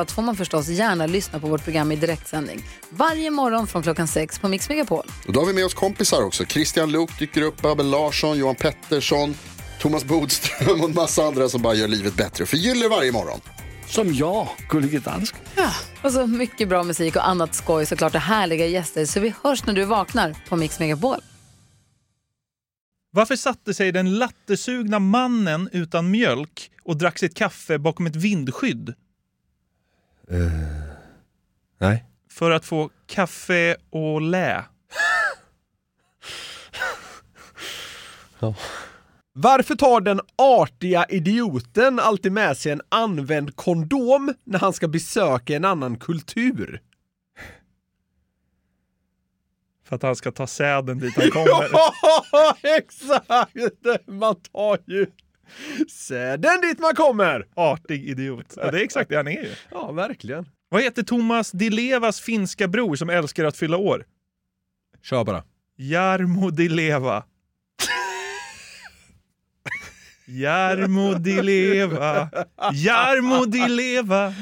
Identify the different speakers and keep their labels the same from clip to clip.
Speaker 1: allt får man förstås gärna lyssna på vårt program i direktsändning. Varje morgon från klockan sex på Mix Megapol.
Speaker 2: Och då har vi med oss kompisar också. Christian Luuk dyker upp, Abel Larsson, Johan Pettersson, Thomas Bodström och en massa andra som bara gör livet bättre och förgyller varje morgon.
Speaker 3: Som jag, Gullige Dansken.
Speaker 1: Och så mycket bra musik och annat skoj såklart och härliga gäster. Så vi hörs när du vaknar på Mix Megapol.
Speaker 4: Varför satte sig den lattesugna mannen utan mjölk och drack sitt kaffe bakom ett vindskydd
Speaker 5: Nej.
Speaker 4: för att få kaffe och lä?
Speaker 5: Varför tar den artiga idioten alltid med sig en använd kondom när han ska besöka en annan kultur?
Speaker 4: För att han ska ta säden dit han kommer.
Speaker 5: Ja, exakt! Man tar ju säden dit man kommer!
Speaker 4: Artig idiot. Ja, det är exakt det han är ju.
Speaker 5: Ja, verkligen.
Speaker 4: Vad heter Thomas Di Levas finska bror som älskar att fylla år?
Speaker 5: Kör bara.
Speaker 4: Jarmo Di Leva. Jarmo Di Leva. Jarmo Di Leva.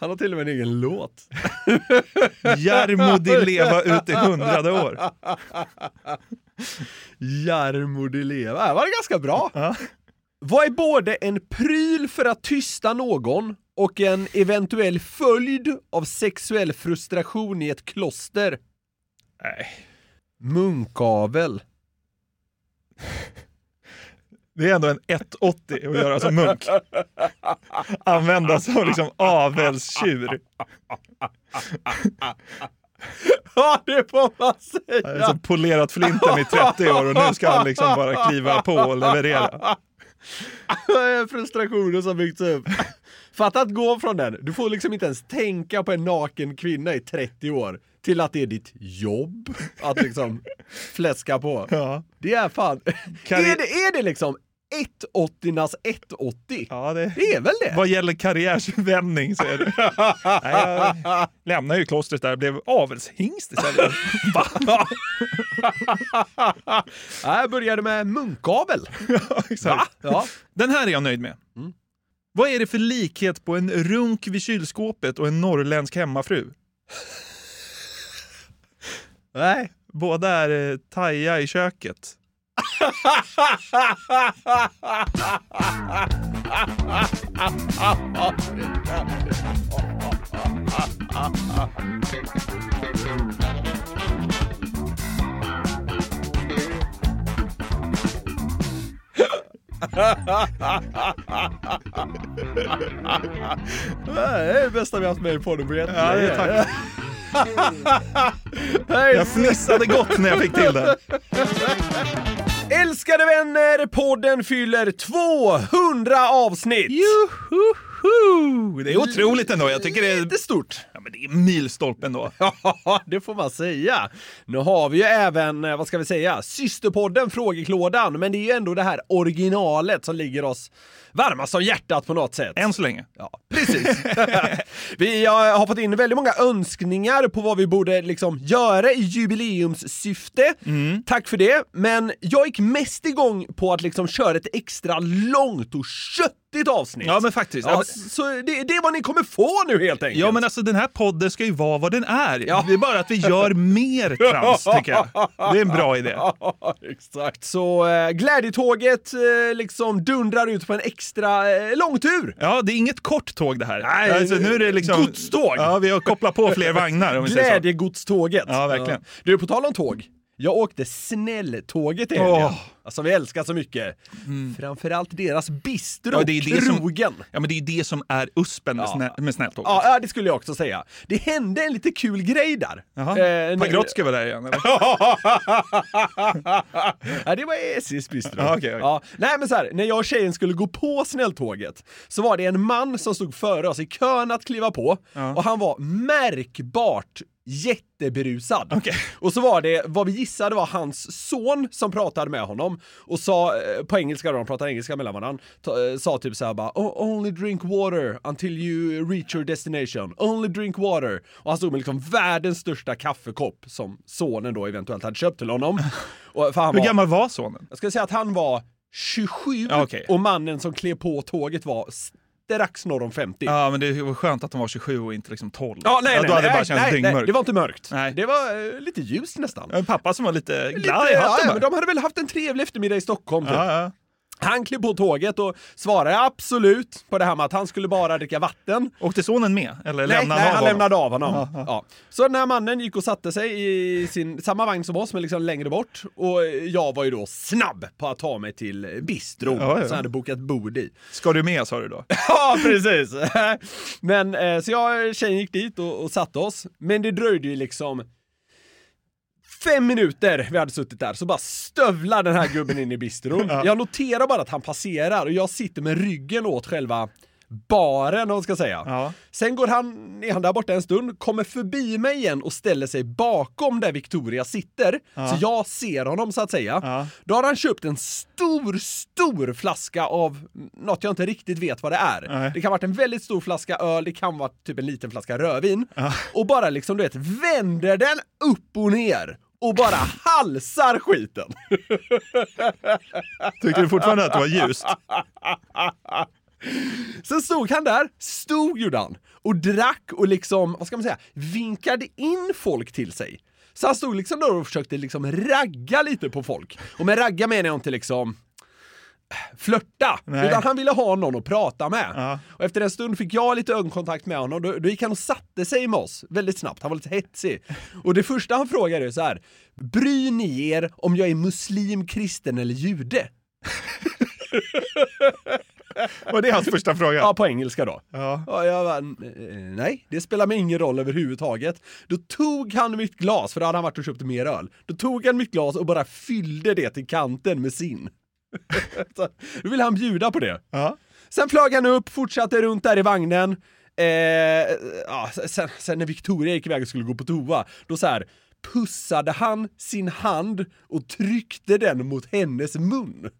Speaker 5: Han har till och med en egen låt.
Speaker 4: Jarmo Di Leva ut i hundrade år.
Speaker 5: Jarmo Di Leva. Det var ganska bra.
Speaker 4: Ja.
Speaker 5: Vad är både en pryl för att tysta någon och en eventuell följd av sexuell frustration i ett kloster?
Speaker 4: Nej.
Speaker 5: Munkavel.
Speaker 4: Det är ändå en 1,80 att göra som munk. Använda som liksom avelstjur.
Speaker 5: Ja, det får man
Speaker 4: Han
Speaker 5: säga!
Speaker 4: har liksom polerat flinten i 30 år och nu ska han liksom bara kliva på och leverera.
Speaker 5: Frustrationen som byggts upp. Fatta att gå från den, du får liksom inte ens tänka på en naken kvinna i 30 år, till att det är ditt jobb att liksom fläska på.
Speaker 4: Ja.
Speaker 5: Det är fan...
Speaker 4: Kan
Speaker 5: är,
Speaker 4: vi-
Speaker 5: det, är det liksom 180-nas 180?
Speaker 4: Ja, det...
Speaker 5: Det är väl det?
Speaker 4: Vad gäller karriärsvändning så är det... Nej, jag lämnade ju klostret där och blev avelshingst istället. Va?
Speaker 5: Ja, Jag började med munkavel.
Speaker 4: Ja,
Speaker 5: Va?
Speaker 4: exakt.
Speaker 5: Ja.
Speaker 4: Den här är jag nöjd med.
Speaker 5: Mm.
Speaker 4: Vad är det för likhet på en runk vid kylskåpet och en norrländsk hemmafru?
Speaker 5: Nej.
Speaker 4: Båda är eh, taja i köket.
Speaker 5: Det är det bästa vi haft med i podden på
Speaker 4: Ja, det är tack.
Speaker 5: Hej,
Speaker 4: Jag fnissade gott när jag fick till den.
Speaker 5: Älskade vänner, podden fyller 200 avsnitt!
Speaker 4: Juhuhu! Det är otroligt ändå. Jag tycker det är,
Speaker 5: Lite stort.
Speaker 4: ja, men det är milstolpen då.
Speaker 5: Ja, det får man säga. Nu har vi ju även, eh, vad ska vi säga, systerpodden Frågeklådan, men det är ju ändå det här originalet som ligger oss varmast om hjärtat på något sätt.
Speaker 4: Än så länge.
Speaker 5: Ja, precis. vi har har fått in väldigt många önskningar på vad vi borde liksom göra i jubileumssyfte.
Speaker 4: Mm.
Speaker 5: Tack för det. Men jag gick mest igång på att liksom köra ett extra långt och köttigt avsnitt.
Speaker 4: Ja, men faktiskt. Ja,
Speaker 5: Ja,
Speaker 4: men-
Speaker 5: så det, det är vad ni kommer få nu helt enkelt.
Speaker 4: Ja, men alltså den här podden ska ju vara vad den är. Det är bara att vi gör mer trams, tycker jag. Det är en bra idé.
Speaker 5: Ja, exakt. Så eh, glädjetåget eh, liksom dundrar ut på en extra eh, lång tur.
Speaker 4: Ja, det är inget kort tåg det här.
Speaker 5: Nej,
Speaker 4: alltså, nu är det liksom...
Speaker 5: godståg.
Speaker 4: Ja, vi har kopplat på fler vagnar om vi säger så.
Speaker 5: Glädjegodståget.
Speaker 4: Ja, verkligen.
Speaker 5: Du, på tal om tåg. Jag åkte snälltåget i helgen.
Speaker 4: Åh. Mm.
Speaker 5: Alltså vi älskar så mycket. Framförallt deras bistro,
Speaker 4: Ja, det är det som-
Speaker 5: krogen.
Speaker 4: Ja, men det är ju det som är uspen med,
Speaker 5: Ja.
Speaker 4: snä, med snälltåget.
Speaker 5: Ja, ja, det skulle jag också säga. Det hände en lite kul grej där.
Speaker 4: Jaha.
Speaker 5: Eh,
Speaker 4: Pagrotsky var där igen, eller?
Speaker 5: Ja, det var SJs bistro.
Speaker 4: Ja, okej, okej.
Speaker 5: Ja, nej men så här, när jag och tjejen skulle gå på snälltåget så var det en man som stod före oss i kön att kliva på och han var märkbart jätteberusad. Och så var det, vad vi gissade var hans son som pratade med honom och sa eh, på engelska då, de pratade engelska mellan varandra, ta- eh, sa typ så här bara "Oh, “Only drink water until you reach your destination, only drink water” och han stod med liksom världens största kaffekopp som sonen då eventuellt hade köpt till honom. Och, för han
Speaker 4: Hur
Speaker 5: var,
Speaker 4: gammal var sonen?
Speaker 5: jag skulle säga att han var 27
Speaker 4: Ja, okej.
Speaker 5: och mannen som klev på tåget var strax norr om 50.
Speaker 4: Ja, men det var skönt att han var 27 och inte liksom 12.
Speaker 5: Ja, nej,
Speaker 4: då
Speaker 5: nej,
Speaker 4: hade det
Speaker 5: nej,
Speaker 4: bara känts
Speaker 5: nej, nej,
Speaker 4: dyngmörkt.
Speaker 5: det var inte mörkt.
Speaker 4: Nej.
Speaker 5: Det var eh, lite ljust nästan.
Speaker 4: En pappa som var lite
Speaker 5: Lite,
Speaker 4: glad i
Speaker 5: ja,
Speaker 4: hatten.
Speaker 5: ja,
Speaker 4: bara.
Speaker 5: men de hade väl haft en trevlig eftermiddag i Stockholm. Typ.
Speaker 4: ja, ja.
Speaker 5: Han klev på tåget och svarade absolut på det här med att han skulle bara dricka vatten.
Speaker 4: Åkte sonen med? Eller
Speaker 5: Nej,
Speaker 4: lämnade
Speaker 5: nej,
Speaker 4: av
Speaker 5: han
Speaker 4: honom?
Speaker 5: lämnade av honom. Ja. Så den här mannen gick och satte sig i sin, samma vagn som oss, men liksom längre bort. Och jag var ju då snabb på att ta mig till bistron
Speaker 4: Ja, ja.
Speaker 5: som jag hade bokat bord i.
Speaker 4: Ska du med, sa du då?
Speaker 5: Ja, precis! Men eh, så jag och tjejen gick dit och, och satte oss, men det dröjde ju liksom fem minuter vi hade suttit där, så bara stövlar den här gubben in i bistron. Jag noterar bara att han passerar och jag sitter med ryggen åt själva baren, om man ska säga.
Speaker 4: Ja.
Speaker 5: Sen går han, är han där borta en stund, kommer förbi mig igen och ställer sig bakom där Victoria sitter. Så jag ser honom så att säga.
Speaker 4: Ja.
Speaker 5: Då har han köpt en stor, stor flaska av något jag inte riktigt vet vad det är.
Speaker 4: Nej.
Speaker 5: Det kan ha varit en väldigt stor flaska öl, det kan vara typ en liten flaska rödvin. Och bara liksom, du vet, vänder den upp och ner och bara halsar skiten.
Speaker 4: Tyckte du fortfarande att det var ljust?
Speaker 5: Sen stod han där, stod gjorde han, och drack och liksom, vad ska man säga, vinkade in folk till sig. Så han stod liksom där och försökte liksom ragga lite på folk. Och med ragga menar jag inte liksom äh, flörta,
Speaker 4: Nej.
Speaker 5: utan han ville ha någon att prata med.
Speaker 4: Ja.
Speaker 5: Och efter en stund fick jag lite ögonkontakt med honom, då, då gick han och satte sig med oss väldigt snabbt, han var lite hetsig. Och det första han frågade är så här, bryr ni er om jag är muslim, kristen eller jude?
Speaker 4: Var det hans första fråga?
Speaker 5: Ja, på engelska då.
Speaker 4: Ja.
Speaker 5: Ja, jag bara, "N- eh, nej, det spelar mig ingen roll överhuvudtaget. Då tog han mitt glas, för då hade han varit och köpt mer öl. Då tog han mitt glas och bara fyllde det till kanten med sin. Så, då ville han bjuda på det.
Speaker 4: Ja.
Speaker 5: Sen flög han upp, fortsatte runt där i vagnen. Eh, ja, sen, sen när Victoria gick iväg och skulle gå på toa, då så här pussade han sin hand och tryckte den mot hennes mun.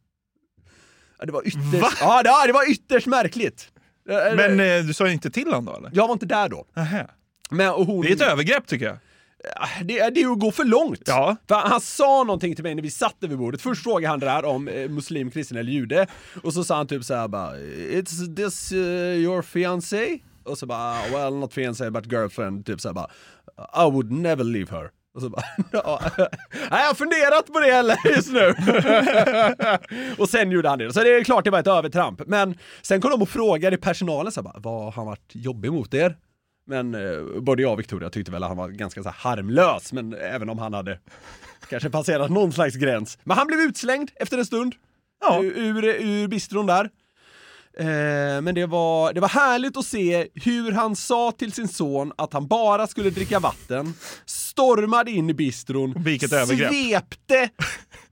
Speaker 5: Ja, det var ytterst,
Speaker 4: Va?
Speaker 5: Ja, det, ja, det var ytterst märkligt. Eh,
Speaker 4: Men eh, du sa inte till honom då, eller?
Speaker 5: jag var inte där då.
Speaker 4: Nähä.
Speaker 5: Men och hon,
Speaker 4: Det är ett övergrepp, tycker jag.
Speaker 5: eh, det, är- det är ju att gå för långt.
Speaker 4: Ja.
Speaker 5: För han sa någonting till mig när vi satt vid bordet. Först frågade han det där om eh, muslim, kristen eller jude. Och så sa han typ så här bara “It's this eh, your fiancé?” Och så bara “Well, not fiancé but girlfriend” typ så här bara “I would never leave her”. Och så bara, "Ja." nej jag har funderat på det heller just nu. och sen gjorde han det. Så det är klart det var ett övertramp. Men sen kom de och frågade personalen så här bara, vad har han varit jobbig mot er? Men eh, både jag och Victoria tyckte väl att han var ganska så här harmlös, men även om han hade kanske passerat någon slags gräns. Men han blev utslängd efter en stund
Speaker 4: Ja.
Speaker 5: ur, ur, ur bistron där. Eh, men det var, det var härligt att se hur han sa till sin son att han bara skulle dricka vatten, stormade in i bistron,
Speaker 4: Vilket övergrepp.
Speaker 5: svepte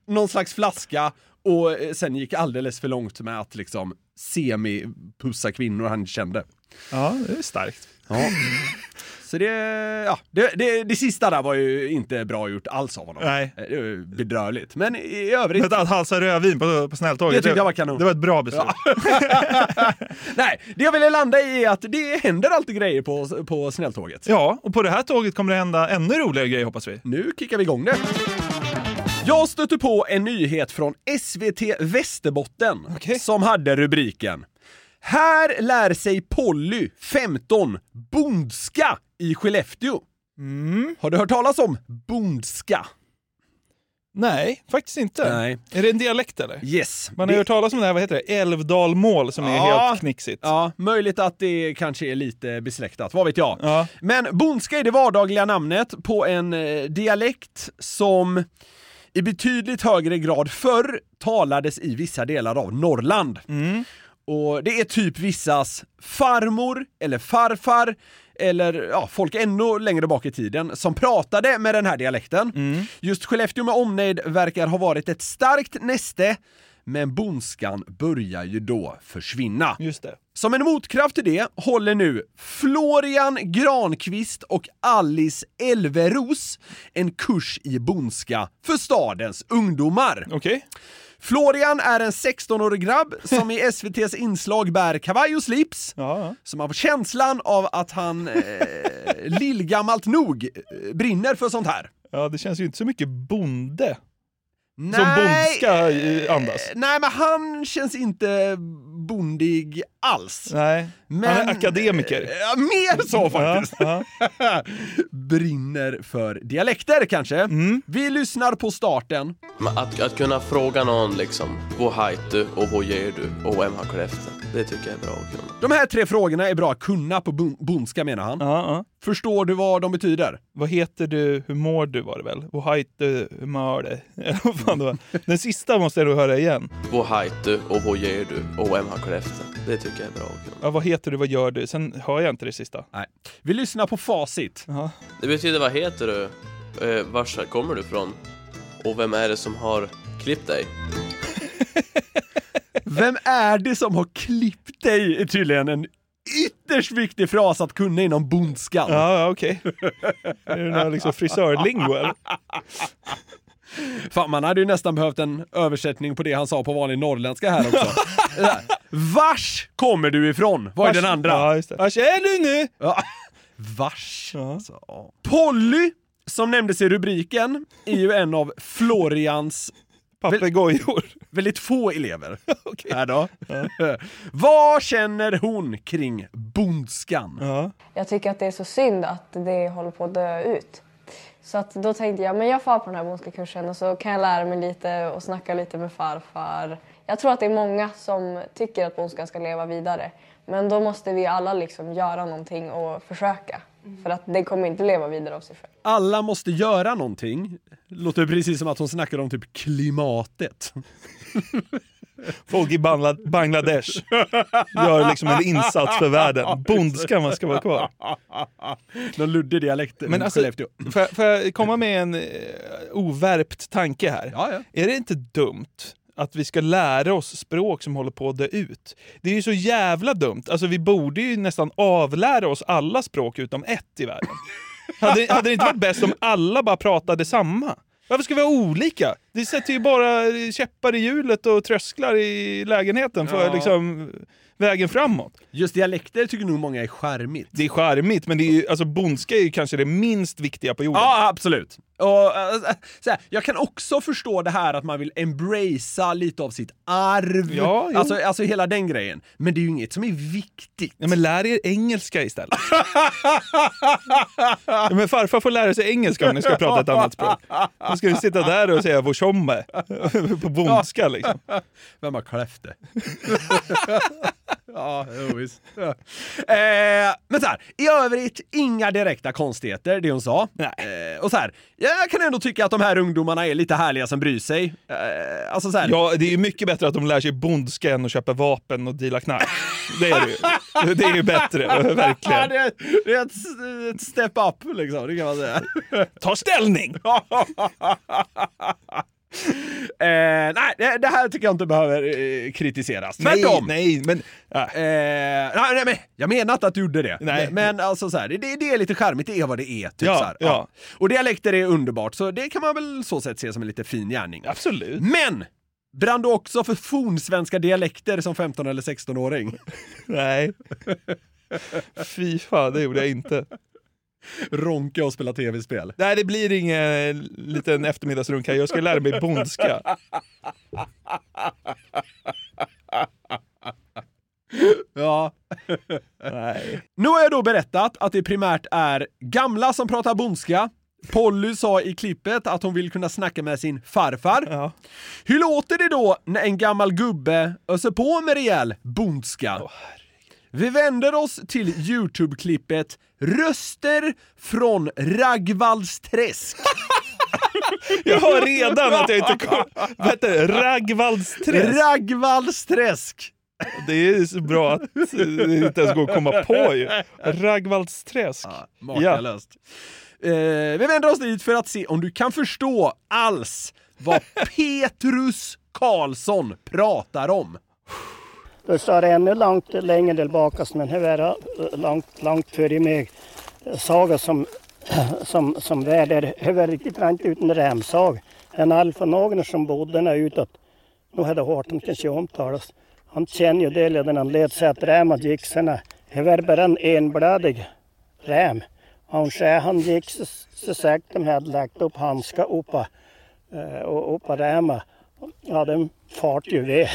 Speaker 5: någon slags flaska och eh, sen gick alldeles för långt med att liksom semi-pussa kvinnor han inte kände.
Speaker 4: Ja, det är starkt.
Speaker 5: Ja. Så det, ja, det, det, det sista där var ju inte bra gjort alls av honom.
Speaker 4: Nej.
Speaker 5: Eh, Det var ju bedrövligt. Men i- i övrigt,
Speaker 4: Men att halsa rödvin på, på snälltåget,
Speaker 5: Det tyckte jag var kanon.
Speaker 4: Det var ett bra beslut.
Speaker 5: nej, det jag ville landa i är att det händer alltid grejer på, på snälltåget.
Speaker 4: Ja, och på det här tåget kommer det hända ännu roligare grejer hoppas vi.
Speaker 5: Nu kickar vi igång det. Jag stötte på en nyhet från SVT Västerbotten som hade rubriken Här lär sig Polly, 15, bondska
Speaker 4: Mm.
Speaker 5: i Skellefteå. Har du hört talas om bondska?
Speaker 4: Nej, faktiskt inte.
Speaker 5: Nej.
Speaker 4: Är det en dialekt eller?
Speaker 5: Yes.
Speaker 4: Man har hört talas om det här, vad heter det? Älvdalmål som är
Speaker 5: Ja.
Speaker 4: helt knixigt.
Speaker 5: Ja, möjligt att det kanske är lite besläktat, vad vet jag.
Speaker 4: Ja.
Speaker 5: Men bondska är det vardagliga namnet på en eh, dialekt som i betydligt högre grad förr talades i vissa delar av Norrland.
Speaker 4: Mm.
Speaker 5: Och det är typ vissas farmor eller farfar eller ja, folk ännu längre bak i tiden som pratade med den här dialekten.
Speaker 4: Mm.
Speaker 5: Just Skellefteå med omnejd verkar ha varit ett starkt näste, men bondskan börjar ju då försvinna.
Speaker 4: Just det.
Speaker 5: Som en motkraft till det håller nu Florian Granqvist och Alice Elveros en kurs i bondska för stadens ungdomar.
Speaker 4: Okej.
Speaker 5: Florian är en 16-årig grabb som i SVTs inslag bär kavaj och slips.
Speaker 4: Ja, ja.
Speaker 5: Som har känslan av att han, eh, lillgammalt nog, eh, brinner för sånt här.
Speaker 4: ja, det känns ju inte så mycket bonde som
Speaker 5: Nej,
Speaker 4: bondska eh, andas.
Speaker 5: Nej, men han känns inte bondig alls.
Speaker 4: Nej,
Speaker 5: Men- eh,
Speaker 4: han är akademiker.
Speaker 5: Ja, mer så faktiskt.
Speaker 4: Ja, ja.
Speaker 5: brinner för dialekter kanske.
Speaker 4: Mm.
Speaker 5: Vi lyssnar på starten.
Speaker 6: Men Att, att kunna fråga någon liksom, vad heter du och vad gör du och vem har kräft det? Det tycker jag är bra att kunna.
Speaker 5: De här tre frågorna är bra att kunna på bon- bondska menar han.
Speaker 4: Ja, ja.
Speaker 5: Förstår du vad de betyder?
Speaker 4: Vad heter du, hur mår du var det väl? Vad heter du, hur mår du? Eller vad fan det var. Den sista måste jag då höra igen.
Speaker 6: Vad heter du och vad gör du och vem har kräft det? Det tycker jag är bra att kunna.
Speaker 4: Ja, vad heter du, vad gör du? Sen hör jag inte det sista.
Speaker 5: Nej. Vi lyssnar på facit.
Speaker 6: Det betyder vad heter du, eh, vars kommer du ifrån och vem är det som har klippt dig?
Speaker 5: Vem är det som har klippt dig? är tydligen en ytterst viktig fras att kunna inom bondskan.
Speaker 4: Ja, ja okej. Är det någon liksom frisörlingo eller?
Speaker 5: Fan, man hade ju nästan behövt en översättning på det han sa på vanlig norrländska här också. Det där. Vars kommer du ifrån? Vad är den andra?
Speaker 4: Ja, just det. Vars är du nu?
Speaker 5: Ja. Vars.
Speaker 4: Ja.
Speaker 5: Alltså, ja. Polly, som nämndes i rubriken, är ju en av Florians
Speaker 4: Papegojor.
Speaker 5: väldigt få elever. Här då. Vad känner hon kring bondskan?
Speaker 7: Jag tycker att det är så synd att det håller på att dö ut. Så att då tänkte jag, men jag far på den här bondska kursen och så kan jag lära mig lite och snacka lite med farfar. Jag tror att det är många som tycker att bondskan ska leva vidare. Men då måste vi alla liksom göra någonting och försöka. För att den kommer inte leva vidare av sig själv.
Speaker 5: Alla måste göra någonting. Låter precis som att hon snackar om typ klimatet.
Speaker 4: Folk i Bangla- Bangladesh gör liksom en insats för världen. Bondskan man ska vara kvar.
Speaker 5: Någon luddig dialekt
Speaker 4: Men
Speaker 5: Men
Speaker 4: alltså,
Speaker 5: Skellefteå.
Speaker 4: Får jag, får jag komma med en eh, ovärpt tanke här?
Speaker 5: Ja, ja.
Speaker 4: Är det inte dumt att vi ska lära oss språk som håller på att dö ut? Det är ju så jävla dumt. Alltså vi borde ju nästan avlära oss alla språk utom ett i världen. hade, hade det inte varit bäst om alla bara pratade samma? Varför ska vi vara olika? Det sätter ju bara käppar i hjulet och trösklar i lägenheten för liksom, vägen framåt.
Speaker 5: Just dialekter tycker nog många är charmigt.
Speaker 4: Det är charmigt, men det är ju, alltså, bondska är ju kanske det minst viktiga på jorden.
Speaker 5: Ja, absolut. Och, äh, så här, jag kan också förstå det här att man vill embracea lite av sitt arv.
Speaker 4: Ja, jo.
Speaker 5: alltså, alltså hela den grejen. Men det är ju inget som är viktigt.
Speaker 4: Ja, men lär er engelska istället. ja, men farfar får lära sig engelska om ni ska prata ett annat språk. Då ska vi sitta där och säga vår tjomme på bondska liksom.
Speaker 5: Vem har kläft det? ja, jo, visst. Ja. Eh, men så här, i övrigt inga direkta konstigheter, det hon sa.
Speaker 4: Nej.
Speaker 5: Eh, och så här, jag kan ändå tycka att de här ungdomarna är lite härliga som bryr sig. Eh, alltså så här,
Speaker 4: Ja, det är ju mycket bättre att de lär sig bondska än att köpa vapen och deala knark. Det är det ju. Det är ju bättre,
Speaker 5: Ja,
Speaker 4: verkligen.
Speaker 5: det, är, det är ett, ett step up liksom, det kan man säga.
Speaker 4: Ta ställning!
Speaker 5: Eh, nej, det, det här tycker jag inte behöver eh, kritiseras. Tvärtom! Nej,
Speaker 4: Nej, nej, men... Äh,
Speaker 5: Eh, nej, nej, men jag menar inte att du gjorde det.
Speaker 4: Nej.
Speaker 5: Men alltså så här, det, det är lite charmigt, det är vad det är. Typ,
Speaker 4: Ja,
Speaker 5: så här.
Speaker 4: ja.
Speaker 5: Och dialekter är underbart, så det kan man väl så sätt se som en lite fin gärning.
Speaker 4: absolut.
Speaker 5: Men! Brann du också för fornsvenska dialekter som 15 eller 16-åring?
Speaker 4: Nej. Fy fan, det gjorde jag inte.
Speaker 5: Ronka och spela tv-spel.
Speaker 4: Nej, det blir ingen eh, liten eftermiddagsrunk här. Jag ska lära mig bondska.
Speaker 5: Ja.
Speaker 4: Nej.
Speaker 5: Nu har jag då berättat att det primärt är gamla som pratar bondska, Polly sa i klippet att hon vill kunna snacka med sin farfar.
Speaker 4: Ja.
Speaker 5: Hur låter det då när en gammal gubbe öser på med rejäl bondska? Vi vänder oss till Youtube-klippet Röster från Raggvallsträsk.
Speaker 4: Jag hör redan att jag inte kommer... Vad heter det? Raggvaldsträsk.
Speaker 5: Raggvallsträsk!
Speaker 4: Det är så bra att det inte ens går att komma på ju. Raggvaldsträsk.
Speaker 5: Makalöst. Eh, vi vänder oss dit för att se om du kan förstå alls vad Petrus Karlsson pratar om.
Speaker 8: Då står det ännu långt längre tillbaka, men nu är det eh, långt, långt före mig. eh, Saga som, som, som väder, det var riktigt rent ut en remsag. En alfanager som bodde där utåt. Nu hade hört han kanske omtalas. Han kände ju det när han led sig att räma gixarna. Det var bara en enbladig räm. Han skär han gick så, så sagt de hade lagt upp handskar uppe eh, och uppe räma. Ja, den fart ju ved.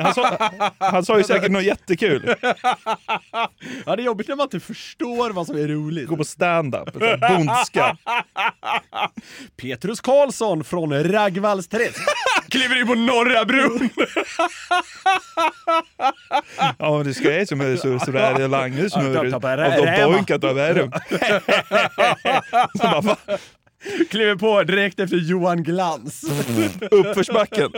Speaker 4: Han sa, han sa ju säkert något jättekul.
Speaker 5: Ja, det är jobbigt när man inte förstår vad som är roligt.
Speaker 4: Gå på stand-up. så här, Bondska.
Speaker 5: Petrus Karlsson från Raggvallsträsk. Kliver in på Norra Bron.
Speaker 4: Ja, men det ska jag som är så sådär lange smöret. Och
Speaker 5: Ja, det är
Speaker 4: de
Speaker 5: det, va?
Speaker 4: bojkat av världen. Så bara, va?
Speaker 5: Kliver på direkt efter Johan Glans.
Speaker 4: Uppförsbacken.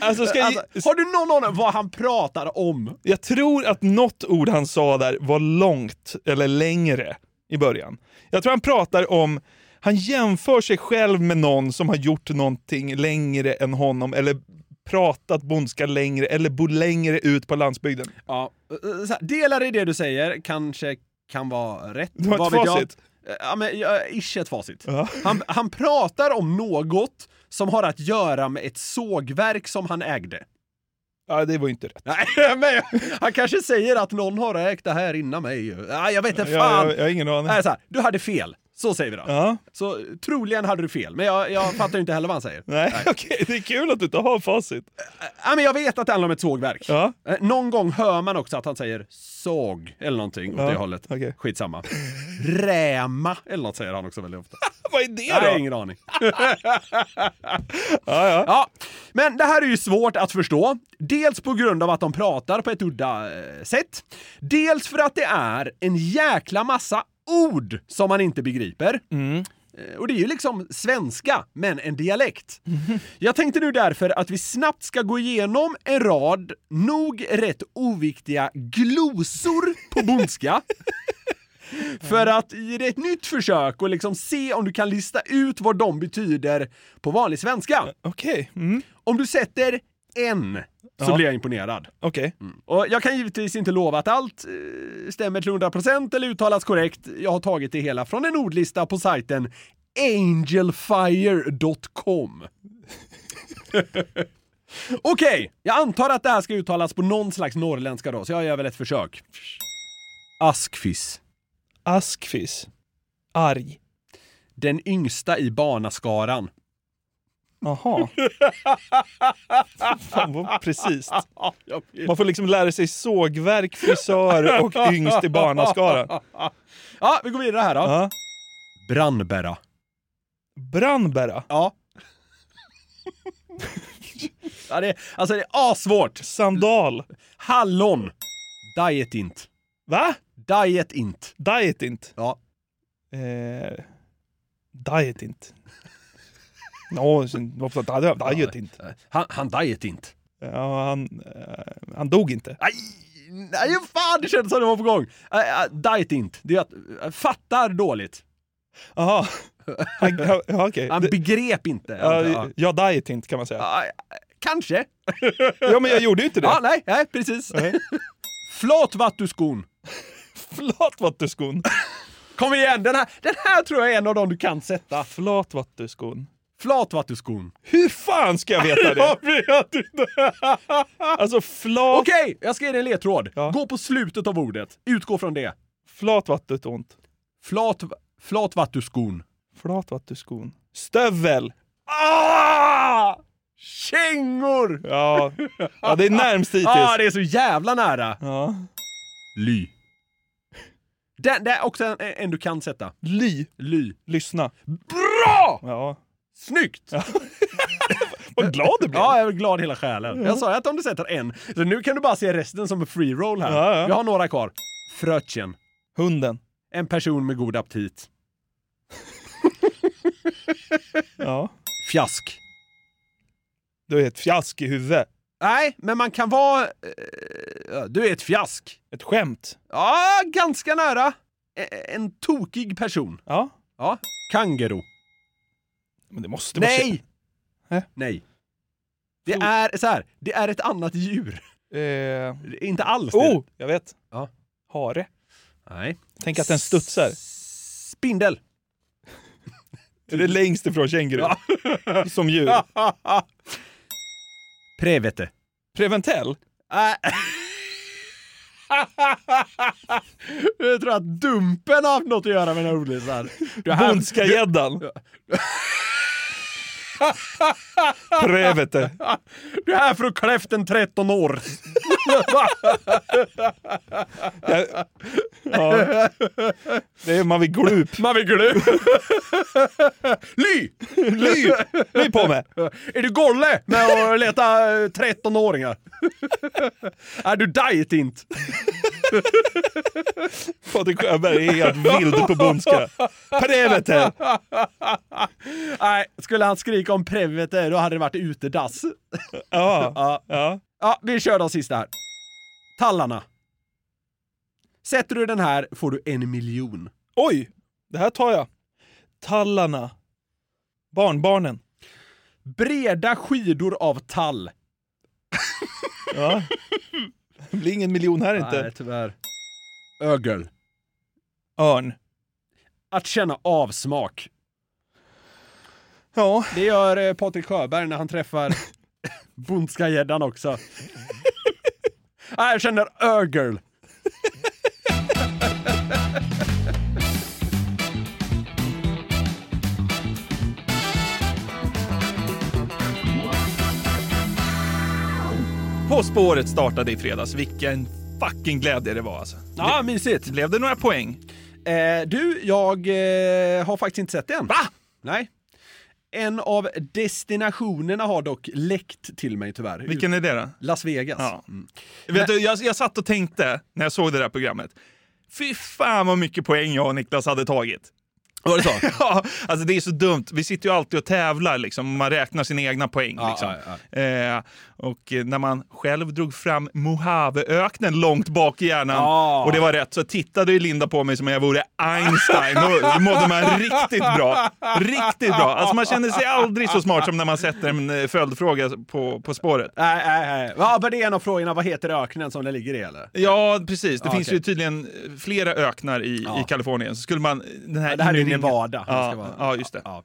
Speaker 4: Alltså, ska jag,
Speaker 5: Alltså, har du någon aning vad han pratar om?
Speaker 4: jag tror att något ord han sa där var långt, eller längre, i början. Jag tror han pratar om han jämför sig själv med någon som har gjort någonting längre än honom eller pratat bondska längre eller bor längre ut på landsbygden.
Speaker 5: Ja, eh, så här, delar i det du säger kanske kan vara rätt.
Speaker 4: Du har
Speaker 5: Vad
Speaker 4: ett
Speaker 5: vet jag?
Speaker 4: facit.
Speaker 5: Eh, Ja, men ja, ish ett facit. Han, han pratar om något som har att göra med ett sågverk som han ägde.
Speaker 4: Ja, det var ju inte rätt.
Speaker 5: Nej, men jag- han kanske säger att någon har ägt det här innan mig. Ja, jag vet inte
Speaker 4: Jag,
Speaker 5: fan.
Speaker 4: jag, jag har ingen aning.
Speaker 5: Nej, så här, du hade fel. Så säger vi då.
Speaker 4: Ja.
Speaker 5: Så troligen hade du fel, men jag, jag fattar ju inte heller vad han säger.
Speaker 4: Nej, okej. Det är kul att du inte har facit.
Speaker 5: Ja, men jag vet att det handlar om ett sågverk.
Speaker 4: Ja.
Speaker 5: Eh, Någon gång hör man också att han säger såg eller någonting åt det hållet.
Speaker 4: okej.
Speaker 5: Skitsamma. Räma eller något säger han också väldigt ofta.
Speaker 4: Vad är det
Speaker 5: Nej,
Speaker 4: då?
Speaker 5: ingen aning. ja, ja. Men det här är ju svårt att förstå. Dels på grund av att de pratar på ett udda eh, sätt. Dels för att det är en jäkla massa ord som man inte begriper.
Speaker 4: Mm.
Speaker 5: Eh, Och det är ju liksom svenska, men en dialekt. Jag tänkte nu därför att vi snabbt ska gå igenom en rad nog rätt oviktiga glosor på bondska. För att ge det ett nytt försök och liksom se om du kan lista ut vad de betyder på vanlig svenska.
Speaker 4: Okej. Mm.
Speaker 5: Om du sätter en så
Speaker 4: Ja.
Speaker 5: blir jag imponerad. Mm.
Speaker 4: Okej.
Speaker 5: Och jag kan givetvis inte lova att allt eh, stämmer till 100% eller uttalas korrekt. Jag har tagit det hela från en ordlista på sajten angelfire.com. Okej, jag antar att det här ska uttalas på någon slags norrländska då, så jag gör väl ett försök. Askfiss.
Speaker 4: Askfis. Arg.
Speaker 5: Den yngsta i barnaskaran.
Speaker 4: Jaha. Fan, vad precis. Man får liksom lära sig sågverk, frisör och yngst i barnaskara.
Speaker 5: Ja, vi går vidare här då.
Speaker 4: Ja.
Speaker 5: Brandbära.
Speaker 4: Brandbära.
Speaker 5: Ja. ja det, är- alltså det är asvårt.
Speaker 4: Sandal.
Speaker 5: Hallon. Dietint.
Speaker 4: Va?
Speaker 5: Dietint.
Speaker 4: Dietint.
Speaker 5: Ja.
Speaker 4: Eh, dietint. Nå, sen- varför diet- dietint?
Speaker 5: Han, han dietint.
Speaker 4: Ja, han, eh, han dog inte.
Speaker 5: Aj! Nej, fan det kändes som det var på gång. Äh, äh, dietint. Det är att, äh, fattar dåligt.
Speaker 4: Jaha. Han- Ja, okej.
Speaker 5: Han
Speaker 4: Det-
Speaker 5: begrep inte.
Speaker 4: Ja,
Speaker 5: Ja.
Speaker 4: jag dietint kan man säga.
Speaker 5: Aj, kanske.
Speaker 4: Ja, men jag gjorde ju inte det.
Speaker 5: Ja, nej, nej, precis.
Speaker 4: Nej.
Speaker 5: Flatvattuskon.
Speaker 4: Flatvattuskon.
Speaker 5: Kom igen, den här, den här tror jag är en av de du kan sätta.
Speaker 4: Flatvattuskon.
Speaker 5: Flatvattuskon.
Speaker 4: Hur fan ska jag veta det?
Speaker 5: vet inte.
Speaker 4: Alltså flat,
Speaker 5: Okej, jag ska ge dig en ledtråd.
Speaker 4: Ja.
Speaker 5: Gå på slutet av ordet. Utgå från det.
Speaker 4: flatvattutont.
Speaker 5: Flat, flatvattuskon.
Speaker 4: Flatvattuskon. Stövel.
Speaker 5: Ah! Kängor!
Speaker 4: Ja. ja, det är närmst hittills.
Speaker 5: Ah, det är så jävla nära.
Speaker 4: Ja.
Speaker 5: Ly. Den, det är också en, en du kan sätta.
Speaker 4: Ly.
Speaker 5: Ly.
Speaker 4: Lyssna.
Speaker 5: Bra!
Speaker 4: Ja.
Speaker 5: Snyggt!
Speaker 4: Vad glad du blev.
Speaker 5: Ja, jag är glad hela själen. Jag sa ju att om du sätter en, så nu kan du bara se resten som en free roll här.
Speaker 4: Ja, ja.
Speaker 5: Vi har några kvar. Frötjen.
Speaker 4: Hunden.
Speaker 5: En person med god aptit.
Speaker 4: Ja.
Speaker 5: Fjask.
Speaker 4: Du är ett fjask i huvudet.
Speaker 5: Nej, men man kan vara... eh, du är ett fjask.
Speaker 4: Ett skämt.
Speaker 5: Ja, ganska nära. E- En tokig person.
Speaker 4: Ja.
Speaker 5: Ja. Kangero.
Speaker 4: Men det måste vara
Speaker 5: Nej!
Speaker 4: Nej.
Speaker 5: Nej. Det är så här, det är ett annat djur.
Speaker 4: Eh,
Speaker 5: Det är Inte alls det.
Speaker 4: oh, jag vet.
Speaker 5: Ja.
Speaker 4: Hare.
Speaker 5: Nej.
Speaker 4: Tänk att den studsar.
Speaker 5: Spindel.
Speaker 4: Det är det längst ifrån känguru.
Speaker 5: Ja.
Speaker 4: Som djur.
Speaker 5: Prevete.
Speaker 4: Preventell.
Speaker 5: Nej. Jag tror att Dumpen har haft något att göra med den här ordlistan. Du har-
Speaker 4: Bondska gäddan. Prevete.
Speaker 5: Du är här för att klä efter en 13 år.
Speaker 4: Ja. Ja. Det är man vill glup.
Speaker 5: Man vill glu. Ly!
Speaker 4: Ly! Ly på med.
Speaker 5: Är du golle med att leta eh, 13-åringar? Är du diet inte?
Speaker 4: Patrik Sjöberg är helt vild på bondska. Prevete.
Speaker 5: Nej, skulle han skrika om Prevete då hade det varit utedass.
Speaker 4: Ja.
Speaker 5: Ja.
Speaker 4: ja.
Speaker 5: Ja, vi kör de sista här. Tallarna. Sätter du den här får du en miljon.
Speaker 4: Oj! Det här tar jag. Tallarna. Barnbarnen.
Speaker 5: Breda skidor av tall.
Speaker 4: Ja. Det blir ingen miljon här inte.
Speaker 5: tyvärr. Ögel.
Speaker 4: Örn.
Speaker 5: Att känna avsmak.
Speaker 4: Ja.
Speaker 5: Det gör eh, Patrik Sjöberg när han träffar bondska gäddan också. Nej, jag känner ögel.
Speaker 4: På spåret startade i fredags. Vilken fucking glädje det var alltså.
Speaker 5: Ja, mysigt.
Speaker 4: Blev det några poäng?
Speaker 5: Eh, du, jag eh, har faktiskt inte sett det än. Va? Nej. En av destinationerna har dock läckt till mig tyvärr.
Speaker 4: Vilken är det då?
Speaker 5: Las Vegas.
Speaker 4: Ja. Vet du, jag, jag satt och tänkte när jag såg det där programmet. Fy fan vad mycket poäng jag och Niklas hade tagit.
Speaker 5: Var det så?
Speaker 4: Ja, alltså det är så dumt. Vi sitter ju alltid och tävlar, liksom. och man räknar sina egna poäng.
Speaker 5: Ja,
Speaker 4: liksom.
Speaker 5: ja,
Speaker 4: Eh, och eh, när man själv drog fram Mojaveöknen långt bak i hjärnan
Speaker 5: Ja.
Speaker 4: och det var rätt så tittade ju Linda på mig som om jag vore Einstein. Då mådde man riktigt bra. Riktigt bra. Alltså man känner sig aldrig så smart som när man sätter en eh, följdfråga på, på spåret.
Speaker 5: Nej, nej, nej. Ja, men det är en av frågorna. Vad heter öknen som den ligger i eller?
Speaker 4: Ja, precis. Det
Speaker 5: Ja,
Speaker 4: finns
Speaker 5: okej.
Speaker 4: ju tydligen eh, flera öknar i,
Speaker 5: Ja.
Speaker 4: i Kalifornien. Så skulle man... eh, Den här
Speaker 5: Ja, det här är ju
Speaker 4: inringningen-
Speaker 5: Nevada. Det ska
Speaker 4: Ja,
Speaker 5: vara-
Speaker 4: ja, just det.
Speaker 5: Ja.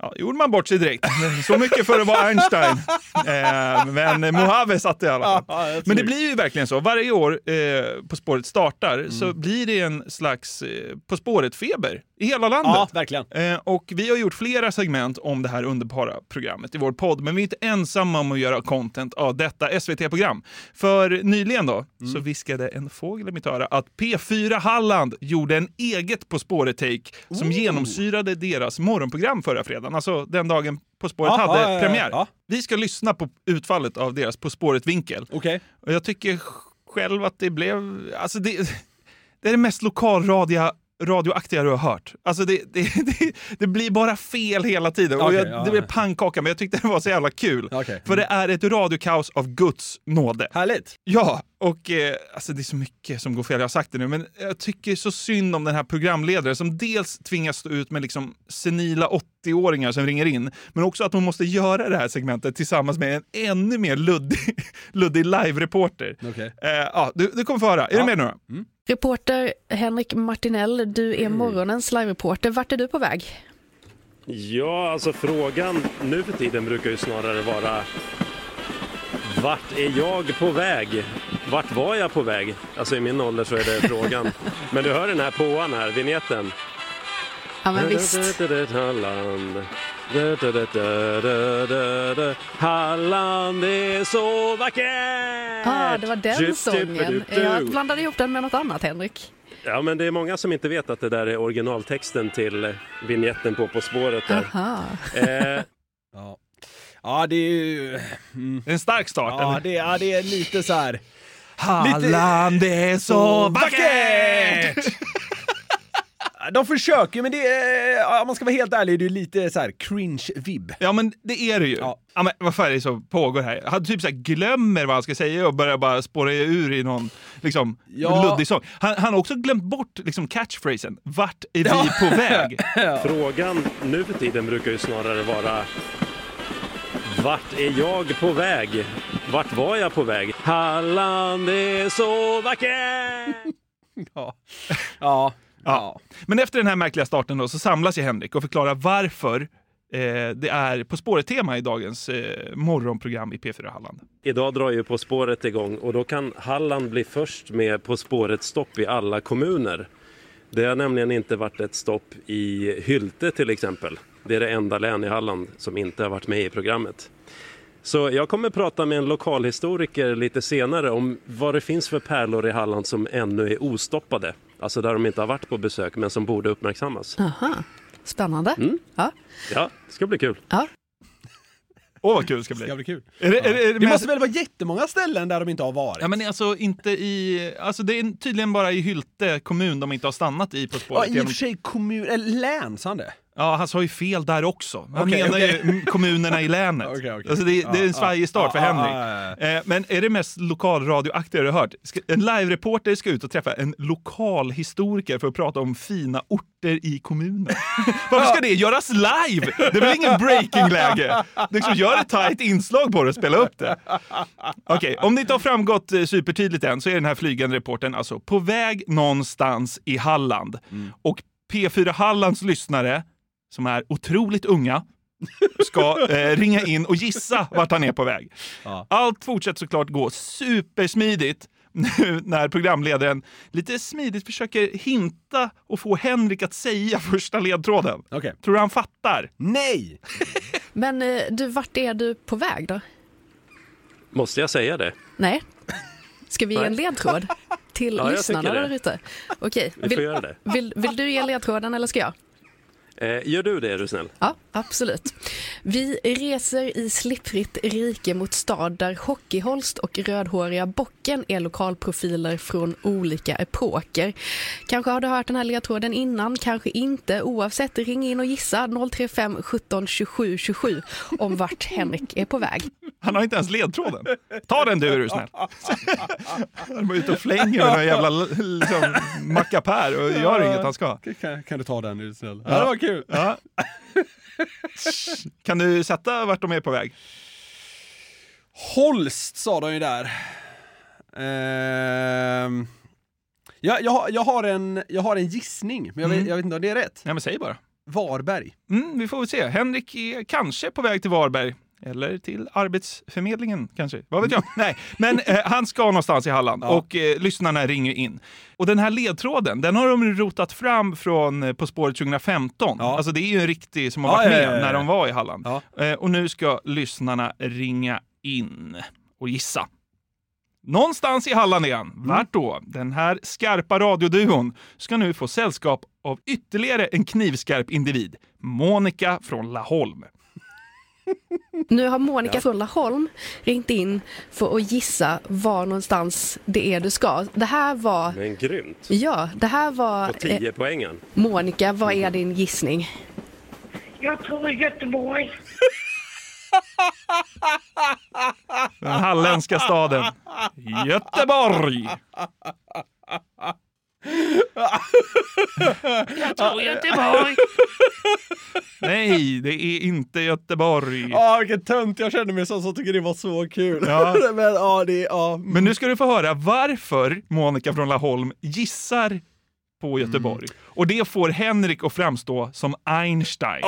Speaker 4: Ja, gjorde man bort sig direkt. Så mycket för att vara Einstein. Eh, men eh, Mojave satt det i alla fall.
Speaker 5: Ja, ja, jag tror
Speaker 4: men det
Speaker 5: det.
Speaker 4: blir ju verkligen så. Varje år eh, På spåret startar så
Speaker 5: Mm.
Speaker 4: blir det en slags eh, På spåret-feber i hela landet.
Speaker 5: ja, verkligen.
Speaker 4: Eh, Och vi har gjort flera segment om det här underbara programmet i vår podd, men vi är inte ensamma om att göra content av detta SVT-program. För nyligen då,
Speaker 5: Mm.
Speaker 4: så viskade en fågel i mitt öra att P4 Halland gjorde en eget På spåret-take som genomsyrade deras morgonprogram förra fredagen, alltså den dagen På spåret
Speaker 5: Ja,
Speaker 4: hade
Speaker 5: ja, ja,
Speaker 4: premiär.
Speaker 5: ja.
Speaker 4: Vi ska lyssna på utfallet av deras På spåret-vinkel.
Speaker 5: Okej.
Speaker 4: Och jag tycker sj- själv att det blev... Alltså det, det är det mest lokalradia radioaktiga du har hört. Alltså det, det, det, det blir bara fel hela tiden. och
Speaker 5: Okej,
Speaker 4: jag,
Speaker 5: ja,
Speaker 4: det blev
Speaker 5: ja.
Speaker 4: pannkaka, men jag tyckte det var så jävla kul.
Speaker 5: Okej. mm.
Speaker 4: För det är ett radiokaos av Guds nåde.
Speaker 5: Härligt.
Speaker 4: Ja, och eh, alltså det är så mycket som går fel. Jag har sagt det nu, men jag tycker så synd om den här programledaren som dels tvingas stå ut med liksom senila 80-åringar som ringer in, men också att hon måste göra det här segmentet tillsammans med en ännu mer luddig, luddig live-reporter.
Speaker 5: Okej.
Speaker 4: Eh, ja, Mm. du, du kommer få höra. Är du med nu? då?
Speaker 9: Reporter Henrik Martinell, du
Speaker 10: Mm.
Speaker 9: är morgonens live-reporter. Vart är du på väg?
Speaker 10: Ja, alltså frågan nu för tiden brukar ju snarare vara vart är jag på väg? Vart var jag på väg? Alltså i min ålder så är det frågan. Men du hör den här påan här, vignetten.
Speaker 9: Ja, men visst.
Speaker 10: Halland. Halland är så vackert!
Speaker 9: Ah, det var den sången. Jag blandade ihop den med något annat, Henrik.
Speaker 10: Ja, men det är många som inte vet att det där är originaltexten till eh, vignetten på På spåret där.
Speaker 9: Aha.
Speaker 10: Eh,
Speaker 5: Ja. ja, det är ju... Mm.
Speaker 4: En stark start,
Speaker 5: ja,
Speaker 4: eller?
Speaker 5: det, ja, det är lite så här...
Speaker 4: Halland är så vackert!
Speaker 5: De försöker, men det är, ja, om man ska vara helt ärlig, det är ju lite så här cringe-vibb.
Speaker 4: Ja men det är det ju. Ja. men vad fan är det som pågår här? Han typ så här glömmer vad han ska säga och börjar bara spåra ur i någon liksom,
Speaker 5: Ja.
Speaker 4: luddig sång. Han, han har också glömt bort liksom, catchphrasen. Vart är vi på väg?
Speaker 10: Frågan nu för tiden brukar ju snarare vara vart är jag på väg? Vart var jag på väg? Halland är så vackert!
Speaker 5: Ja. Ja.
Speaker 4: Ja. Men efter den här märkliga starten då, så samlas ju Henrik och förklarar varför eh, det är På spåret-tema i dagens eh, morgonprogram i P4 Halland.
Speaker 10: Idag drar ju På spåret igång och då kan Halland bli först med På spåret-stopp i alla kommuner. Det har nämligen inte varit ett stopp i Hylte till exempel. Det är det enda län i Halland som inte har varit med i programmet. Så jag kommer prata med en lokalhistoriker lite senare om vad det finns för pärlor i Halland som ännu är ostoppade. Alltså där de inte har varit på besök men som borde uppmärksammas.
Speaker 9: Aha. Spännande. Ja.
Speaker 10: Ja, det ska bli kul.
Speaker 9: Ja.
Speaker 4: Åh vad kul det ska bli.
Speaker 5: Det ska bli kul.
Speaker 4: Är det, är det, är det
Speaker 5: Det
Speaker 4: med-
Speaker 5: måste väl vara jättemånga ställen där de inte har varit?
Speaker 4: Ja men alltså inte i... Alltså det är tydligen bara i Hylte kommun de inte har stannat i På
Speaker 5: Ja,
Speaker 4: spåret.
Speaker 5: i och för sig kommun... eh, Eller län, sa han det?
Speaker 4: Ja, han sa ju fel där också. Han
Speaker 5: Okej,
Speaker 4: menar
Speaker 5: okej.
Speaker 4: ju kommunerna i länet.
Speaker 5: Okej, okej.
Speaker 4: Alltså det, det är
Speaker 5: Ja,
Speaker 4: en svajig start för
Speaker 5: ja,
Speaker 4: Henrik.
Speaker 5: ja,
Speaker 4: Eh, Men är det mest lokalradioaktiga du har hört? Ska- En live-reporter ska ut och träffa en lokalhistoriker för att prata om fina orter i kommunen. Varför ska det göras live? Det är väl ingen breaking-läge? Liksom, gör ett tajt inslag på det och spela upp det. Okej, om det inte har framgått eh, supertydligt än så är den här flygande reportern alltså på väg någonstans i Halland.
Speaker 5: Mm.
Speaker 4: Och P4 Hallands lyssnare, som är otroligt unga, ska eh, ringa in och gissa vart han är på väg.
Speaker 5: Ja.
Speaker 4: Allt fortsätter såklart gå supersmidigt nu när programledaren lite smidigt försöker hinta och få Henrik att säga första ledtråden.
Speaker 5: Okej.
Speaker 4: Tror du han fattar?
Speaker 5: Nej!
Speaker 9: Men eh, du, vart är du på väg då?
Speaker 10: Måste jag säga det?
Speaker 9: Nej. Ska vi ge en ledtråd till
Speaker 10: Ja, jag
Speaker 9: lyssnarna
Speaker 10: tycker det.
Speaker 9: där ute? Okej,
Speaker 10: Vi får
Speaker 9: vill,
Speaker 10: göra det.
Speaker 9: vill, vill du ge ledtråden eller ska jag?
Speaker 10: Eh, gör du det är du snäll.
Speaker 9: Ja, absolut. Vi reser i slipprigt rike mot stad där Hockeyholst och Rödhåriga Bocken är lokalprofiler från olika epoker. Kanske har du hört den här ledtråden innan, kanske inte. Oavsett, ring in och gissa 035 17 27 27 om vart Henrik är på väg.
Speaker 4: Han har inte ens ledtråden. Ta den du är du snäll. Han var ute och flänger med någon jävla liksom, mackapär och gör inget han ska.
Speaker 5: Kan, kan du ta den nu snäll? Ja, det var kul.
Speaker 4: Ja. Kan du sätta vart de är på väg?
Speaker 5: Holst sa de ju där. Ehm, jag, jag, har- jag, har en, jag har en gissning, men jag, vet, jag vet inte om det är rätt.
Speaker 4: Ja, men säg bara.
Speaker 5: Varberg.
Speaker 4: Mm, vi får väl se. Henrik är kanske på väg till Varberg. Eller till Arbetsförmedlingen kanske. Vad vet jag?
Speaker 5: Mm.
Speaker 4: Nej, men eh, han ska någonstans i Halland och eh, lyssnarna ringer in. Och den här ledtråden, den har de rotat fram från eh, På spåret 2015.
Speaker 5: Ja.
Speaker 4: Alltså det är ju en riktig som har
Speaker 5: Ja,
Speaker 4: varit
Speaker 5: ja,
Speaker 4: med
Speaker 5: ja, ja, ja.
Speaker 4: när de var i Halland.
Speaker 5: Ja.
Speaker 4: Eh, och nu ska lyssnarna ringa in och gissa. Någonstans i Halland är han.
Speaker 5: Mm.
Speaker 4: Vart då? Den här skarpa radioduon ska nu få sällskap av ytterligare en knivskarp individ. Monica från Laholm.
Speaker 9: Nu har Monica från Laholm ringt in för att gissa var någonstans det är du ska. Det här var,
Speaker 10: Men grymt.
Speaker 9: ja, det här var eh,
Speaker 10: På Mm. 10 poängen.
Speaker 9: Monica, vad är din gissning?
Speaker 11: Jag tror Göteborg.
Speaker 4: Den halländska staden Göteborg.
Speaker 11: Göteborg.
Speaker 4: Nej, det är inte Göteborg.
Speaker 5: Ja, vilken tönt jag kände mig som som tycker det var så kul.
Speaker 4: Ja.
Speaker 5: men ja, det, ja.
Speaker 4: Men nu ska du få höra varför Monica från Laholm gissar på Göteborg. Och det får Henrik att framstå som Einstein.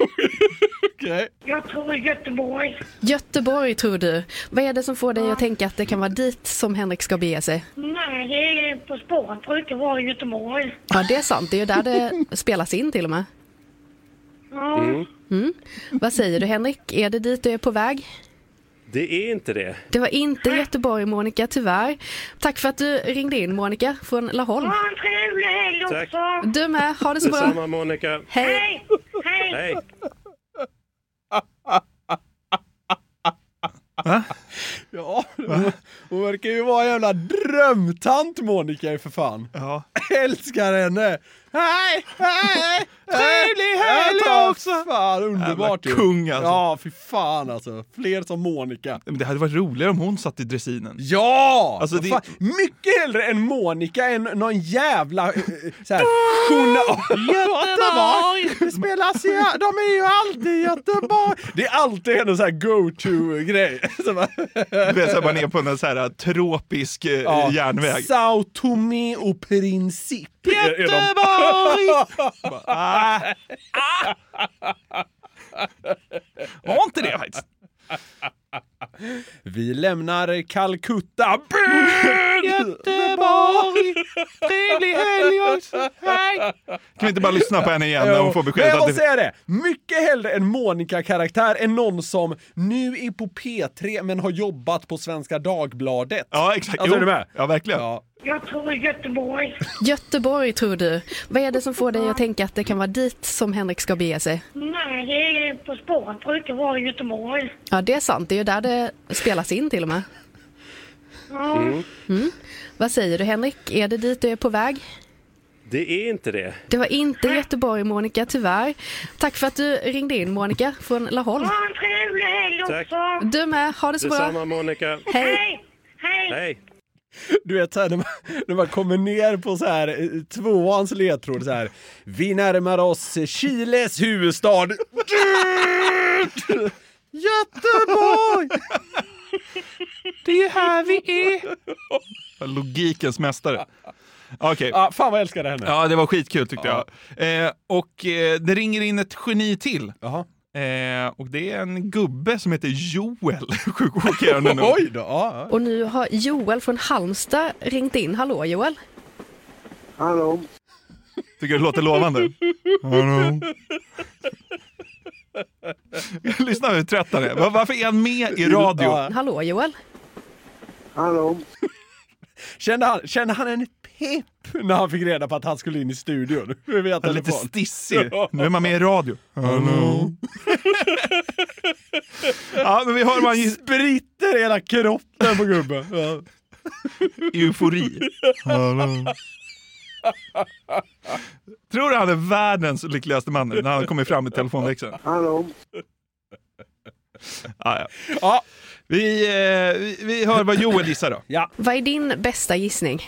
Speaker 5: Okej.
Speaker 11: Jag tror Göteborg.
Speaker 9: Göteborg tror du. Vad är det som får dig att tänka att det kan vara dit som Henrik ska bege sig?
Speaker 11: Nej, det är På spåret brukar vara i Göteborg.
Speaker 9: Ja, det är sant. Det är ju där det spelas in till och med. Mm.
Speaker 11: Ja,
Speaker 9: Vad säger du Henrik? Är det dit du är på väg?
Speaker 10: Det är inte det.
Speaker 9: Det var inte Göteborg Monica, tyvärr. Tack för att du ringde in Monica från Laholm.
Speaker 11: Ha en trevlig helg
Speaker 10: Tack.
Speaker 11: också!
Speaker 9: Du med, ha det så bra.
Speaker 10: Detsamma Monica.
Speaker 9: Hej.
Speaker 11: Hej!
Speaker 10: Hej.
Speaker 5: Ja, hon verkar ju vara en jävla drömtant Monica är för fan.
Speaker 4: Ja.
Speaker 5: Älskar henne! Hej, hej! Trevlig helg också! Fan, underbart
Speaker 4: Jävla kung, alltså.
Speaker 5: Ja, fy fan alltså. Fler som Monica.
Speaker 4: Men det hade varit roligare om hon satt i dressinen.
Speaker 5: Ja!
Speaker 4: Alltså,
Speaker 5: Vad
Speaker 4: det-
Speaker 5: fan, mycket hellre en Monica än någon jävla eh, så här, journal... Göteborg! Spelas i, de är ju alltid i Göteborg! Det är alltid hennes så här go-to-grej. Så bara-
Speaker 4: Du vet, så här, man är på en så här äh, tropisk eh,
Speaker 5: Ja.
Speaker 4: järnväg.
Speaker 5: Sao Tomé och Principe.
Speaker 4: Bara, ah, ah. Var inte det faktiskt.
Speaker 5: Vi lämnar Calcutta.
Speaker 4: Göteborg! Trevlig helg också! Hej! Kan vi inte bara lyssna på henne igen när hon får
Speaker 5: Men
Speaker 4: beskedet
Speaker 5: jag
Speaker 4: att
Speaker 5: måste
Speaker 4: det...
Speaker 5: säga det! Mycket hellre en Monica-karaktär än någon som nu är på P3 men har jobbat på Svenska Dagbladet.
Speaker 4: Ja, exakt.
Speaker 5: Alltså,
Speaker 4: Jo.
Speaker 5: är du med?
Speaker 4: Ja, verkligen.
Speaker 5: Ja.
Speaker 11: Jag tror Göteborg.
Speaker 9: Göteborg tror du. Vad är det som får dig att tänka att det kan vara dit som Henrik ska bege sig?
Speaker 11: Nej, det är På spåren brukar vara i Göteborg.
Speaker 9: Ja, det är sant. Det är ju där det spelas in till och med.
Speaker 11: Ja.
Speaker 9: Mm. Vad säger du Henrik? Är det dit du är på väg?
Speaker 10: Det är inte det.
Speaker 9: Det var inte Göteborg Monica, tyvärr. Tack för att du ringde in Monica från Laholm.
Speaker 11: Ha en trevlig helg
Speaker 10: Tack.
Speaker 11: också!
Speaker 9: Du med, ha det så
Speaker 10: Detsamma
Speaker 9: bra.
Speaker 10: Monica.
Speaker 9: Hej!
Speaker 11: Hej!
Speaker 10: Hej.
Speaker 5: Du vet såhär när man, när man kommer ner på så här eh, tvåans ledtråd så här. Vi närmar oss Chiles huvudstad. Göteborg!
Speaker 4: Det är här vi är. Logikens mästare. Okej.
Speaker 5: Ja, fan vad jag älskar henne.
Speaker 4: Ja, det var skitkul tyckte jag. Eh, och eh, det ringer in ett geni till.
Speaker 5: Jaha.
Speaker 4: Eh, och det är en gubbe som heter Joel. Sjukt chockerande nog.
Speaker 5: Oj då! Ja,
Speaker 9: Och nu har Joel från Halmstad ringt in. Hallå Joel!
Speaker 12: Hallå?
Speaker 4: Tycker du det låter lovande? Hallå? Lyssna hur trött han är. Var- Varför är han med i radio?
Speaker 5: Ja.
Speaker 9: Hallå Joel!
Speaker 12: Hallå?
Speaker 5: Kände han, kände han en pepp när han fick reda på att han skulle in i studion? Hur vet
Speaker 4: Han är
Speaker 5: han
Speaker 4: lite stissig. Nu är man med i radio. Hallå? Ja, men vi hör vad han gissar.
Speaker 5: Spritter hela kroppen på gubben. Ja.
Speaker 4: Eufori. Hallå? Tror du han är världens lyckligaste man nu när han kommer fram i telefonväxeln?
Speaker 12: Hallå?
Speaker 4: Ah, ja. vi, eh, vi, vi hör vad Joel gissar då.
Speaker 9: Vad är din bästa gissning?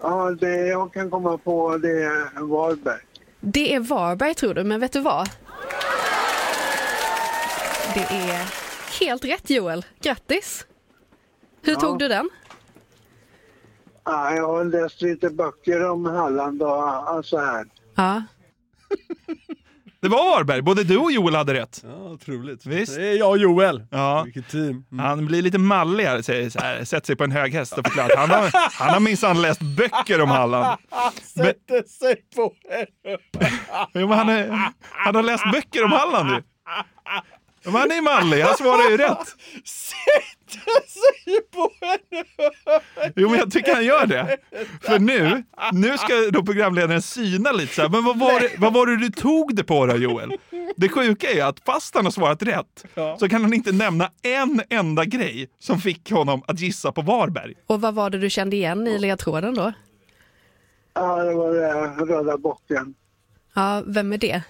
Speaker 12: Ja, det jag kan komma på det är Varberg.
Speaker 9: Det är Varberg tror du, men vet du vad? Det är helt rätt Joel. Grattis! Hur tog du den?
Speaker 12: Ja, jag har läst lite böcker om Halland och och så här.
Speaker 9: Ja.
Speaker 4: Det var Varberg, både du och Joel hade rätt.
Speaker 5: Ja, otroligt.
Speaker 4: Visst.
Speaker 5: Det är jag och Joel.
Speaker 4: Ja.
Speaker 5: Vilket team. Mm.
Speaker 4: Han blir lite mallig här, säger så här, sätter sig på en hög häst och förklarar att han har, han har minsann läst böcker om Halland.
Speaker 5: Sätter sig på henne.
Speaker 4: Jo, men han, är, han har läst böcker om Halland ju. Ja, Men han är mallig, han svarar ju rätt.
Speaker 5: Sätter sig på henne.
Speaker 4: Jo, men jag tycker han gör det. För nu, nu ska då programledaren syna lite så här, men vad var, det, vad var det du tog det på då Joel? Det sjuka är ju att fast han har svarat rätt så kan han inte nämna en enda grej som fick honom att gissa på Varberg.
Speaker 9: Och vad var det du kände igen i ledtråden då?
Speaker 12: Ja, det var det här röda bocken.
Speaker 9: Ja, vem är det?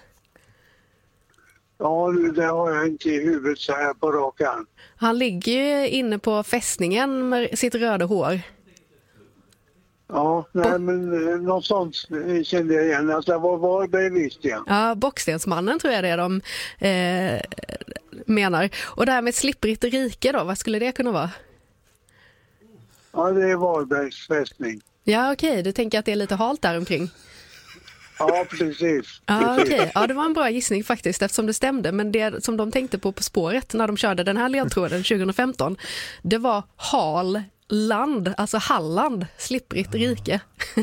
Speaker 12: Ja, nu, det har jag inte i huvudet så här på rak arm.
Speaker 9: Han ligger ju inne på fästningen med sitt röda hår.
Speaker 12: Ja, nej, men eh, något sånt kände jag igen. Att det var Varberg visste jag.
Speaker 9: Ja, Bockstensmannen tror jag det är de eh, menar. Och det här med slipprigt rike då, vad skulle det kunna vara?
Speaker 12: Ja, det är Varbergs fästning.
Speaker 9: Ja, okej, du tänker att det är lite halt där omkring.
Speaker 12: Ja, precis.
Speaker 9: Ja,
Speaker 12: precis.
Speaker 9: okej. Ja, det var en bra gissning faktiskt eftersom det stämde. Men det som de tänkte på På spåret när de körde den här ledtråden 2015, det var Halland, alltså Halland, slipprigt rike.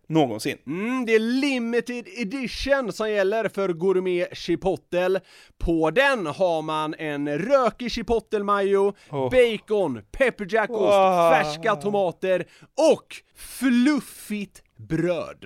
Speaker 4: någonsin.
Speaker 5: Mm, det är limited edition som gäller för gourmet chipotle. På den har man en rökig chipotle-majo, bacon, pepperjackost,
Speaker 4: Wow.
Speaker 5: färska tomater och fluffigt bröd.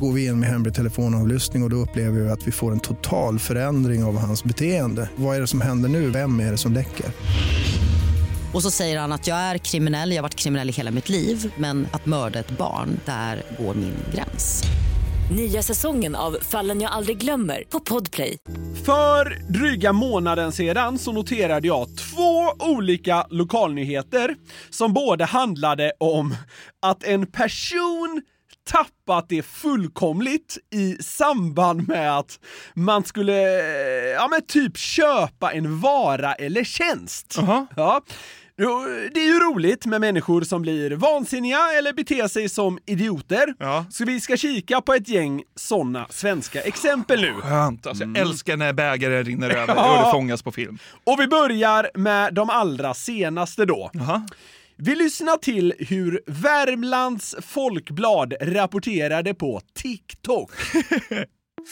Speaker 13: Går vi in med hemlig telefonavlyssning och, och då upplever vi att vi får en total förändring av hans beteende. Vad är det som händer nu? Vem är det som läcker?
Speaker 14: Och så säger han att jag är kriminell, jag har varit kriminell i hela mitt liv men att mörda ett barn, där går min gräns.
Speaker 15: Nya säsongen av Fallen jag aldrig glömmer på Podplay.
Speaker 5: För dryga månaden sedan så noterade jag två olika lokalnyheter som båda handlade om att en person tappat det fullkomligt i samband med att man skulle, ja men typ köpa en vara eller tjänst. Ja. Jo, Det är ju roligt med människor som blir vansinniga eller beter sig som idioter. Så vi ska kika på ett gäng sådana svenska exempel nu.
Speaker 16: Skönt, alltså, jag älskar när bägaren rinner över
Speaker 5: Ja.
Speaker 16: och det fångas på film.
Speaker 5: Och vi börjar med de allra senaste då. Vi lyssnar till hur Värmlands Folkblad rapporterade på TikTok.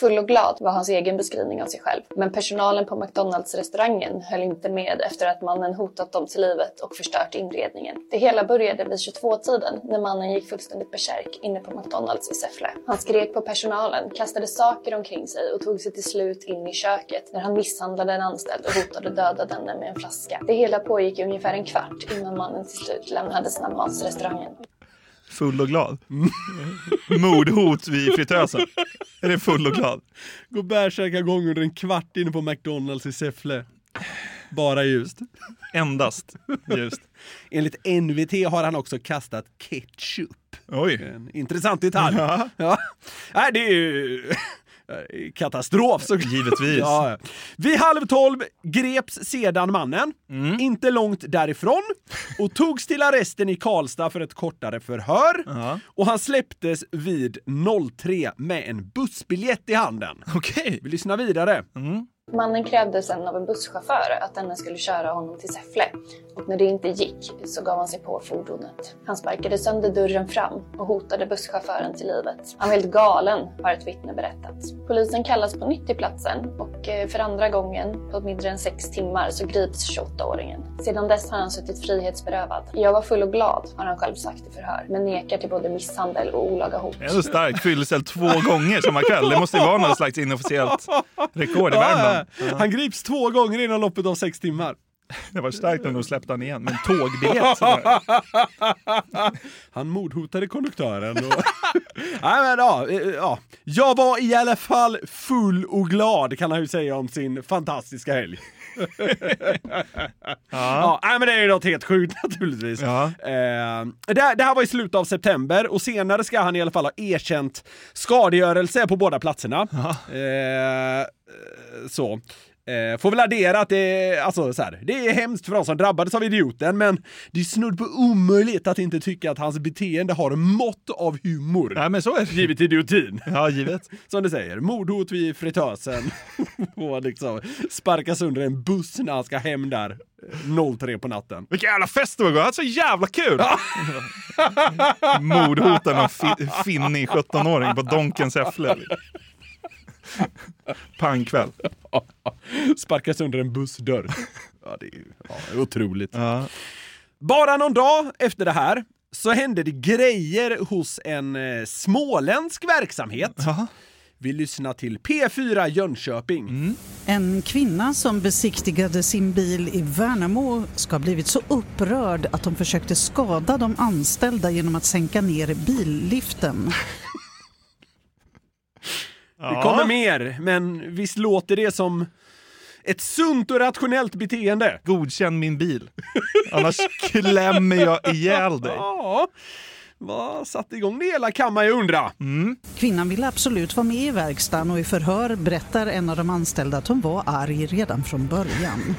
Speaker 17: Full och glad var hans egen beskrivning av sig själv. Men personalen på McDonalds-restaurangen höll inte med efter att mannen hotat dem till livet och förstört inredningen. Det hela började vid 22-tiden när mannen gick fullständigt besärk inne på McDonalds i Säffle. Han skrek på personalen, kastade saker omkring sig och tog sig till slut in i köket när han misshandlade en anställd och hotade döda denne med en flaska. Det hela pågick i ungefär en kvart innan mannen till slut lämnade snabbmatsrestaurangen.
Speaker 16: Full och glad. Mordhot vid fritösen. Är det full och glad?
Speaker 5: Går bärsärkagång under en kvart inne på McDonalds i Säffle. Bara ljust.
Speaker 16: Endast ljust.
Speaker 5: Enligt NVT har han också kastat ketchup.
Speaker 16: Oj.
Speaker 5: En intressant detalj. Ja. Nej, det är ju... Katastrof så
Speaker 16: Givetvis.
Speaker 5: Ja, ja. Vid halv tolv greps sedan mannen,
Speaker 16: Mm.
Speaker 5: inte långt därifrån, och togs till arresten i Karlstad för ett kortare förhör. Och han släpptes vid 03 med en bussbiljett i handen.
Speaker 16: Okej.
Speaker 5: Vi lyssnar vidare.
Speaker 17: Mannen krävde sen av en busschaufför att denne skulle köra honom till Säffle och när det inte gick så gav han sig på fordonet. Han sparkade sönder dörren fram och hotade busschauffören till livet. Han var helt galen, har ett vittne berättat. Polisen kallas på nytt till platsen och eh, för andra gången på mindre än sex timmar så grips 28-åringen. Sedan dess har han suttit frihetsberövad. Jag var full och glad, har han själv sagt i förhör, men nekar till både misshandel och olaga hot.
Speaker 16: Det är så starkt. Fyllecell två gånger samma kväll. Det måste ju vara något slags inofficiellt rekord i Värmland.
Speaker 5: Ja, ja. Han grips två gånger inom loppet av sex timmar.
Speaker 16: Det var starkt om de släppte han igen med en tågbiljett. sådär.
Speaker 5: Han mordhotade konduktören. Och... Nej, men, ja, eh, ja. Jag var i alla fall full och glad kan han ju säga om sin fantastiska helg. ja. nej, men det är ju något helt sjukt naturligtvis. Eh, det, det här var i slutet av september och senare ska han i alla fall ha erkänt skadegörelse på båda platserna. Eh, så. Eh, får väl addera att det, alltså, så här, det är hemskt för de som drabbades av idioten, men det är snudd på omöjligt att inte tycka att hans beteende har mått av humor.
Speaker 16: Nej, men så är det.
Speaker 5: Givet idiotin.
Speaker 16: Ja, givet.
Speaker 5: Som du säger, mordhot vid fritösen och liksom sparkas under en buss när han ska hem där eh, 03 på natten.
Speaker 16: Vilken jävla fest det var igår. Jag hade så jävla kul! Mordhoten av fi- finnig 17-åring på Donken Säffle. Pangkväll.
Speaker 5: Sparkas under en bussdörr. Ja, det är, ju- ja, det är otroligt. Bara någon dag efter det här så hände det grejer hos en eh, småländsk verksamhet. Vi lyssnar till P4 Jönköping.
Speaker 18: En kvinna som besiktigade sin bil i Värnamo ska ha blivit så upprörd att hon försökte skada de anställda genom att sänka ner billiften.
Speaker 5: Det kommer mer, men visst låter det som ett sunt och rationellt beteende?
Speaker 16: Godkänn min bil. Annars klämmer jag ihjäl dig.
Speaker 5: Ja, vad satte igång det hela kan man ju undra.
Speaker 18: Kvinnan ville absolut vara med i verkstaden och i förhör berättar en av de anställda att hon var arg redan från början.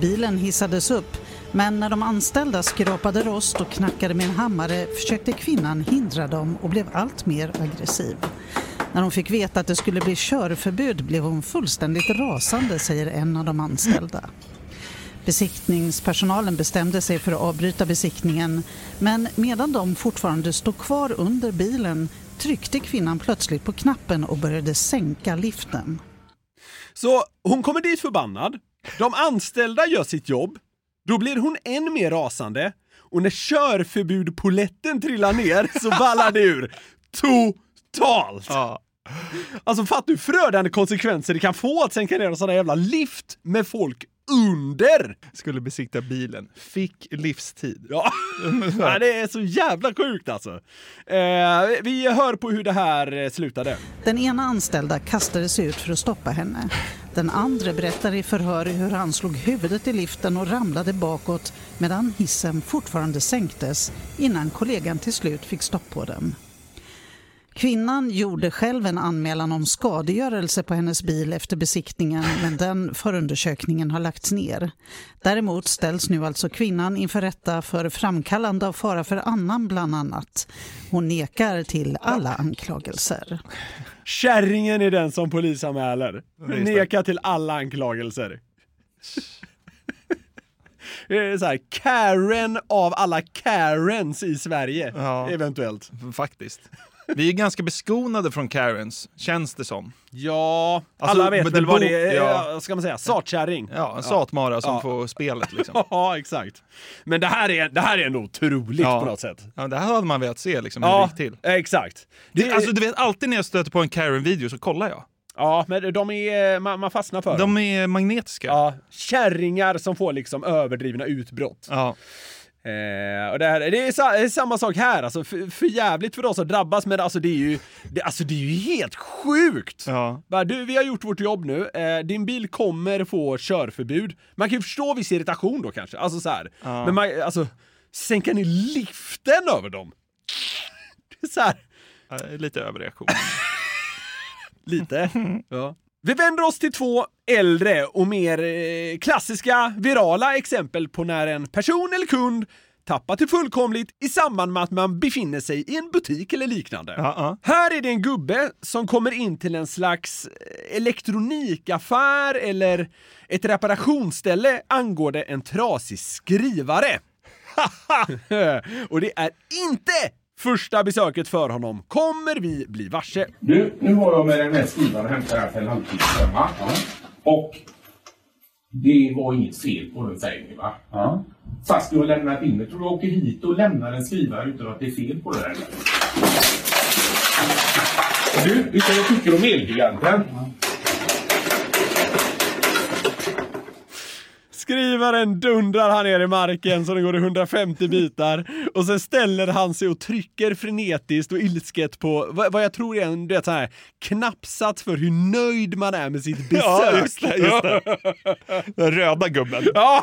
Speaker 18: Bilen hissades upp, men när de anställda skrapade rost och knackade med en hammare försökte kvinnan hindra dem och blev allt mer aggressiv. När hon fick veta att det skulle bli körförbud blev hon fullständigt rasande, säger en av de anställda. Besiktningspersonalen bestämde sig för att avbryta besiktningen men medan de fortfarande stod kvar under bilen tryckte kvinnan plötsligt på knappen och började sänka liften.
Speaker 5: Så hon kommer dit förbannad. De anställda gör sitt jobb. Då blir hon än mer rasande. Och när körförbudpoletten trillar ner så ballar det ur. Totalt! Alltså fattar du förödande konsekvenser det kan få att sänka ner en sån där jävla lift med folk under!
Speaker 16: Skulle besikta bilen. Fick livstid.
Speaker 5: Ja. Nej, det är så jävla sjukt alltså. Eh, vi hör på hur det här eh, slutade.
Speaker 18: Den ena anställda kastade sig ut för att stoppa henne. Den andra berättar i förhör hur han slog huvudet i liften och ramlade bakåt medan hissen fortfarande sänktes innan kollegan till slut fick stopp på den. Kvinnan gjorde själv en anmälan om skadegörelse på hennes bil efter besiktningen men den förundersökningen har lagts ner. Däremot ställs nu alltså kvinnan inför rätta för framkallande av fara för annan bland annat. Hon nekar till alla anklagelser.
Speaker 5: Kärringen är den som polisanmäler.
Speaker 18: det är
Speaker 5: Nekar till alla anklagelser. Det är så här, Karen av alla Karens i Sverige, eventuellt.
Speaker 16: Faktiskt. Vi är ganska beskonade från Karens, känns det som.
Speaker 5: Ja,
Speaker 16: Alltså,
Speaker 5: alla vet
Speaker 16: men
Speaker 5: väl
Speaker 16: det
Speaker 5: vad
Speaker 16: bo-
Speaker 5: det är,
Speaker 16: ja.
Speaker 5: ja. ska man säga, satkärring.
Speaker 16: Ja, en satmara som
Speaker 5: Ja.
Speaker 16: får spelet liksom.
Speaker 5: Ja, exakt. Men det här är, det här är ändå otroligt
Speaker 16: Ja.
Speaker 5: på något sätt.
Speaker 16: Ja, det här hade man velat se liksom, hur
Speaker 5: Ja,
Speaker 16: det gick till.
Speaker 5: exakt.
Speaker 16: Det, alltså, du vet, alltid när jag stöter på en Karen-video så kollar jag.
Speaker 5: Ja, men de är, man, man fastnar för dem.
Speaker 16: De är magnetiska.
Speaker 5: Ja, kärringar som får liksom överdrivna utbrott.
Speaker 16: Ja.
Speaker 5: Eh, och det, här, det, är sa, det är samma sak här, alltså, för, för jävligt för oss som drabbas, men alltså det är ju, det, alltså, det är ju helt sjukt! Bara, Du, vi har gjort vårt jobb nu, eh, din bil kommer få körförbud. Man kan ju förstå viss irritation då kanske, alltså så här.
Speaker 16: Ja.
Speaker 5: Men man, alltså, sänka ner liften över dem? Det är så här.
Speaker 16: Ja, det är Lite överreaktion.
Speaker 5: Lite. Vi vänder oss till två äldre och mer eh, klassiska virala exempel på när en person eller kund tappat det fullkomligt i samband med att man befinner sig i en butik eller liknande. Här är det en gubbe som kommer in till en slags eh, elektronikaffär eller ett reparationsställe angående en trasig skrivare. och det är inte första besöket för honom kommer vi bli varse.
Speaker 19: Nu, nu har jag med den här skrivaren hämtat här för en halvtimme sedan. va? Och det var inget fel på den säger ni va? Fast du har lämnat in det. Tror du jag åker hit och lämnar en skrivare utan att det är fel på den? Du, vet du vad jag tycker om Elgiganten?
Speaker 5: Skrivaren dundrar han ner i marken så det går i 150 bitar och sen ställer han sig och trycker frenetiskt och ilsket på vad, vad jag tror är en du vet, så här, knappsats för hur nöjd man är med sitt besök.
Speaker 4: Ja, just det, just det.
Speaker 5: Den röda gubben. Ja.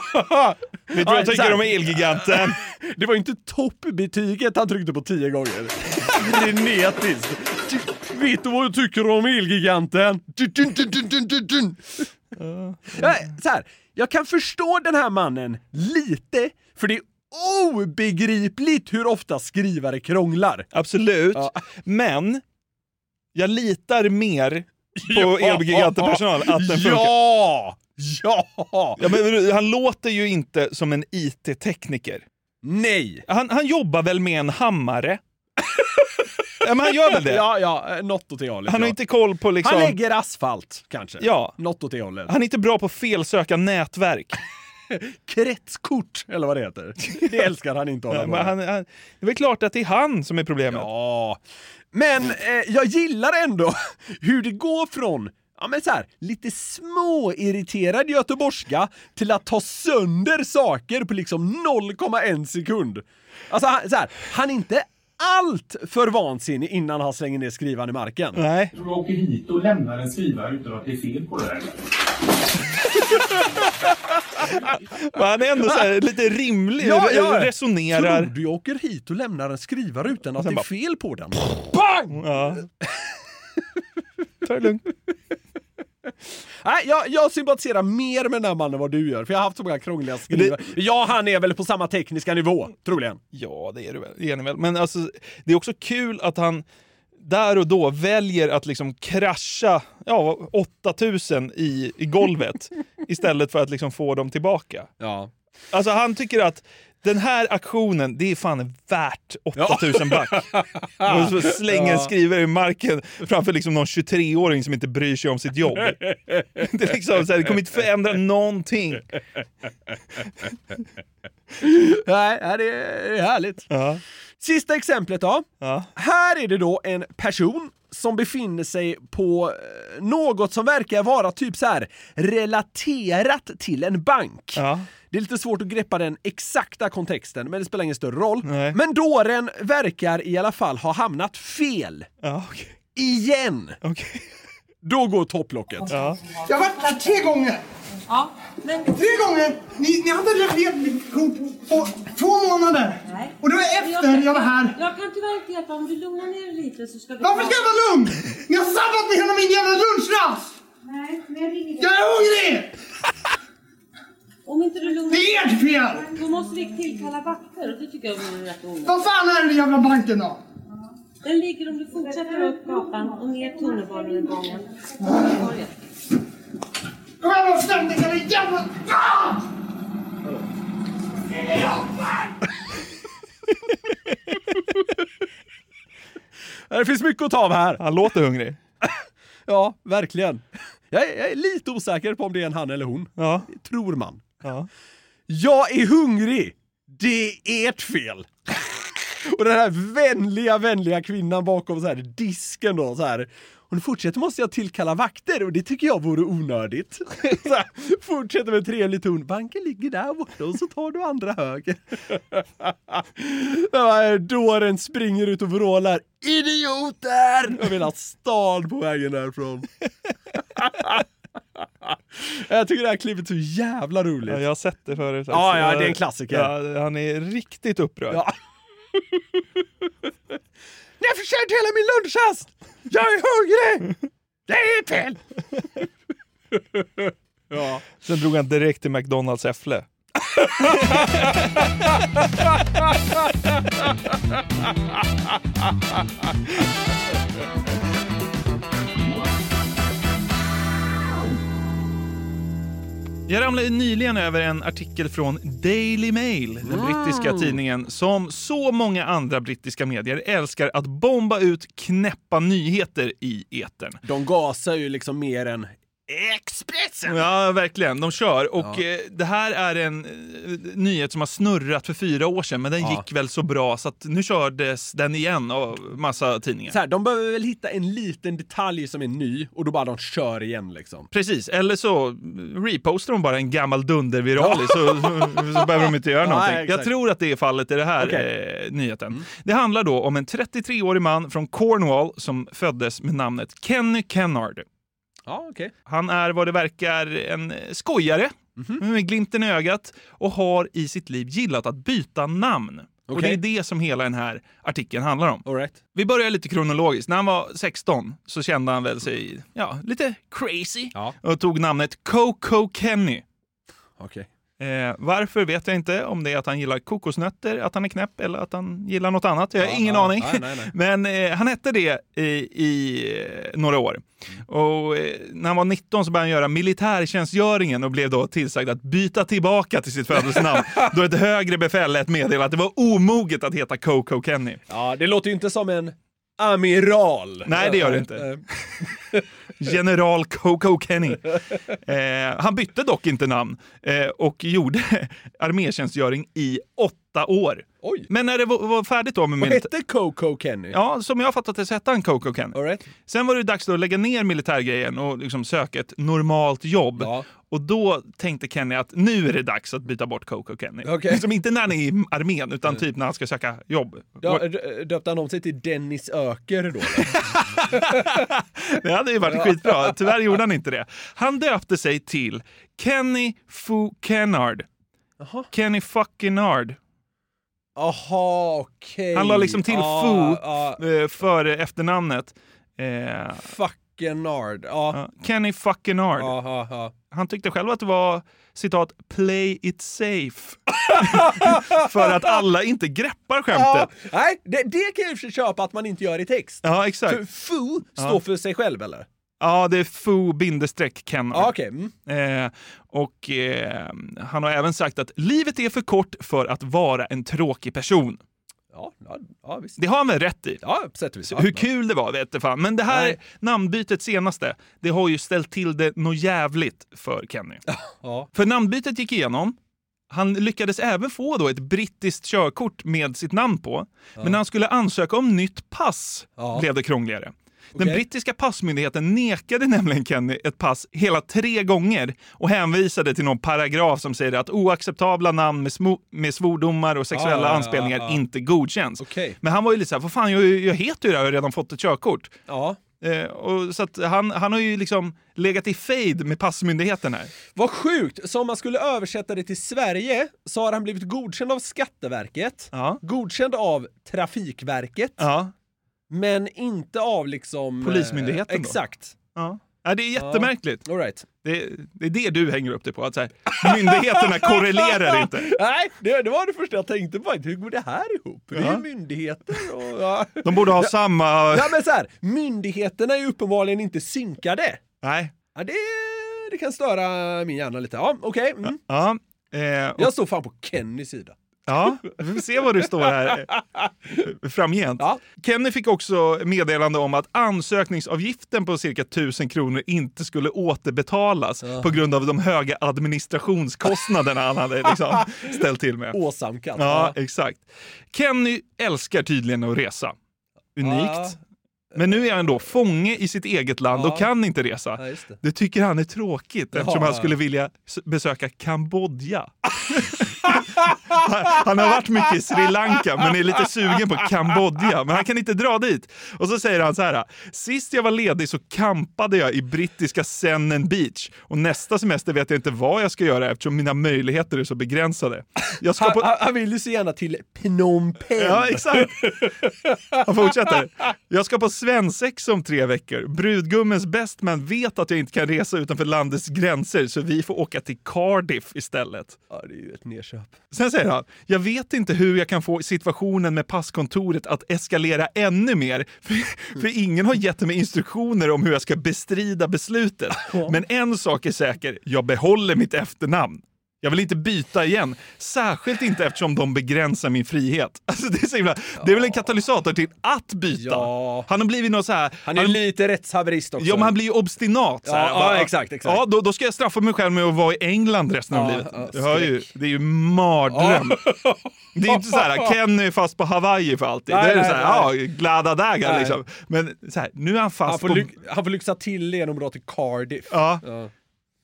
Speaker 4: Vet du vad jag tycker om Elgiganten?
Speaker 5: Det var ju inte toppbetyget han tryckte på tio gånger. Frenetiskt. Du- Vet du vad jag tycker om Elgiganten? Dun, dun, dun, dun, dun, dun, dun. Ja, Eh, så här, jag kan förstå den här mannen lite, för det är obegripligt hur ofta skrivare krånglar.
Speaker 4: Absolut, men jag litar mer på Elgiganten-personal att den funkar.
Speaker 5: Ja! Ja!
Speaker 4: Ja, men han låter ju inte som en IT-tekniker.
Speaker 5: Nej!
Speaker 4: Han, han jobbar väl med en hammare? ja, men han gör väl det?
Speaker 5: Ja, ja, eh, något åt det hållet.
Speaker 4: Han har
Speaker 5: ja.
Speaker 4: inte koll på liksom...
Speaker 5: Han lägger asfalt, kanske.
Speaker 4: Ja.
Speaker 5: Något åt det hållet.
Speaker 4: Han är inte bra på att felsöka nätverk.
Speaker 5: Kretskort, eller vad det heter. Det älskar han inte
Speaker 4: Nej,
Speaker 5: honom.
Speaker 4: men han, han, det är väl klart att det är han som är problemet.
Speaker 5: Ja, men eh, jag gillar ändå hur det går från Ja men så här, lite småirriterad göteborgska till att ta sönder saker på liksom 0,1 sekund. Alltså han, så här, han är inte allt för vansinnig innan han slänger ner skrivaren i marken.
Speaker 4: Nej.
Speaker 19: Tror du jag åker hit och lämnar en skrivare utan att det är fel på den?
Speaker 4: Men han är ändå så här, lite rimlig, resonerar.
Speaker 5: Tror du jag åker hit och lämnar en skrivare utan att det
Speaker 4: sen
Speaker 5: är
Speaker 4: bara-
Speaker 5: fel på den? Bang!
Speaker 4: Ja. Ta det lugnt.
Speaker 5: Nej, jag, jag sympatiserar mer med den här mannen än vad du gör, för jag har haft så många krångliga skrivare. Ja, han är väl på samma tekniska nivå, troligen.
Speaker 4: Ja, det är du väl. Det är ni väl. Men alltså, det är också kul att han där och då väljer att liksom krascha ja, 8000 i, i golvet istället för att liksom få dem tillbaka.
Speaker 5: Ja.
Speaker 4: Alltså han tycker att den här aktionen, det är fan värt 8000 back. Och så slänger en
Speaker 5: Ah. Ja.
Speaker 4: skrivare i marken framför liksom någon 23-åring som inte bryr sig om sitt jobb. Det, är liksom så här, det kommer inte förändra någonting.
Speaker 5: Nej, nej, det är härligt. Sista exemplet då. Här är det då en person som befinner sig på eh, något som verkar vara typ så här relaterat till en bank. Det är lite svårt att greppa den exakta kontexten, men det spelar ingen större roll. Men dåren verkar i alla fall ha hamnat fel. Igen! Då går topplocket.
Speaker 12: Jag har varit här tre gånger. Ja, men... Tre gånger! Ni, ni hade levererat mitt kort på två månader.
Speaker 20: Nej.
Speaker 12: Och det var efter jag var här.
Speaker 20: Jag kan tyvärr inte hjälpa. Om du lugnar ner dig lite så ska vi...
Speaker 12: Varför ska jag vara lugn? Ni har sabbat med hela min jävla lunchrast!
Speaker 20: Nej, men jag ringer.
Speaker 12: Jag är hungrig!
Speaker 20: Om inte du lugnar
Speaker 12: Det är ert fel!
Speaker 20: Då måste vi tillkalla vakter och det tycker jag vore rätt onödigt.
Speaker 12: Vad fan är den jävla banken då?
Speaker 20: Den ligger om du fortsätter upp gatan och ner tunnelbanegången.
Speaker 12: Kom igen och stäm dig, den jävla... Ah!
Speaker 5: Eh, Det finns mycket att ta av här.
Speaker 4: Han låter hungrig.
Speaker 5: ja, verkligen. Jag är, jag är lite osäker på om det är en han eller hon. Det Tror man. Jag är hungrig! Det är ert fel! Och den här vänliga, vänliga kvinnan bakom så här disken då så här. Om du fortsätter måste jag tillkalla vakter och det tycker jag vore onödigt. Så här, fortsätter med trevlig ton. Banken ligger där borta och så tar du andra höger. Den här Dåren springer ut och vrålar. Idioter! Jag vill ha stan på vägen därifrån. Jag tycker det här klippet är så jävla roligt.
Speaker 4: Ja, jag har sett det förut.
Speaker 5: Ja, ja, det är en klassiker.
Speaker 4: Ja, han är riktigt upprörd.
Speaker 5: Ja. Ni har förstört hela min lunchrast! Jag är hungrig!
Speaker 4: Det är fel! ja. Sen drog han direkt till McDonalds Äffle. Jag ramlade nyligen över en artikel från Daily Mail, den
Speaker 16: Mm.
Speaker 4: brittiska tidningen som så många andra brittiska medier älskar att bomba ut knäppa nyheter i etern.
Speaker 5: De gasar ju liksom mer än Expressen!
Speaker 4: Ja, verkligen. De kör. Och eh, Det här är en eh, nyhet som har snurrat för fyra år sedan, men den
Speaker 5: Ja.
Speaker 4: gick väl så bra så att nu kördes den igen av massa tidningar.
Speaker 5: Så här, de behöver väl hitta en liten detalj som är ny och då bara de kör igen liksom.
Speaker 4: Precis, eller så repostar de bara en gammal dunderviral i, så, så behöver de inte göra
Speaker 16: Ja,
Speaker 4: någonting.
Speaker 16: exakt.
Speaker 4: Jag tror att det är fallet i den här
Speaker 16: Okej. Mm.
Speaker 4: eh, nyheten. Det handlar då om en 33-årig man från Cornwall som föddes med namnet Kenny Kennard.
Speaker 5: Ja, okej.
Speaker 4: Han är vad det verkar en skojare
Speaker 16: Mhm.
Speaker 4: med glimten i ögat och har i sitt liv gillat att byta namn. Och
Speaker 16: Okej.
Speaker 4: det är det som hela den här artikeln handlar om. Vi börjar lite kronologiskt. När han var 16 så kände han väl sig ja, lite crazy och tog namnet Coco Kenny.
Speaker 5: Okej.
Speaker 4: Eh, varför vet jag inte. Om det är att han gillar kokosnötter, att han är knäpp eller att han gillar något annat. Jag har
Speaker 16: Ja,
Speaker 4: ingen
Speaker 16: ja,
Speaker 4: aning.
Speaker 16: nej, nej, nej.
Speaker 4: Men eh, han hette det i, i eh, några år. Och eh, när han var 19 så började han göra militärtjänstgöringen och blev då tillsagd att byta tillbaka till sitt födelsenamn. då ett högre befäl lät meddela att det var omoget att heta Coco Kenny.
Speaker 5: Ja, det låter ju inte som en amiral. Eh,
Speaker 4: Nej, det gör det inte. General Coco Kenny. Eh, han bytte dock inte namn eh, och gjorde armétjänstgöring i åtta år. Men när det var, var färdigt då med
Speaker 5: Vad
Speaker 4: militär-
Speaker 5: hette Coco Kenny?
Speaker 4: Ja, som jag har fattat det så hette han Coco Kenny. Sen var det dags då att lägga ner militärgrejen och liksom söka ett normalt jobb. Och då tänkte Kenny att nu är det dags att byta bort Coco Kenny. Liksom inte när han är i armén, utan typ när han ska söka jobb.
Speaker 5: Ja, dö- döpte han om sig till Dennis Öker då?
Speaker 4: Det hade ju varit
Speaker 5: Ja.
Speaker 4: skitbra. Tyvärr gjorde han inte det. Han döpte sig till Kenny Fu Kennard. Kenny Fuckinard.
Speaker 5: Jaha, okej.
Speaker 4: Han la liksom till
Speaker 5: Ja,
Speaker 4: Fu
Speaker 5: ja.
Speaker 4: eh, före efternamnet. Eh,
Speaker 5: Fuckinard. Ja.
Speaker 4: Kenny Fuckinard.
Speaker 5: Ja, ja.
Speaker 4: Han tyckte själv att det var citat “play it safe” för att alla inte greppar
Speaker 5: Ja,
Speaker 4: skämtet.
Speaker 5: nej, det, det kan jag i och för sig köpa att man inte gör i text.
Speaker 4: Ja, exakt.
Speaker 5: För Fu
Speaker 4: Ja.
Speaker 5: står för sig själv eller?
Speaker 4: Ja, det är Fo bindestreck Kennard.
Speaker 5: Ja, okej. Mm.
Speaker 4: Eh, och eh, han har även sagt att livet är för kort för att vara en tråkig person.
Speaker 5: Ja, ja, ja visst.
Speaker 4: Det har han väl rätt i?
Speaker 5: Ja, på sätt och vis.
Speaker 4: Hur kul det var vet du fan. Men det här namnbytet senaste, det har ju ställt till det något jävligt för Kenny.
Speaker 5: Ja.
Speaker 4: För namnbytet gick igenom. Han lyckades även få då ett brittiskt körkort med sitt namn på. Men när han skulle ansöka om nytt pass
Speaker 16: Ja.
Speaker 4: blev det krångligare. Den
Speaker 16: Okej.
Speaker 4: brittiska passmyndigheten nekade nämligen Kenny ett pass hela tre gånger och hänvisade till någon paragraf som säger att oacceptabla namn med, smo- med svordomar och sexuella
Speaker 16: Ja, ja, ja,
Speaker 4: anspelningar
Speaker 16: ja.
Speaker 4: inte godkänns. Men han var ju lite såhär, vad fan jag, jag heter ju det här och har redan fått ett körkort. Eh, och så att han, han har ju liksom legat i fejd med passmyndigheten här.
Speaker 5: Vad sjukt! Så om man skulle översätta det till Sverige så har han blivit godkänd av Skatteverket, godkänd av Trafikverket, men inte av liksom... eh,
Speaker 4: Polismyndigheten då?
Speaker 5: Exakt.
Speaker 4: Ja. Ja, det är jättemärkligt.
Speaker 5: All right.
Speaker 4: det, det är det du hänger upp dig på, att så här, myndigheterna korrelerar inte.
Speaker 5: Nej, det, det var det första jag tänkte på. Hur går det här ihop? Det är
Speaker 4: Ja.
Speaker 5: ju myndigheter och... Ja.
Speaker 4: De borde ha
Speaker 5: Ja.
Speaker 4: samma...
Speaker 5: Ja, men så här, myndigheterna är ju uppenbarligen inte synkade.
Speaker 4: Nej.
Speaker 5: Ja, det, det kan störa min hjärna lite. Ja, okej. Mm.
Speaker 4: Ja, eh, och-
Speaker 5: Jag står fan på Kennys sida.
Speaker 4: Ja, vi får se vad du står här eh, framgent. Kenny fick också meddelande om att ansökningsavgiften på cirka 1000 kronor inte skulle återbetalas
Speaker 16: Ja.
Speaker 4: på grund av de höga administrationskostnaderna han hade liksom ställt till med.
Speaker 5: Åsamkat.
Speaker 4: Ja,
Speaker 5: Ja.
Speaker 4: exakt. Kenny älskar tydligen att resa.
Speaker 5: Ja.
Speaker 4: Unikt. Men nu är han då fånge i sitt eget land
Speaker 16: Ja.
Speaker 4: och kan inte resa.
Speaker 16: Ja, just det.
Speaker 4: tycker han är tråkigt
Speaker 16: Ja.
Speaker 4: eftersom han skulle vilja s- besöka Kambodja. han, han har varit mycket i Sri Lanka men är lite sugen på Kambodja. Men han kan inte dra dit. Och så säger han så här. Sist jag var ledig så kampade jag i brittiska Senen Beach. Och nästa semester vet jag inte vad jag ska göra eftersom mina möjligheter är så begränsade. Jag ska
Speaker 5: Han,
Speaker 4: på...
Speaker 5: han, han vill ju så gärna till Phnom Penh.
Speaker 4: Ja, exakt. Han fortsätter. Jag ska på svensexa om tre veckor. Brudgummens bestman vet att jag inte kan resa utanför landets gränser så vi får åka till Cardiff istället.
Speaker 5: Ja, det är ju ett nerköp.
Speaker 4: Sen säger han, jag vet inte hur jag kan få situationen med passkontoret att eskalera ännu mer, för, för ingen har gett mig instruktioner om hur jag ska bestrida beslutet. Men en sak är säker, jag behåller mitt efternamn. Jag vill inte byta igen, särskilt inte eftersom de begränsar min frihet. Alltså det, är så himla, det är väl en katalysator till att byta? Han har blivit någon så här...
Speaker 5: Han är ju lite rättshaverist också.
Speaker 4: Ja, men han blir ju obstinat. Så här.
Speaker 5: Ja, ja, exakt, exakt.
Speaker 4: Ja, då, då ska jag straffa mig själv med att vara i England resten av
Speaker 5: Ja,
Speaker 4: livet.
Speaker 5: ja,
Speaker 4: jag hör ju, det är ju mardröm. Det är ju inte så här, Kenny är fast på Hawaii för alltid.
Speaker 5: Nej,
Speaker 4: det är ju
Speaker 5: nej,
Speaker 4: så här,
Speaker 5: nej.
Speaker 4: ja, glada dagar
Speaker 5: Nej.
Speaker 4: liksom. Men så här, nu är han fast
Speaker 5: Han får,
Speaker 4: på...
Speaker 5: ly- han får lyxa till det genom att dra till Cardiff.
Speaker 4: Ja.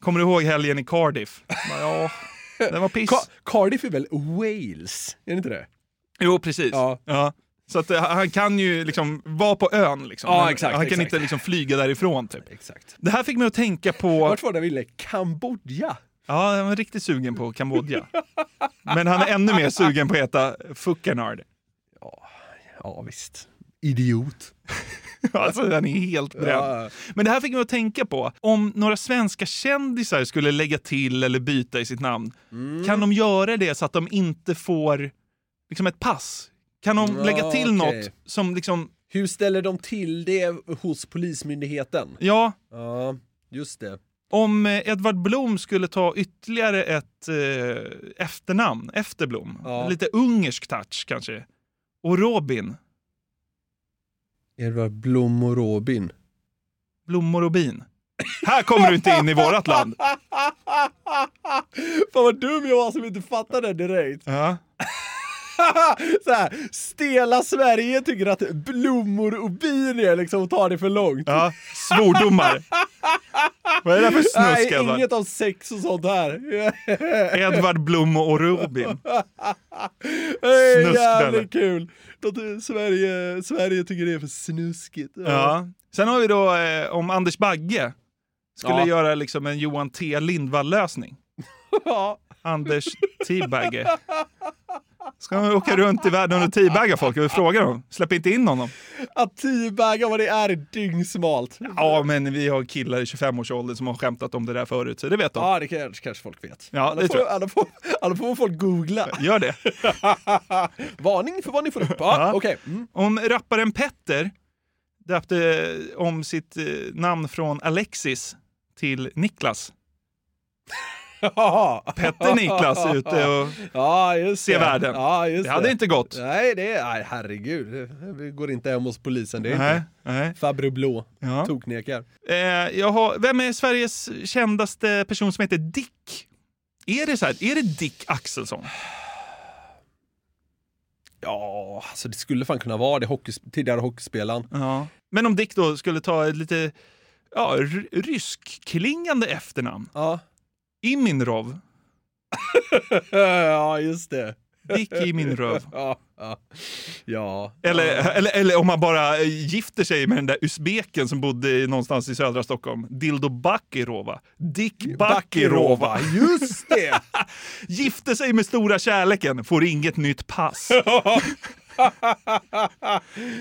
Speaker 4: Kommer du ihåg helgen i Cardiff? Ja, den var piss.
Speaker 5: Cardiff är väl Wales? Är det inte det?
Speaker 4: Jo, precis. Ja. Så att eh, han kan ju liksom vara på ön, liksom.
Speaker 5: Ja,
Speaker 4: Men
Speaker 5: exakt,
Speaker 4: han kan
Speaker 5: exakt.
Speaker 4: inte liksom flyga därifrån. Typ.
Speaker 5: Exakt.
Speaker 4: Det här fick mig att tänka på...
Speaker 5: Vart var det vi ville? Kambodja?
Speaker 4: Ja, jag var riktigt sugen på Kambodja. Men han är ännu mer sugen på att heta Fuckenard.
Speaker 5: Ja, visst. Idiot.
Speaker 4: Alltså den är helt
Speaker 5: Ja,
Speaker 4: bränd. Men det här fick mig att tänka på, om några svenska kändisar skulle lägga till eller byta i sitt namn,
Speaker 5: Mm.
Speaker 4: kan de göra det så att de inte får liksom ett pass? Kan de
Speaker 5: Ja,
Speaker 4: lägga till
Speaker 5: okej.
Speaker 4: något som liksom...
Speaker 5: Hur ställer de till det hos Polismyndigheten?
Speaker 4: Ja,
Speaker 5: Ja, just det.
Speaker 4: om eh, Edvard Blom skulle ta ytterligare ett eh, efternamn efter Blom,
Speaker 5: Ja.
Speaker 4: lite ungersk touch kanske, och Robin,
Speaker 5: Edvard Blom och Robin.
Speaker 4: Blommor och bin. Här kommer du inte in i vårat land.
Speaker 5: Fan vad dum jag var som inte fattade det direkt.
Speaker 4: Ja.
Speaker 5: så här, stela Sverige tycker att blommor och bin är liksom att ta det för långt.
Speaker 4: Ja, svordomar. Vad är det här för snusk,
Speaker 5: Nej,
Speaker 4: Edvard?
Speaker 5: inget av sex och sånt här.
Speaker 4: Edvard Blom och Robin.
Speaker 5: Hey,
Speaker 4: Snuskbälle.
Speaker 5: jävligt kul! Att Sverige, Sverige tycker det är för snuskigt.
Speaker 4: Ja. Sen har vi då eh, om Anders Bagge skulle
Speaker 5: Ja.
Speaker 4: göra liksom en Johan T Lindvall-lösning.
Speaker 5: Ja.
Speaker 4: Anders T-Bagge. Ska man åka runt i världen och T-bagga folk? Jag frågar dem. Släpp inte in honom.
Speaker 5: Att teabagga vad det är är dyngsmalt.
Speaker 4: Ja, men vi har killar i 25-årsåldern som har skämtat om det där förut, så det vet de.
Speaker 5: Ja, det kanske, kanske folk vet.
Speaker 4: Ja,
Speaker 5: alla, får,
Speaker 4: det tror jag.
Speaker 5: alla, får, alla får folk googla.
Speaker 4: Gör det.
Speaker 5: Varning för vad ni får upp. Ja, okej. Mm.
Speaker 4: Om rapparen Petter döpte om sitt eh, namn från Alexis till Niklas. Petter Niklas är ute och
Speaker 5: ja, just
Speaker 4: ser
Speaker 5: det.
Speaker 4: världen.
Speaker 5: Ja, just
Speaker 4: det hade inte gått.
Speaker 5: Nej, det är, nej, herregud. Vi går inte hem hos polisen. Det är
Speaker 4: Nej,
Speaker 5: inte. Fabro Blå.
Speaker 4: Ja.
Speaker 5: Toknekar.
Speaker 4: Eh, jag har, vem är Sveriges kändaste person som heter Dick? Är det så här, är det Dick Axelsson?
Speaker 5: Ja, alltså det skulle fan kunna vara det. Hockeys, tidigare hockeyspelaren.
Speaker 4: Ja. Men om Dick då skulle ta ett lite ja, r- ryskklingande efternamn?
Speaker 5: Ja.
Speaker 4: Iminrov.
Speaker 5: ja, just det.
Speaker 4: Dick i min röv.
Speaker 5: ja, ja. ja.
Speaker 4: Eller, eller, eller om man bara eh, gifter sig med den där usbeken som bodde i- någonstans i södra Stockholm. Dildo Bakirova. Dick Bakirova.
Speaker 5: Just det!
Speaker 4: Gifte sig med stora kärleken, får inget nytt pass.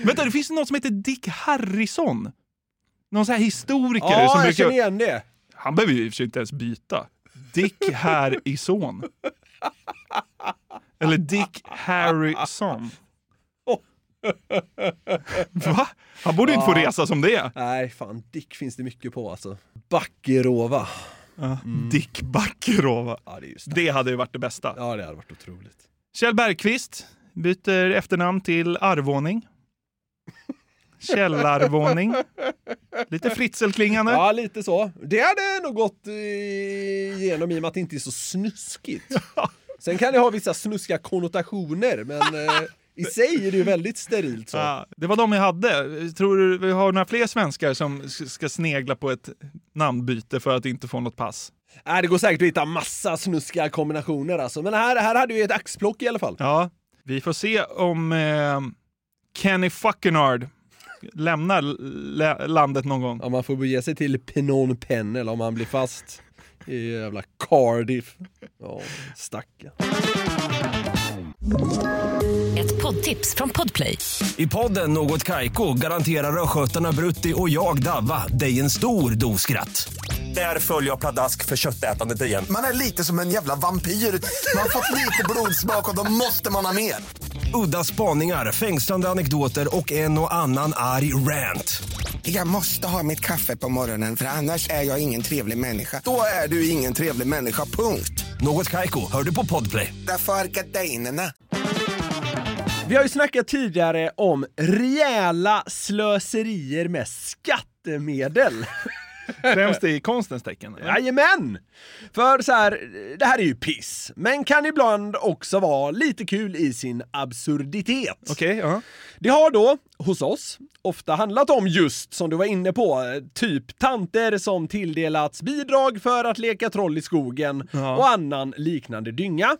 Speaker 4: Vänta, det finns något som heter Dick Harrison. Någon sån här historiker
Speaker 5: Ja, jag
Speaker 4: som brukar...
Speaker 5: känner igen det.
Speaker 4: Han behöver ju i och för sig inte ens byta. Dick Harrison. Eller Dick Harrison. Va? Han borde ju inte få
Speaker 5: Ja.
Speaker 4: resa som det är.
Speaker 5: Nej, fan. Dick finns det mycket på alltså. Bakirova.
Speaker 4: Ja, Dick Bakirova. det, hade ju varit det bästa.
Speaker 5: Mm. Ja, det hade varit otroligt.
Speaker 4: Kjell Bergqvist byter efternamn till Arvåning. Källarvåning. Lite fritzelklingande.
Speaker 5: Ja, lite så. Det hade nog gått eh, igenom i och med att det inte är så snuskigt. Sen kan det ha vissa snuska konnotationer, men eh, i sig är det ju väldigt sterilt. Så.
Speaker 4: Ja, det var de jag hade. Tror du vi har några fler svenskar som s- ska snegla på ett namnbyte för att inte få något pass?
Speaker 5: Nej, det går säkert att hitta massa snuska kombinationer alltså. Men här, här hade vi ett axplock i alla fall.
Speaker 4: Ja, vi får se om eh, Kenny Fuckenard lämnar lä- landet någon gång.
Speaker 5: Ja, man får bege sig till Phnom Penh eller om man blir fast i jävla Cardiff. Ja, stackarn.
Speaker 15: Ett poddtips från Podplay.
Speaker 21: I podden Något Kaiko garanterar östgötarna Brutti och jag, Davva, dig en stor dos skratt. Där följer jag pladask för köttätandet igen.
Speaker 22: Man är lite som en jävla vampyr. Man har fått lite blodsmak och då måste man ha mer.
Speaker 21: Udda spaningar, fängslande anekdoter och en och annan arg rant.
Speaker 22: Jag måste ha mitt kaffe på morgonen för annars är jag ingen trevlig människa. Då är du ingen trevlig människa, punkt.
Speaker 21: Något Kaiko, hör du på Podplay.
Speaker 22: Därför är gardinerna.
Speaker 5: Vi har ju snackat tidigare om rejäla slöserier med skattemedel.
Speaker 4: Främst i konstens tecken? eller?
Speaker 5: Jajamän! För så här, det här är ju piss, men kan ibland också vara lite kul i sin absurditet.
Speaker 4: Okej, ja.
Speaker 5: Det har då, hos oss, ofta handlat om just, som du var inne på, typ tanter som tilldelats bidrag för att leka troll i skogen och annan liknande dynga.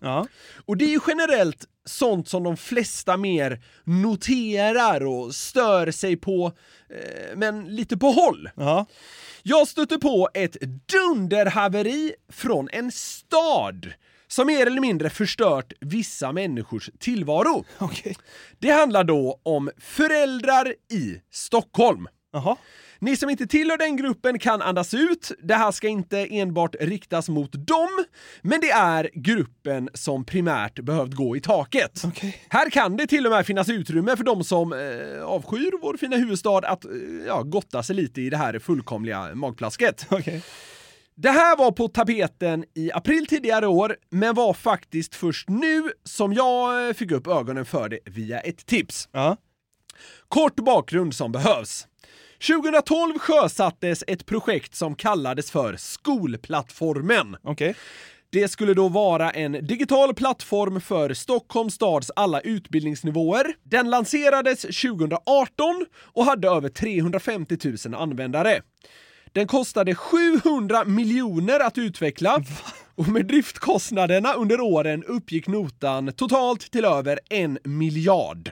Speaker 5: Och det är ju generellt sånt som de flesta mer noterar och stör sig på, eh, men lite på håll. Jag stötte på ett dunderhaveri från en stad som mer eller mindre förstört vissa människors tillvaro. Det handlar då om föräldrar i Stockholm. Ni som inte tillhör den gruppen kan andas ut. Det här ska inte enbart riktas mot dem, men det är gruppen som primärt behövt gå i taket. Här kan det till och med finnas utrymme för de som eh, avskyr vår fina huvudstad att eh, ja, gotta sig lite i det här fullkomliga magplasket. Det här var på tapeten i april tidigare år, men var faktiskt först nu som jag eh, fick upp ögonen för det via ett tips. Kort bakgrund som behövs. 2012 sjösattes ett projekt som kallades för Skolplattformen. Det skulle då vara en digital plattform för Stockholms stads alla utbildningsnivåer. Den lanserades 2018 och hade över 350 000 användare. Den kostade 700 miljoner att utveckla och med driftkostnaderna under åren uppgick notan totalt till över en miljard.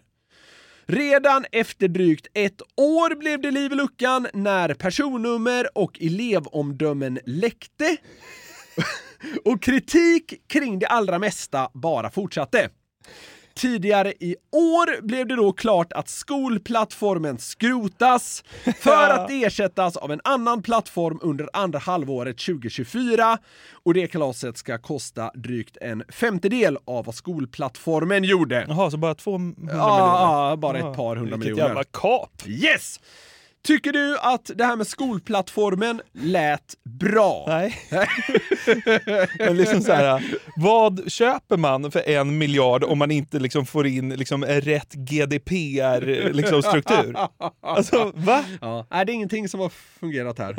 Speaker 5: Redan efter drygt ett år blev det liv i luckan när personnummer och elevomdömen läckte och kritik kring det allra mesta bara fortsatte. Tidigare i år blev det då klart att skolplattformen skrotas för att ersättas av en annan plattform under andra halvåret 2024 och det kalaset ska kosta drygt en femtedel av vad skolplattformen gjorde.
Speaker 4: Jaha, så bara 200 miljoner?
Speaker 5: Ja, ja, bara ett par hundra
Speaker 4: vilket
Speaker 5: miljoner.
Speaker 4: jävla
Speaker 5: kap! Yes! Tycker du att det här med skolplattformen lät bra?
Speaker 4: Nej. Men liksom så här, vad köper man för en miljard om man inte liksom får in liksom rätt GDPR-struktur? Liksom, struktur? alltså, va?
Speaker 5: Ja. Nej, det är ingenting som har fungerat här.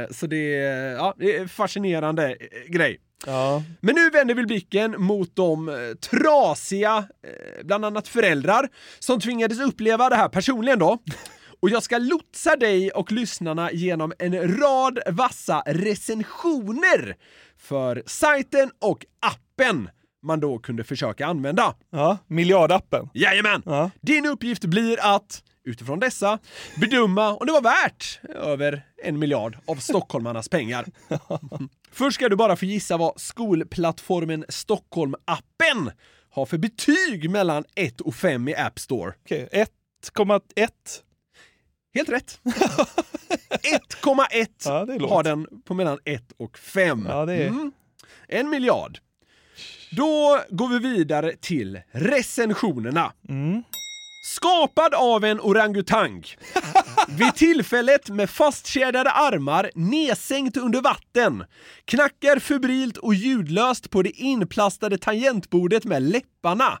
Speaker 5: Eh, Så det är, ja, det är en fascinerande eh, grej. Men nu vänder vi blicken mot de eh, trasiga, eh, bland annat föräldrar, som tvingades uppleva det här personligen då. Och jag ska lotsa dig och lyssnarna genom en rad vassa recensioner för sajten och appen man då kunde försöka använda.
Speaker 4: Ja, miljardappen.
Speaker 5: Jajamän! Din uppgift blir att, utifrån dessa, bedöma om det var värt över en miljard av stockholmarnas pengar. Först ska du bara få gissa vad skolplattformen Stockholm-appen har för betyg mellan 1 och 5 i App Store.
Speaker 4: Okej, 1,1.
Speaker 5: Helt rätt. 1,1 har den på mellan 1 och 5.
Speaker 4: är-
Speaker 5: En miljard. Då går vi vidare till recensionerna. Skapad av en orangutang. Vid tillfället med fastkedjade armar, nedsänkt under vatten. Knackar febrilt och ljudlöst på det inplastade tangentbordet med läpparna.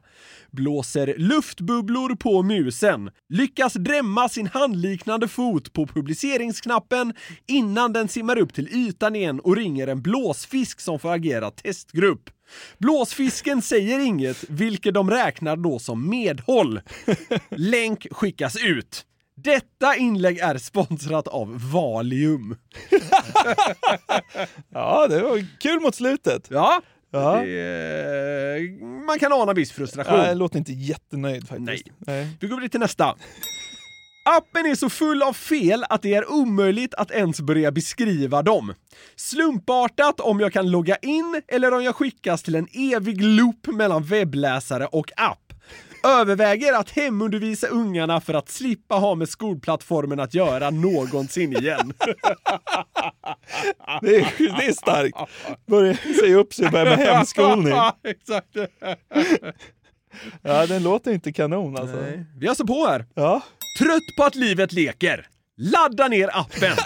Speaker 5: Blåser luftbubblor på musen. Lyckas drämma sin handliknande fot på publiceringsknappen innan den simmar upp till ytan igen och ringer en blåsfisk som får agera testgrupp. Blåsfisken säger inget, vilket de räknar då som medhåll. Länk skickas ut. Detta inlägg är sponsrat av Valium.
Speaker 4: ja, det var kul mot slutet.
Speaker 5: Ja.
Speaker 4: Ja.
Speaker 5: Det, eh, man kan ana viss frustration.
Speaker 4: Nej, jag låter inte jättenöjd faktiskt.
Speaker 5: Nej. Vi går vidare till nästa. Appen är så full av fel att det är omöjligt att ens börja beskriva dem. Slumpartat om jag kan logga in eller om jag skickas till en evig loop mellan webbläsare och app. överväger att hemundervisa ungarna för att slippa ha med skolplattformen att göra någonsin igen.
Speaker 4: Det är, det är starkt. Börja säga upp sig och börja med hemskolning.
Speaker 5: Exakt.
Speaker 4: Ja, den låter inte kanon alltså.
Speaker 5: Nej. Vi har så på här.
Speaker 4: Ja.
Speaker 5: Trött på att livet leker? Ladda ner appen.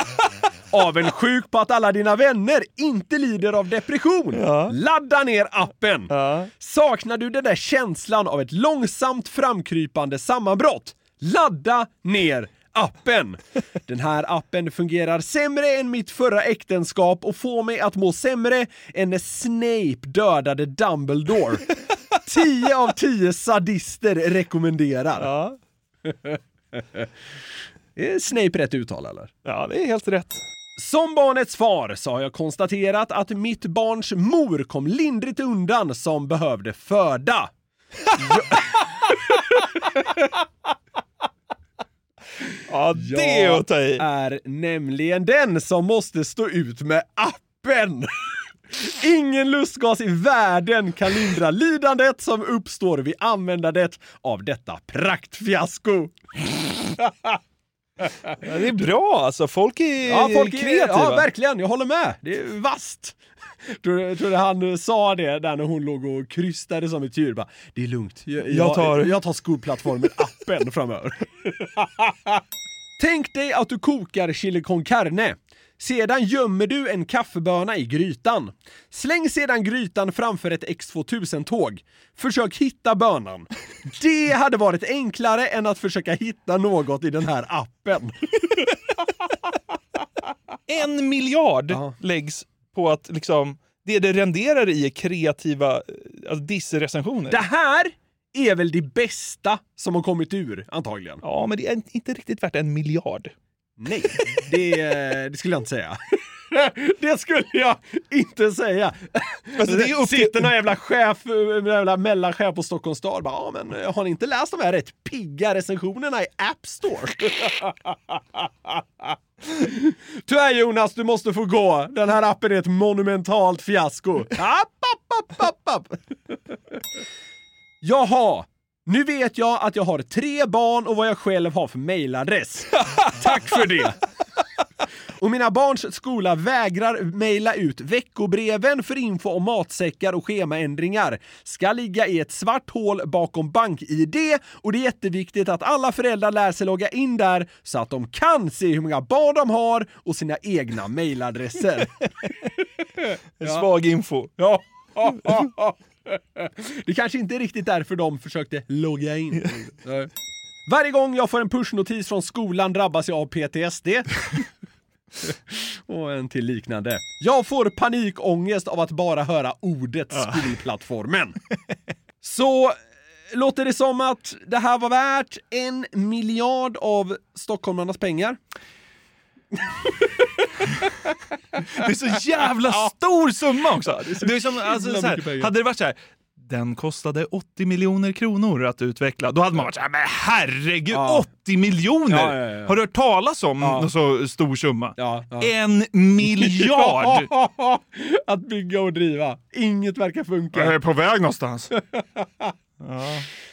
Speaker 5: Avundsjuk på att alla dina vänner inte lider av depression? Ladda ner appen. Saknar du den där känslan av ett långsamt framkrypande sammanbrott? Ladda ner appen. Den här appen fungerar sämre än mitt förra äktenskap och får mig att må sämre än när Snape dödade Dumbledore. 10 av 10 sadister rekommenderar. Är Snape rätt uttal eller?
Speaker 4: Ja, det är helt rätt.
Speaker 5: Som barnets far så har jag konstaterat att mitt barns mor kom lindrigt undan som behövde föda. ja, Äh,
Speaker 4: det är att ta i.
Speaker 5: är nämligen den som måste stå ut med appen. Ingen lustgas i världen kan lindra lidandet som uppstår vid användandet av detta praktfiasko.
Speaker 4: Ja, det är bra alltså. Folk är
Speaker 5: Ja, folk är
Speaker 4: kreativa.
Speaker 5: Ja, verkligen. Jag håller med. Det är vasst. Tror du, tror du han eh, sa det där när hon låg och krystade som ett djur? Bara, det är lugnt. Jag,
Speaker 4: Jag tar-
Speaker 5: jag tar skolplattformen appen framöver. Tänk dig att du kokar chili con carne. Sedan gömmer du en kaffeböna i grytan. Släng sedan grytan framför ett X2000-tåg. Försök hitta bönan. Det hade varit enklare än att försöka hitta något i den här appen.
Speaker 4: En miljard läggs på att liksom, det det renderar i är kreativa eh, alltså, dissrecensioner.
Speaker 5: Det här är väl det bästa som har kommit ur, antagligen.
Speaker 4: Ja, men det är inte riktigt värt en miljard.
Speaker 5: Nej, det, eh, det skulle jag inte säga. Det skulle jag inte säga.
Speaker 4: Alltså, det är upp till-
Speaker 5: Sitter någon jävla chef, någon jävla mellanchef på Stockholms stad bara, ja men eh, har ni inte läst de här rätt pigga recensionerna i App Store? Tyvärr Jonas, du måste få gå. Den här appen är ett monumentalt fiasko. App, app, app, app, app. Jaha, nu vet jag att jag har tre barn och vad jag själv har för mejladress. Tack för det! Och mina barns skola vägrar mejla ut veckobreven för info om matsäckar och schemaändringar. Ska ligga i ett svart hål bakom bank-id och det är jätteviktigt att alla föräldrar lär sig logga in där så att de kan se hur många barn de har och sina egna mejladresser.
Speaker 4: Svag info.
Speaker 5: Ja. Det kanske inte är riktigt därför de försökte logga in. Nej. Varje gång jag får en pushnotis från skolan drabbas jag av PTSD. Och en till liknande. Jag får panikångest av att bara höra ordet skolplattformen. Så eh, låter det som att det här var värt en miljard av stockholmarnas pengar?
Speaker 4: Det är så jävla stor summa också!
Speaker 5: det är så
Speaker 4: det är som, alltså,
Speaker 5: himla
Speaker 4: så
Speaker 5: mycket
Speaker 4: här,
Speaker 5: pengar.
Speaker 4: hade det varit så här, den kostade 80 miljoner kronor att utveckla, då hade man varit så här, men herregud, 80 miljoner!
Speaker 5: Ja, ja, ja.
Speaker 4: Har du hört talas om en så stor summa?
Speaker 5: ja.
Speaker 4: En miljard!
Speaker 5: att bygga och driva. Inget verkar funka.
Speaker 4: Jag är på väg någonstans.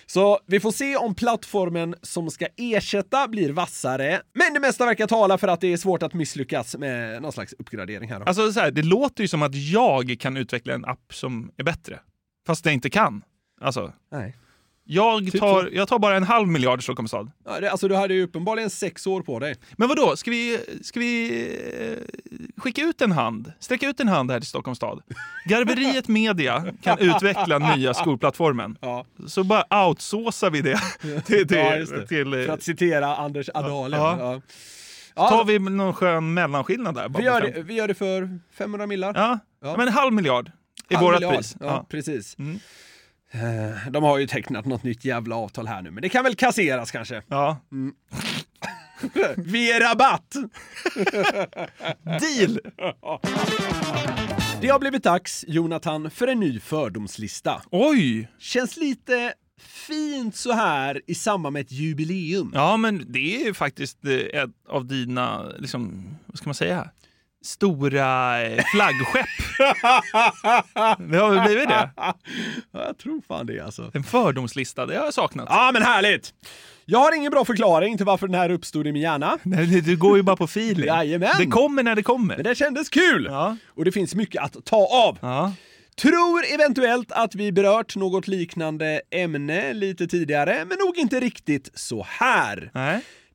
Speaker 5: Så vi får se om plattformen som ska ersätta blir vassare. Men det mesta verkar tala för att det är svårt att misslyckas med någon slags uppgradering här. Då.
Speaker 4: Alltså, så här, det låter ju som att jag kan utveckla en app som är bättre, fast jag inte kan. Alltså,
Speaker 5: Nej.
Speaker 4: jag,
Speaker 5: Typ
Speaker 4: tar, jag tar bara en halv miljard Stockholms stad.
Speaker 5: Ja, det- Alltså du hade ju uppenbarligen sex år på dig.
Speaker 4: Men vad då? ska vi, ska vi eh, skicka ut en hand? Sträcka ut en hand här till Stockholms stad. Garveriet Media kan utveckla nya skolplattformen. Så bara outsourcar vi det. Till, till,
Speaker 5: Ja, just det.
Speaker 4: till, eh,
Speaker 5: För att citera Anders Adalen.
Speaker 4: Ja.
Speaker 5: Ja.
Speaker 4: tar vi någon skön mellanskillnad där? bara
Speaker 5: Vi,
Speaker 4: på
Speaker 5: gör
Speaker 4: fem-
Speaker 5: det, vi gör det för 500 millar.
Speaker 4: Ja. Ja. men en halv miljard är
Speaker 5: Halv
Speaker 4: vårt
Speaker 5: miljard.
Speaker 4: pris.
Speaker 5: Ja,
Speaker 4: Ja. Mm.
Speaker 5: precis. Eh, De har ju tecknat något nytt jävla avtal här nu, men det kan väl kasseras kanske.
Speaker 4: Ja.
Speaker 5: Mm. Vi är rabatt!
Speaker 4: Deal!
Speaker 5: Det har blivit dags, Jonathan, för en ny fördomslista.
Speaker 4: Oj!
Speaker 5: Känns lite fint så här i samband med ett jubileum.
Speaker 4: Ja, men det är ju faktiskt eh, ett av dina, liksom, vad ska man säga? stora eh, flaggskepp. det har väl blivit det?
Speaker 5: jag tror fan det alltså.
Speaker 4: En fördomslista, det har jag saknat.
Speaker 5: Ja, men härligt! Jag har ingen bra förklaring till varför den här uppstod i min hjärna.
Speaker 4: Nej, du går ju bara på feeling.
Speaker 5: Jajamän.
Speaker 4: Det kommer när det kommer.
Speaker 5: Men det kändes kul! Och det finns mycket att ta av. Tror eventuellt att vi berört något liknande ämne lite tidigare, men nog inte riktigt så här.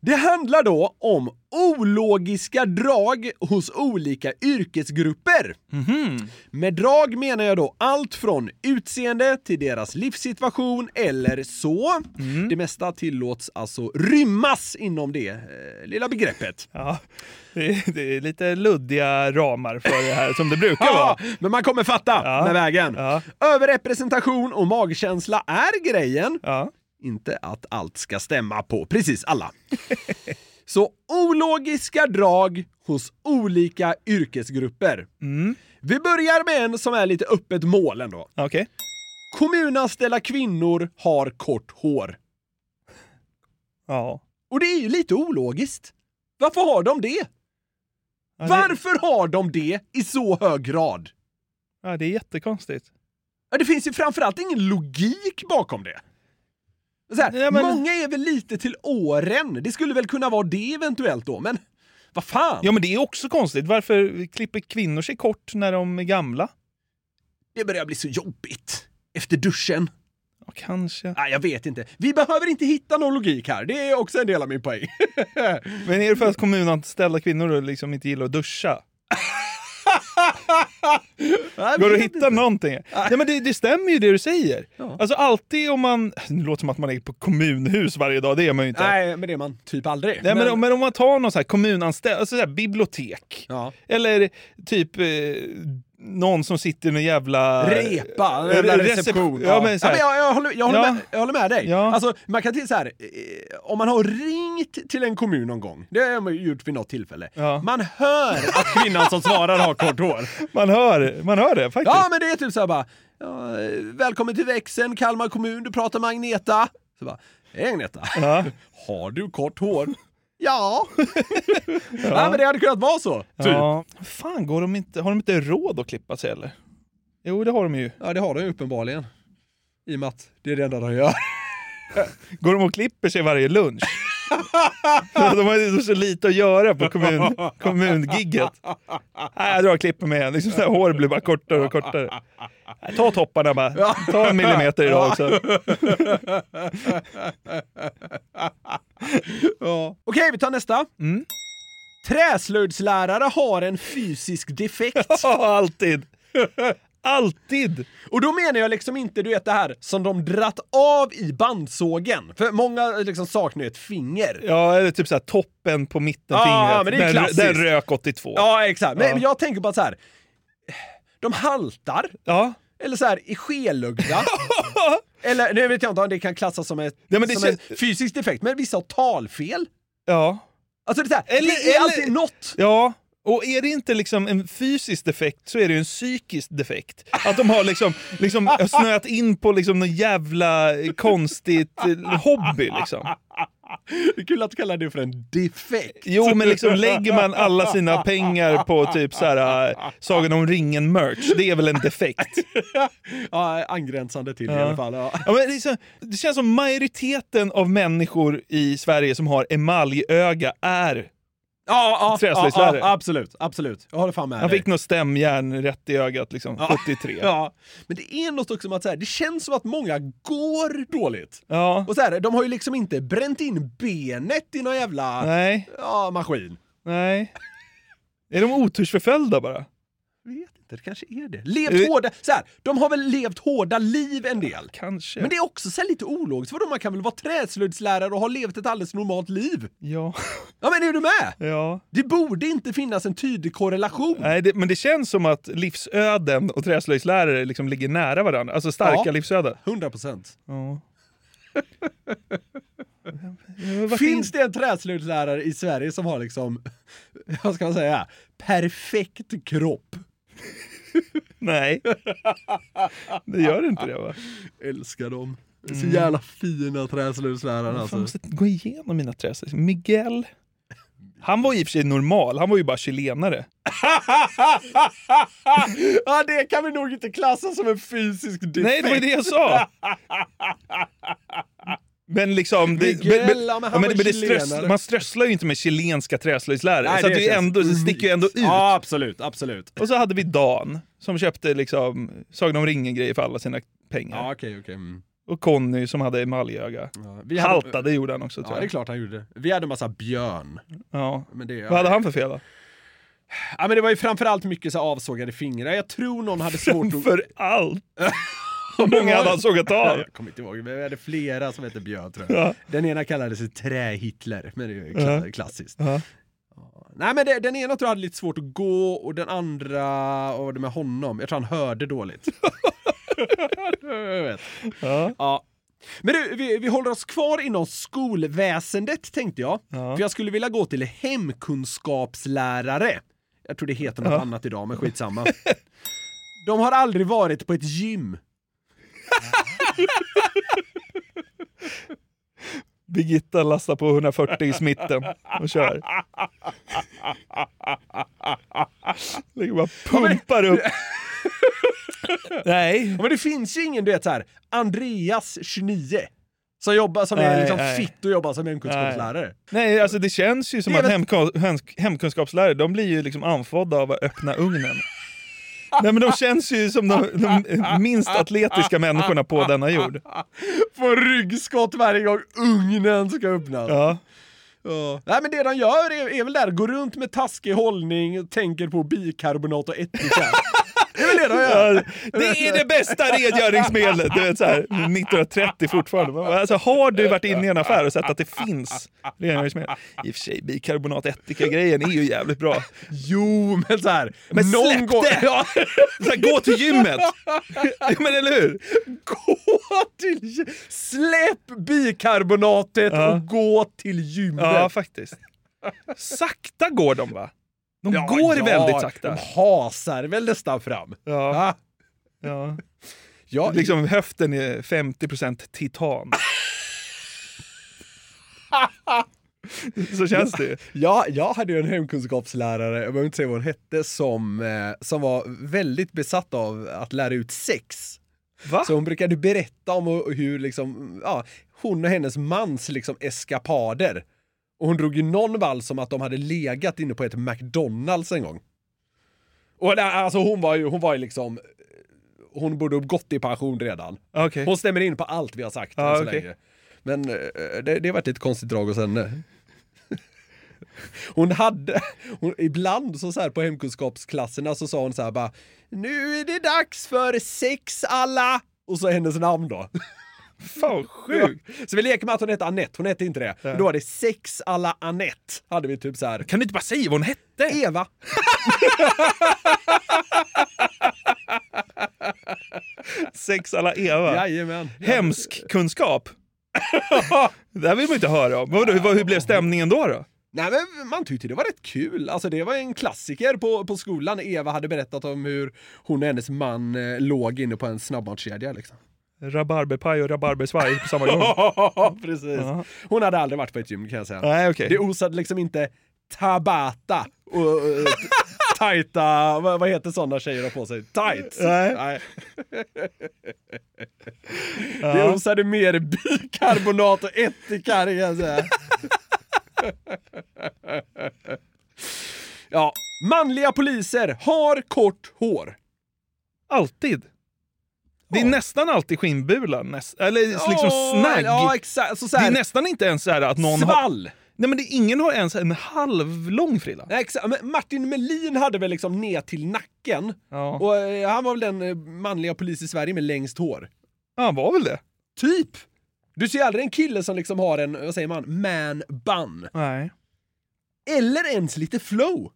Speaker 5: Det handlar då om ologiska drag hos olika yrkesgrupper. Med drag menar jag då allt från utseende till deras livssituation eller så. Det mesta tillåts alltså rymmas inom det eh, lilla begreppet.
Speaker 4: Ja, det är, det är lite luddiga ramar för det här som det brukar vara.
Speaker 5: Men man kommer fatta med vägen. Överrepresentation och magkänsla är grejen. Inte att allt ska stämma på precis alla. Så ologiska drag hos olika yrkesgrupper.
Speaker 4: Mm,
Speaker 5: Vi börjar med en som är lite öppet mål ändå.
Speaker 4: Okay.
Speaker 5: Kommunanställda kvinnor har kort hår.
Speaker 4: Ja.
Speaker 5: Och det är ju lite ologiskt. Varför har de det? Varför har de det i så hög grad?
Speaker 4: Ja, det är jättekonstigt.
Speaker 5: Ja, det finns ju framförallt ingen logik bakom det. Så här, Många är väl lite till åren. Det skulle väl kunna vara det eventuellt då, men vad fan?
Speaker 4: Ja, men det är också konstigt. Varför klipper kvinnor sig kort när de är gamla?
Speaker 5: Det börjar bli så jobbigt. Efter duschen.
Speaker 4: Ja, kanske.
Speaker 5: Nej, jag vet inte. Vi behöver inte hitta någon logik här. Det är också en del av min poäng.
Speaker 4: Men är det för att kommunanställda kvinnor då liksom inte gillar att duscha? Går det att hitta någonting? Nej, men det, det stämmer ju det du säger. Alltså alltid om man... Nu låter det som att man är på kommunhus varje dag, det är man ju inte.
Speaker 5: Nej, men det är man typ aldrig.
Speaker 4: Nej, men, men om man tar någon så här kommunanställd, alltså så här bibliotek. Eller typ eh, någon som sitter i någon jävla...
Speaker 5: Repa,
Speaker 4: Eh,
Speaker 5: eller
Speaker 4: recep-
Speaker 5: reception.
Speaker 4: Ja, men så här,
Speaker 5: jag, jag, håller, jag, håller
Speaker 4: Ja.
Speaker 5: med, jag håller med dig.
Speaker 4: Ja.
Speaker 5: Alltså, man kan till så här, eh, om man har ringt till en kommun någon gång, det har man ju gjort vid något tillfälle. Man hör att kvinnan som svarar har kort hår.
Speaker 4: man, hör, man hör det faktiskt.
Speaker 5: Ja, men det är typ så här bara, ja, eh, välkommen till växeln Kalmar kommun, du pratar med Agneta. Så bara, hej Agneta, har du kort hår? Ja. Nej, men det hade kunnat vara så. Typ.
Speaker 4: Ja. Fan, går de inte, har de inte råd att klippa sig eller? Jo, det har de ju.
Speaker 5: Ja, det har de ju uppenbarligen. I och med att det är det enda de gör.
Speaker 4: Går de och klipper sig varje lunch? de har ju så lite att göra på kommun, kommungigget. Nej, jag drar och klipper mig igen. Liksom så här, hår blir bara kortare och kortare. Nej, Ta topparna bara. Ta en millimeter idag också.
Speaker 5: ja. Okej, vi tar nästa.
Speaker 4: Mm.
Speaker 5: Träslöjdslärare har en fysisk defekt.
Speaker 4: Alltid! Alltid!
Speaker 5: Och då menar jag liksom inte, du vet det här, som de dratt av i bandsågen. För många liksom saknar ju ett finger.
Speaker 4: Ja, eller typ så här, toppen på mitten
Speaker 5: Ja, men
Speaker 4: fingret.
Speaker 5: det är
Speaker 4: den,
Speaker 5: klassiskt.
Speaker 4: den rök 82.
Speaker 5: Ja, exakt. Men
Speaker 4: Ja.
Speaker 5: jag tänker bara så här. De haltar. Eller så här, är skelögda. Eller nu vet jag inte om det kan klassas som, ett,
Speaker 4: Nej, men det
Speaker 5: som
Speaker 4: känns-
Speaker 5: en fysisk defekt, men vissa har talfel.
Speaker 4: Ja.
Speaker 5: Alltså det är, så här,
Speaker 4: Eller-
Speaker 5: det är alltid
Speaker 4: eller-
Speaker 5: något.
Speaker 4: Ja, och är det inte liksom en fysisk defekt så är det ju en psykisk defekt. Att de har liksom, liksom snöat in på liksom någon jävla konstigt eh, hobby. Liksom.
Speaker 5: Det är kul att du kallar det för en defekt.
Speaker 4: Jo, men liksom lägger man alla sina pengar på typ så här, eh, Sagan om ringen-merch, det är väl en defekt?
Speaker 5: ja, angränsande till i
Speaker 4: Ja.
Speaker 5: alla fall. Ja.
Speaker 4: Ja, men liksom, det känns som majoriteten av människor i Sverige som har emaljöga är
Speaker 5: Ja, ja, ja,
Speaker 4: Träslöjdslärare.
Speaker 5: ja, absolut, absolut. Jag håller fan med
Speaker 4: Han
Speaker 5: dig.
Speaker 4: fick något stämjärn rätt i ögat liksom,
Speaker 5: Ja.
Speaker 4: 73.
Speaker 5: Ja, men det är något också med att så här, det känns som att många går dåligt.
Speaker 4: Ja.
Speaker 5: Och så här, de har ju liksom inte bränt in benet i någon jävla
Speaker 4: Nej.
Speaker 5: Ja, maskin.
Speaker 4: Nej. Är de otursförföljda bara?
Speaker 5: Det kanske är det. Levt hårda, så här, de har väl levt hårda liv en del.
Speaker 4: Kanske.
Speaker 5: Men det är också så här lite ologiskt, vadå man kan väl vara träslöjdslärare och ha levt ett alldeles normalt liv?
Speaker 4: Ja.
Speaker 5: Ja men är du med?
Speaker 4: Ja.
Speaker 5: Det borde inte finnas en tydlig korrelation.
Speaker 4: Nej, det, men det känns som att livsöden och träslöjdslärare liksom ligger nära varandra. Alltså starka
Speaker 5: Ja.
Speaker 4: livsöden.
Speaker 5: 100 procent.
Speaker 4: Ja.
Speaker 5: Finns det en träslöjdslärare i Sverige som har liksom, vad ska man säga, perfekt kropp?
Speaker 4: Nej. Det gör inte det va?
Speaker 5: Älskar dem. Så
Speaker 4: Mm.
Speaker 5: jävla fina träslöjdslärare
Speaker 4: Jag
Speaker 5: alltså.
Speaker 4: måste gå igenom mina träslöjd. Miguel. Han var i och för sig normal, han var ju bara chilenare.
Speaker 5: ja, det kan vi nog inte klassa som en fysisk defekt.
Speaker 4: Nej, det var ju det jag sa. Men liksom, det,
Speaker 5: Miguel,
Speaker 4: men, men,
Speaker 5: ja,
Speaker 4: ja,
Speaker 5: men han
Speaker 4: men,
Speaker 5: var
Speaker 4: men det
Speaker 5: chilenare.
Speaker 4: ströss, man strösslar ju inte med chilenska träslöjdslärare.
Speaker 5: Nej,
Speaker 4: så att
Speaker 5: det
Speaker 4: det, är
Speaker 5: känns-
Speaker 4: ändå, det sticker ju ändå ut.
Speaker 5: Ja, absolut, absolut.
Speaker 4: Och så hade vi Dan som köpte liksom, Sagan om ringen-grejer för alla sina pengar.
Speaker 5: Ja, okej, okej. mm.
Speaker 4: Och Conny som hade emaljöga.
Speaker 5: vi hade-
Speaker 4: Haltade gjorde han också tror
Speaker 5: Ja,
Speaker 4: jag.
Speaker 5: det är klart han gjorde. Vi hade en massa björn.
Speaker 4: Ja.
Speaker 5: Men det,
Speaker 4: Vad hade han för fel då?
Speaker 5: Ja, men det var ju framförallt mycket så här avsågade fingrar. Jag tror någon hade svårt att...
Speaker 4: För allt! Hur många hade han sågat av?
Speaker 5: Jag kommer inte ihåg, men vi hade flera som hette Björn tror jag.
Speaker 4: Ja.
Speaker 5: Den ena kallades ju Trä-Hitler, men det är ju
Speaker 4: Ja.
Speaker 5: kla- klassiskt.
Speaker 4: Ja.
Speaker 5: Nej men det, den ena tror jag hade lite svårt att gå och den andra, och det med honom, jag tror han hörde dåligt. jag vet.
Speaker 4: Ja.
Speaker 5: Men du, vi, vi håller oss kvar inom skolväsendet tänkte jag. För jag skulle vilja gå till hemkunskapslärare. Jag tror det heter något
Speaker 4: Ja.
Speaker 5: annat idag, men skitsamma. De har aldrig varit på ett gym.
Speaker 4: Birgitta lastar på 140 i smitten och kör. Ligger bara pumpar upp. Nej.
Speaker 5: Men det finns ju ingen, du vet så här, Andreas 29. Som jobbar som är
Speaker 4: Nej,
Speaker 5: liksom
Speaker 4: nej.
Speaker 5: fit och jobbar som hemkunskapslärare.
Speaker 4: Nej, alltså det känns ju som
Speaker 5: Det är
Speaker 4: att
Speaker 5: väl-
Speaker 4: hemko- hemsk- hemkunskapslärare, de blir ju liksom anfodda av att öppna ugnen. Nej men de känns ju som de, de minst atletiska människorna på denna jord.
Speaker 5: Får ryggskott varje gång ugnen ska öppnas.
Speaker 4: Ja.
Speaker 5: Ja. Nej men det de gör är, är väl där, går runt med taskig hållning och tänker på bikarbonat och ättika. det är väl det de
Speaker 4: Ja,
Speaker 5: gör?
Speaker 4: Det är det bästa rengöringsmedlet! Du vet, så här, 1930 fortfarande. Alltså, har du varit inne i en affär och sett att det finns rengöringsmedel? I och för sig, bikarbonat ättika-grejen är ju jävligt bra.
Speaker 5: Jo, men så här,
Speaker 4: Men
Speaker 5: någon
Speaker 4: släpp
Speaker 5: gång-
Speaker 4: det!
Speaker 5: Ja.
Speaker 4: Så här, gå till gymmet! Ja, men eller hur?
Speaker 5: Gå till gy- Släpp bikarbonatet
Speaker 4: Ja.
Speaker 5: och gå till gymmet.
Speaker 4: Ja, faktiskt. Sakta går de va? De
Speaker 5: Ja,
Speaker 4: går
Speaker 5: ja,
Speaker 4: väldigt sakta.
Speaker 5: De hasar väl nästan fram.
Speaker 4: Ja. Ja.
Speaker 5: Ja.
Speaker 4: Liksom höften är 50% titan. Så känns det ju.
Speaker 5: Ja, jag hade ju en hemkunskapslärare, jag behöver inte säga vad hon hette, som, eh, som var väldigt besatt av att lära ut sex.
Speaker 4: Va?
Speaker 5: Så hon brukade berätta om hur- hur liksom, ja, hon och hennes mans liksom eskapader. Och hon drog ju någon vals om att de hade legat inne på ett McDonalds en gång. Och där, alltså hon var ju, hon var ju liksom, hon borde ha gått i pension redan.
Speaker 4: Okej.
Speaker 5: Hon stämmer in på allt vi har sagt
Speaker 4: Ja,
Speaker 5: än så
Speaker 4: okej.
Speaker 5: länge. Men eh, det, det har varit ett konstigt drag hos henne. Hon hade, hon, ibland så, så här på hemkunskapsklasserna så sa hon så här bara Nu är det dags för sex alla! Och så hennes namn då.
Speaker 4: Fan sjukt!
Speaker 5: Så vi leker med att hon hette Annette, hon hette inte det. Men Då var det sex alla Annette. Hade vi typ så här.
Speaker 4: Kan du inte bara säga vad hon hette?
Speaker 5: Eva!
Speaker 4: Sex alla Eva.
Speaker 5: Jajamän.
Speaker 4: Hemsk kunskap. det här vill man inte höra om. Men vadå, hur, hur blev stämningen då? då?
Speaker 5: Nej men man tyckte det var rätt kul. Alltså det var en klassiker på, på skolan. Eva hade berättat om hur hon och hennes man eh, låg inne på en snabbmatskedja liksom.
Speaker 4: Rabarberpaj och rabarbersvaj på samma gång.
Speaker 5: Precis.
Speaker 4: Ja.
Speaker 5: Hon hade aldrig varit på ett gym kan jag säga.
Speaker 4: Nej, okej.
Speaker 5: Det osade liksom inte Tabata och, eh, tajta, vad, vad heter sådana tjejer har på sig? Tights?
Speaker 4: Nej.
Speaker 5: Det osade mer bikarbonat och ättika kan jag säga. Ja, manliga poliser har kort hår.
Speaker 4: Alltid. Det är nästan alltid skinnbula. Näst, eller liksom
Speaker 5: Åh,
Speaker 4: snagg.
Speaker 5: Ja, exakt. Så, så
Speaker 4: det
Speaker 5: här,
Speaker 4: är nästan inte ens så här att någon
Speaker 5: Svall.
Speaker 4: har... Nej men det, ingen har ens en halvlång frilla.
Speaker 5: Nej, exakt. Men Martin Melin hade väl liksom ner till nacken.
Speaker 4: Ja.
Speaker 5: Och eh, han var väl den eh, manliga polis i Sverige med längst hår.
Speaker 4: Ja, han var väl det.
Speaker 5: Typ! Du ser aldrig en kille som liksom har en, vad säger man, man bun.
Speaker 4: Nej.
Speaker 5: Eller ens lite flow.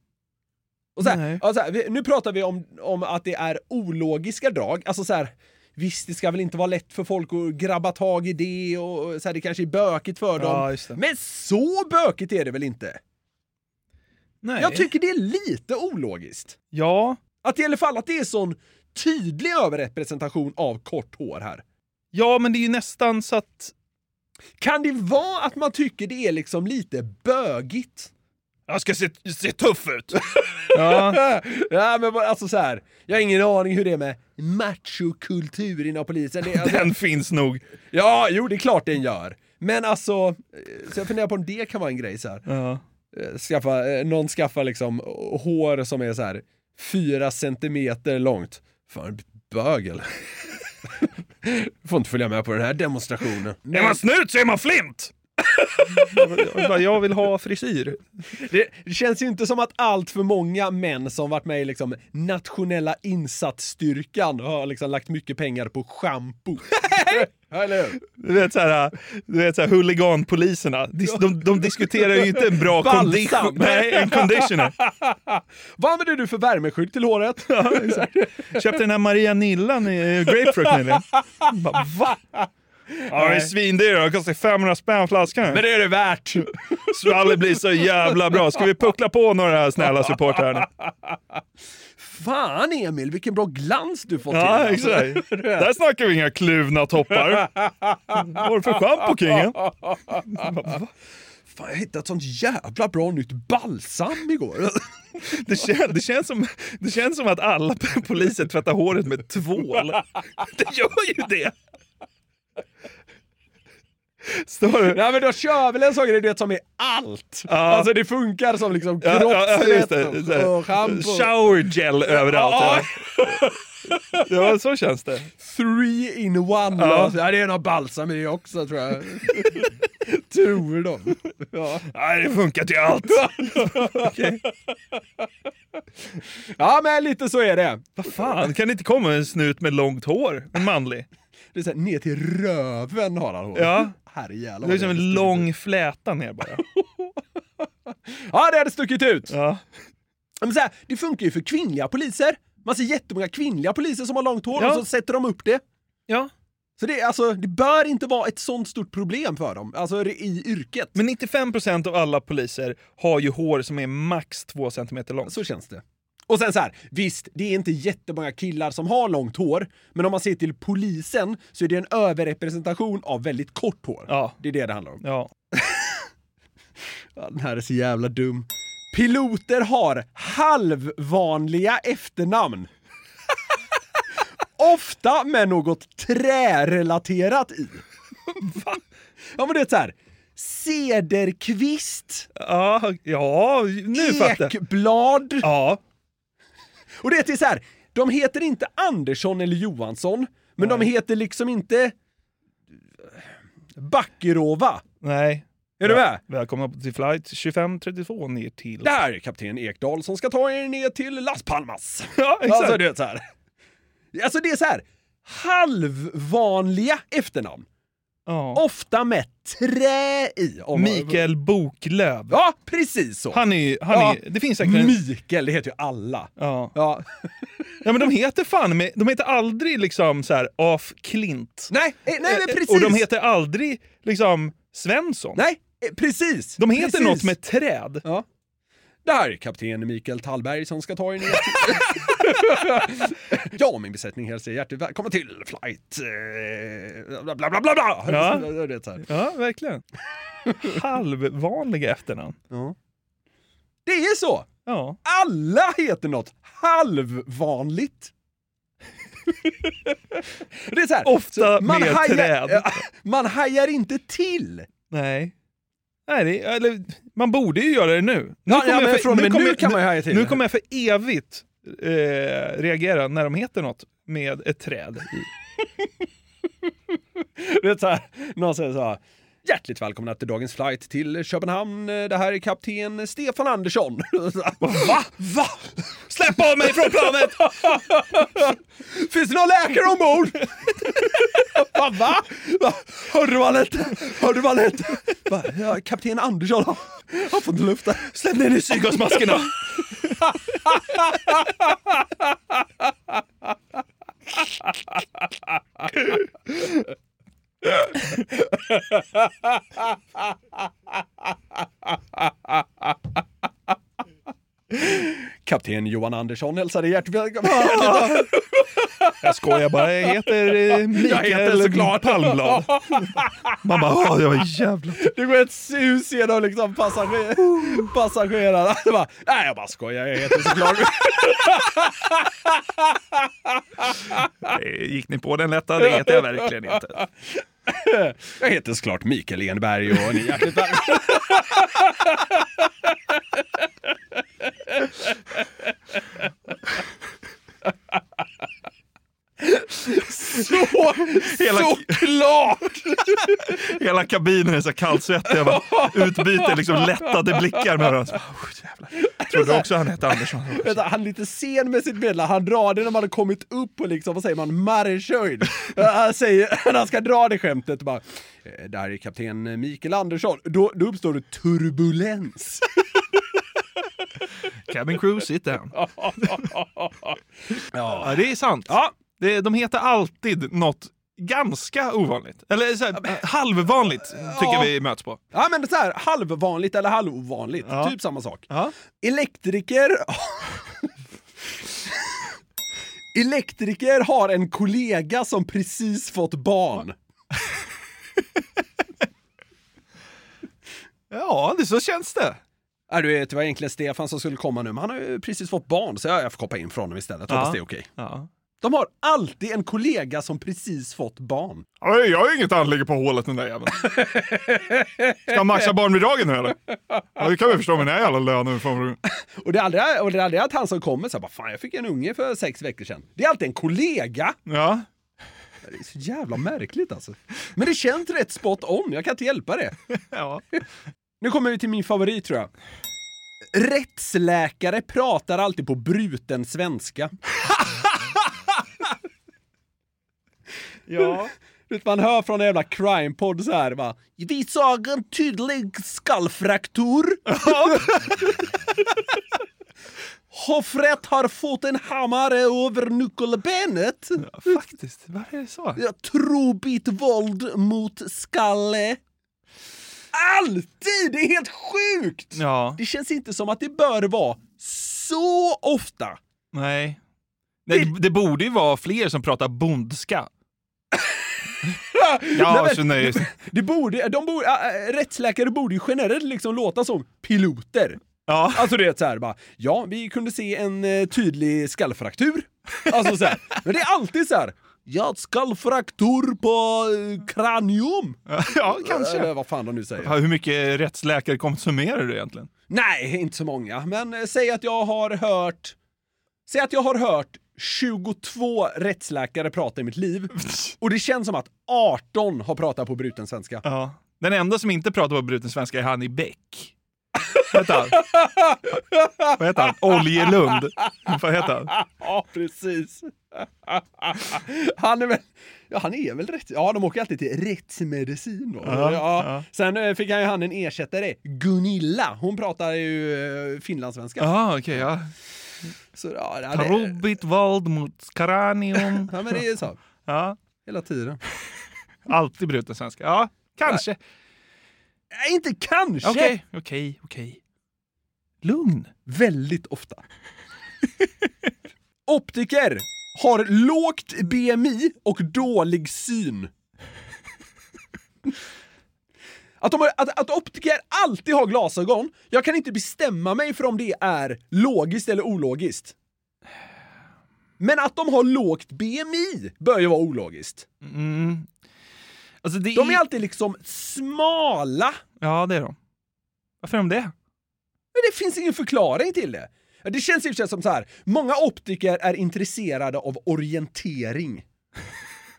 Speaker 5: Och så här,
Speaker 4: Nej.
Speaker 5: ja, så här, vi- nu pratar vi om, om att det är ologiska drag. Alltså så här, visst det ska väl inte vara lätt för folk att grabba tag i det och och så här, det kanske är bökigt för dem.
Speaker 4: Ja, just det.
Speaker 5: Men så bökigt är det väl inte?
Speaker 4: Nej.
Speaker 5: Jag tycker det är lite ologiskt.
Speaker 4: Ja.
Speaker 5: Att i alla fall att det är sån tydlig överrepresentation av kort hår här.
Speaker 4: Ja, men det är ju nästan så att...
Speaker 5: Kan det vara att man tycker det är liksom lite bögigt?
Speaker 23: Jag ska se, se tuff ut.
Speaker 5: Ja. ja, men bara, alltså så här. Jag har ingen aning hur det är med machokultur inom polisen. Det, är alltså,
Speaker 4: Den finns nog.
Speaker 5: Ja, jo det är klart den gör. Men alltså, eh, så jag funderar på om det kan vara en grej så här. Eh, Skaffa, eh, någon skaffar liksom hår som är så här fyra centimeter långt. Fan, bögel. Får inte följa med på den här demonstrationen.
Speaker 4: Är man snut så är man flint!
Speaker 5: jag vill ha frisyr. Det känns ju inte som att allt för många män som varit med i liksom nationella insatsstyrkan har liksom lagt mycket pengar på shampoo. Eller hur?
Speaker 4: Du vet såhär, du vet såhär huliganpoliserna. Dis- De, de diskuterar ju inte en bra
Speaker 5: Balsam.
Speaker 4: condition. Nej, en conditioner.
Speaker 5: Vad använder du för värmeskydd till håret?
Speaker 4: Köpte den här Maria Nillan i eh, Grapefruit nyligen. Bara, Va? Ja, det är svindyr. Det kostar 500 spänn flaskan.
Speaker 5: Men det är det värt!
Speaker 4: Skvallret blir så jävla bra. Ska vi puckla på några snälla supportrar nu?
Speaker 5: Fan Emil, vilken bra glans du fått
Speaker 4: Ja,
Speaker 5: till.
Speaker 4: exakt. Där snackar vi inga kluvna toppar. Vad är det för schampo, kingen?
Speaker 5: Fan, jag hittade ett sånt jävla bra nytt balsam igår.
Speaker 4: Det, kän, det, känns som, det känns som att alla p- poliser tvättar håret med tvål. Det gör ju det! Står du?
Speaker 5: Nej men då kör väl en sån grej du vet som är allt! Alltså det funkar som liksom kroppsvett
Speaker 4: Så här,
Speaker 5: och shampoo.
Speaker 4: Shower gel överallt. Ja. ja, så känns det.
Speaker 5: Three in one.
Speaker 4: Ja.
Speaker 5: Ja. ja, det är någon balsam i det också tror jag. tror de. Ja.
Speaker 4: Nej, det funkar till allt. Okej.
Speaker 5: Ja, men lite så är det.
Speaker 4: Vad fan, kan det inte komma en snut med långt hår? En manlig?
Speaker 5: Det är så här, ner till röven har han hår.
Speaker 4: Ja.
Speaker 5: Herrejävlar.
Speaker 4: Det är som en lång fläta ner bara.
Speaker 5: Ja, det hade stuckit ut!
Speaker 4: Ja.
Speaker 5: Men så här, det funkar ju för kvinnliga poliser. Man ser jättemånga kvinnliga poliser som har långt hår
Speaker 4: Ja.
Speaker 5: och så sätter de upp det.
Speaker 4: Ja.
Speaker 5: Så det, är alltså, det bör inte vara ett sånt stort problem för dem, alltså i yrket.
Speaker 4: Men 95% av alla poliser har ju hår som är max 2 cm långt.
Speaker 5: Så känns det. Och sen så här, visst, det är inte jättemånga killar som har långt hår, men om man ser till polisen så är det en överrepresentation av väldigt kort hår.
Speaker 4: Ja.
Speaker 5: Det är det det handlar om.
Speaker 4: Ja.
Speaker 5: Ja, Den här är så jävla dum. Piloter har halvvanliga efternamn. Ofta med något trärelaterat i. Va? Ja men det är så här. Cederkvist.
Speaker 4: Ja, ja nu fattar jag.
Speaker 5: Ekblad.
Speaker 4: Ja.
Speaker 5: Och det är till så här. De heter inte Andersson eller Johansson, men de heter liksom inte Backerova.
Speaker 4: Nej.
Speaker 5: Är du med?
Speaker 4: Välkomna till flight 2532 ner till...
Speaker 5: Det här är kapten Ekdal som ska ta er ner till Las Palmas.
Speaker 4: Ja, exakt.
Speaker 5: Alltså, det är så här. Alltså det är så här. Halvvanliga efternamn. Ofta med trä i. om-
Speaker 4: Mikael Boklöv.
Speaker 5: Ja, precis så.
Speaker 4: Han är ju... Han
Speaker 5: Ja.
Speaker 4: är, det finns säkert en...
Speaker 5: Mikael, det heter ju alla.
Speaker 4: Ja.
Speaker 5: Ja.
Speaker 4: ja, men de heter fan med, De heter aldrig liksom så här af Klint.
Speaker 5: Nej, eh, nej men
Speaker 4: Eh,
Speaker 5: precis.
Speaker 4: Och de heter aldrig liksom Svensson.
Speaker 5: Nej, eh, precis.
Speaker 4: De heter
Speaker 5: precis.
Speaker 4: något med träd.
Speaker 5: Ja. Det här är kapten Mikael Tallberg som ska ta er ner till... ja, min besättning hälsar er hjärtligt välkomna till flight... eh, Bla, bla, bla, bla, bla.
Speaker 4: Ja.
Speaker 5: Det är så här.
Speaker 4: Ja, verkligen. Halvvanliga efternamn.
Speaker 5: Det är så!
Speaker 4: Ja.
Speaker 5: Alla heter något halvvanligt. Det är så här,
Speaker 4: Ofta
Speaker 5: så
Speaker 4: med
Speaker 5: hajar-
Speaker 4: träd.
Speaker 5: Man hajar inte till.
Speaker 4: Nej. Nej det, eller, man borde ju göra det nu. Nu
Speaker 5: Ja,
Speaker 4: kommer
Speaker 5: ja,
Speaker 4: jag
Speaker 5: men från och med
Speaker 4: kommer
Speaker 5: nu
Speaker 4: jag-
Speaker 5: kan man ju haja till.
Speaker 4: Nu kommer jag för evigt eh, reagera när de heter något med ett träd i.
Speaker 5: Det är så här, någon säger så här. Hjärtligt välkomna till dagens flight till Köpenhamn. Det här är kapten Stefan Andersson. Va? Va?
Speaker 4: Släpp av mig från planet!
Speaker 5: Finns det någon läkare ombord? Va? va? va? Hörde du vad han hette? Hörde du vad han hette? Va? Ja, kapten Andersson har har fått lufta.
Speaker 4: Släpp ner nu syrgasmaskerna!
Speaker 5: Kapten Johan Andersson hälsar dig hjärtligt välkommen.
Speaker 16: Jag skojar bara, jag heter eh,
Speaker 5: Jag
Speaker 16: Mikael
Speaker 5: heter såklart
Speaker 16: Palmblad. Man bara, åh, jag är jävla...
Speaker 5: Det går ett sus genom liksom passager passagerarna. Det bara, Nej, jag bara skojar, jag heter såklart...
Speaker 4: Gick ni på den lätta? Det vet jag verkligen inte.
Speaker 5: jag heter såklart Mikael Enberg och ni är hjärtligt välkomna. Så,
Speaker 4: Hela-
Speaker 5: såklart!
Speaker 4: Hela kabinen är så kallsvettig. Jag bara utbyter liksom lättade blickar med varandra. Trodde också han hette Andersson.
Speaker 5: Vänta, han är lite sen med sitt meddelande. Han drar det när man har kommit upp på liksom, vad säger man, markhöjd. han säger, när han ska dra det skämtet, bara "Eh, det här är kapten Mikael Andersson. Då, då uppstår det turbulens.
Speaker 4: Cabin crew, sit down. Ja, det är sant. Ja, det, de heter alltid något ganska ovanligt. Eller så här, halvvanligt tycker
Speaker 5: Ja.
Speaker 4: vi möts på.
Speaker 5: Ja men så här, halvvanligt eller halvovanligt, typ samma sak. Elektriker... Elektriker har en kollega som precis fått barn.
Speaker 4: Ja, det så känns det.
Speaker 5: Ja, du vet, det var egentligen Stefan som skulle komma nu, men han har ju precis fått barn, så jag jag får koppa in från honom istället. Hoppas
Speaker 4: Ja.
Speaker 5: det är okej.
Speaker 4: Ja.
Speaker 5: De har alltid en kollega som precis fått barn.
Speaker 4: Nej, jag har inget anlägg på hålet den där jäveln. Ska han maxa barnbidragen nu eller? Ja, det kan vi förstå med den här jävla lönen. från-
Speaker 5: Och det är aldrig, och det är aldrig att han som kommer säger bara fan jag fick en unge för sex veckor sedan. Det är alltid en kollega.
Speaker 4: Ja.
Speaker 5: Det är så jävla märkligt alltså. Men det känns rätt spot on, jag kan inte hjälpa det.
Speaker 4: Ja.
Speaker 5: Nu kommer vi till min favorit tror jag. Rättsläkare pratar alltid på bruten svenska.
Speaker 4: Ja.
Speaker 5: Du vet, Man hör från en jävla crime-podd så här bara. Vi såg en tydlig skallfraktur. Hoffrätt har fått en hammare över nyckelbenet.
Speaker 4: faktiskt, varför är det så?
Speaker 5: Ja, trobigt våld mot skalle. Alltid! Det är helt sjukt!
Speaker 4: Ja.
Speaker 5: Det känns inte som att det bör vara så ofta.
Speaker 4: Nej. Nej det, det borde ju vara fler som pratar bondska.
Speaker 5: Nej,
Speaker 4: Ja,
Speaker 5: men-
Speaker 4: så nej.
Speaker 5: Det borde, de borde, äh, äh, rättsläkare borde ju generellt liksom låta som piloter.
Speaker 4: Ja.
Speaker 5: Alltså det är så här bara, ja vi kunde se en eh, tydlig skallfraktur. Alltså så här, men det är alltid så här. Ja, skallfraktur på eh, kranium.
Speaker 4: Ja, kanske.
Speaker 5: Eller vad fan de nu säger.
Speaker 4: Ja, Hur mycket rättsläkare konsumerar du egentligen?
Speaker 5: Nej, inte så många. Men eh, säg att jag har hört... Säg att jag har hört 22 rättsläkare prata i mitt liv. Och det känns som att 18 har pratat på bruten svenska.
Speaker 4: Ja. Den enda som inte pratar på bruten svenska är han i Beck. Vad heter han? Vad heter han? Oljelund. Vad heter han?
Speaker 5: Ja, precis. Han är väl... Ja, han är väl rätt... Ja, de åker alltid till rättsmedicin då.
Speaker 4: Ja,
Speaker 5: Ja,
Speaker 4: ja.
Speaker 5: Sen eh, fick han ju han en ersättare, Gunilla. Hon pratar ju eh, finlandssvenska.
Speaker 4: Ja, okej. ja.
Speaker 5: Så, ja, det-
Speaker 4: Trubbigt våld mot kranium.
Speaker 5: Ja, men det är så.
Speaker 4: Ja.
Speaker 5: Hela tiden.
Speaker 4: Alltid bruten svenska. Ja, kanske.
Speaker 5: Nej, inte kanske!
Speaker 4: Okej, okej, okej.
Speaker 5: Lugn. Väldigt ofta. Optiker har lågt BMI och dålig syn. Att, de har, att, att optiker alltid har glasögon, jag kan inte bestämma mig för om det är logiskt eller ologiskt. Men att de har lågt BMI bör ju vara ologiskt.
Speaker 4: Mm. Alltså det
Speaker 5: De är alltid liksom smala.
Speaker 4: Ja, det är de. Varför är de det?
Speaker 5: Men det finns ingen förklaring till det. Det känns ju som så här. många optiker är intresserade av orientering.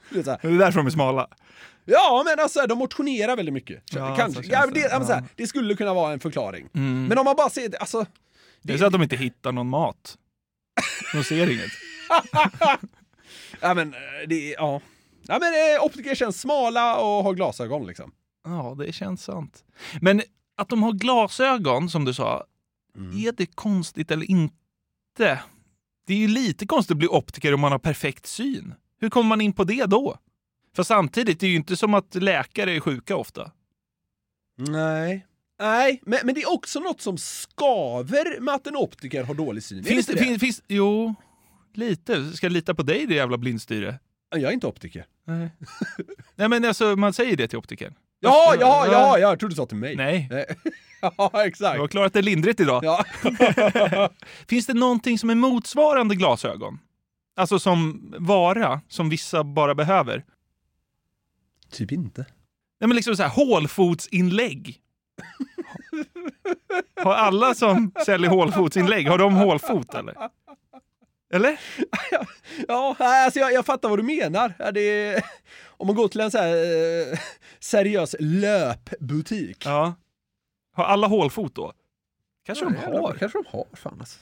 Speaker 5: Det är, så här,
Speaker 4: Det är därför de är smala.
Speaker 5: ja, men alltså de motionerar väldigt mycket.
Speaker 4: Ja,
Speaker 5: Kanske.
Speaker 4: så känns
Speaker 5: Ja, men det,
Speaker 4: det.
Speaker 5: ja, men så här,
Speaker 4: Ja.
Speaker 5: det skulle kunna vara en förklaring.
Speaker 4: Mm.
Speaker 5: Men om man bara ser, alltså...
Speaker 4: Det är så att de inte hittar någon mat. De ser inget.
Speaker 5: ja, men eh, det, ja. Ja, men eh, optiker känns smala och har glasögon liksom.
Speaker 4: Ja, det känns sant. Men att de har glasögon, som du sa,
Speaker 5: Mm.
Speaker 4: är det konstigt eller inte? Det är ju lite konstigt att bli optiker om man har perfekt syn. Hur kommer man in på det då? För samtidigt, det är ju inte som att läkare är sjuka ofta.
Speaker 5: Nej. Nej, men, men det är också något som skaver med att en optiker har dålig syn. Är
Speaker 4: Finns
Speaker 5: det
Speaker 4: det,
Speaker 5: inte det?
Speaker 4: finns, finns, jo, Lite. Ska jag lita på dig, det jävla blindstyre?
Speaker 5: Jag är inte optiker.
Speaker 4: Nej. Nej, men alltså man säger det till optikern.
Speaker 5: Ja, ja, ja, jag trodde du sa till mig.
Speaker 4: Nej.
Speaker 5: ja, exakt.
Speaker 4: Du har klarat det lindrigt idag. Finns det någonting som är motsvarande glasögon? Alltså som vara, som vissa bara behöver?
Speaker 5: Typ inte.
Speaker 4: Nej, men liksom så här hålfotsinlägg. Har alla som säljer hålfotsinlägg, har de hålfot eller? Eller?
Speaker 5: Ja, nej, alltså jag, jag fattar vad du menar. Ja, Det är, om man går till en så här eh, seriös löpbutik.
Speaker 4: Ja. Har alla hålfot då? Kanske de
Speaker 5: jävlar,
Speaker 4: har.
Speaker 5: Kanske de har, fan alltså.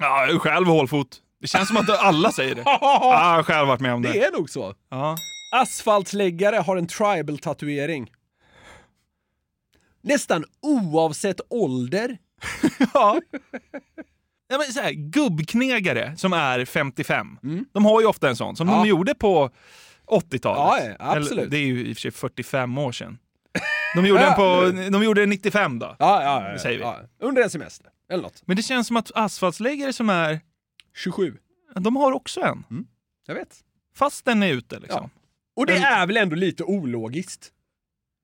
Speaker 4: Ja, jag är själv hålfot. Det känns som att alla säger det. Ja, jag har själv varit med om det.
Speaker 5: Det är nog så.
Speaker 4: Ja.
Speaker 5: Asfaltsläggare har en tribal-tatuering. Nästan oavsett ålder.
Speaker 4: ja. Nej, men så här, gubbknegare som är 55,
Speaker 5: Mm.
Speaker 4: de har ju ofta en sån som de gjorde på
Speaker 5: Ja,
Speaker 4: 80-talet.
Speaker 5: ja, absolut.
Speaker 4: Eller, det är ju i och för sig 45 år sedan. De gjorde den på de gjorde den 95 då,
Speaker 5: Ja, ja, ja,
Speaker 4: säger vi.
Speaker 5: ja. Under en semester, eller något.
Speaker 4: Men det känns som att asfaltsläggare som är
Speaker 5: 27,
Speaker 4: de har också en.
Speaker 5: jag vet.
Speaker 4: Fast den är ute liksom.
Speaker 5: Och det är väl ändå lite ologiskt?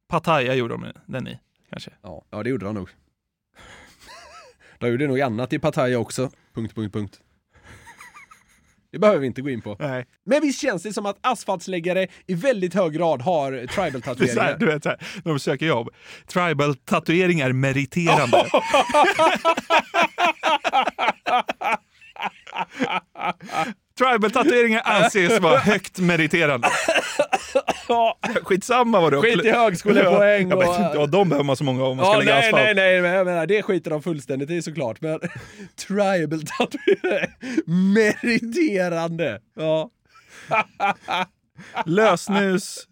Speaker 4: Pattaya gjorde de den i, kanske.
Speaker 5: Ja, ja det gjorde han nog. De gjorde nog annat i Pattaya också. Punkt, punkt, punkt. Det behöver vi inte gå in på.
Speaker 4: Nej.
Speaker 5: Men visst känns det som att asfaltsläggare i väldigt hög grad har
Speaker 4: Det är så här,
Speaker 5: tribal-tatueringar?
Speaker 4: du vet, så här, när de söker jobb. Tribal-tatuering är meriterande. Tribal-tatueringar anses vara högt meriterande. Skitsamma vad du
Speaker 5: Skit i högskolepoäng
Speaker 4: Jag
Speaker 5: och-
Speaker 4: vet inte, och de behöver man så många om man ska
Speaker 5: Ja,
Speaker 4: lägga
Speaker 5: nej,
Speaker 4: asfalt.
Speaker 5: nej, nej, men jag menar, det skiter de fullständigt i såklart. Men tribal-tatueringar, meriterande. Ja.
Speaker 4: Lösnus,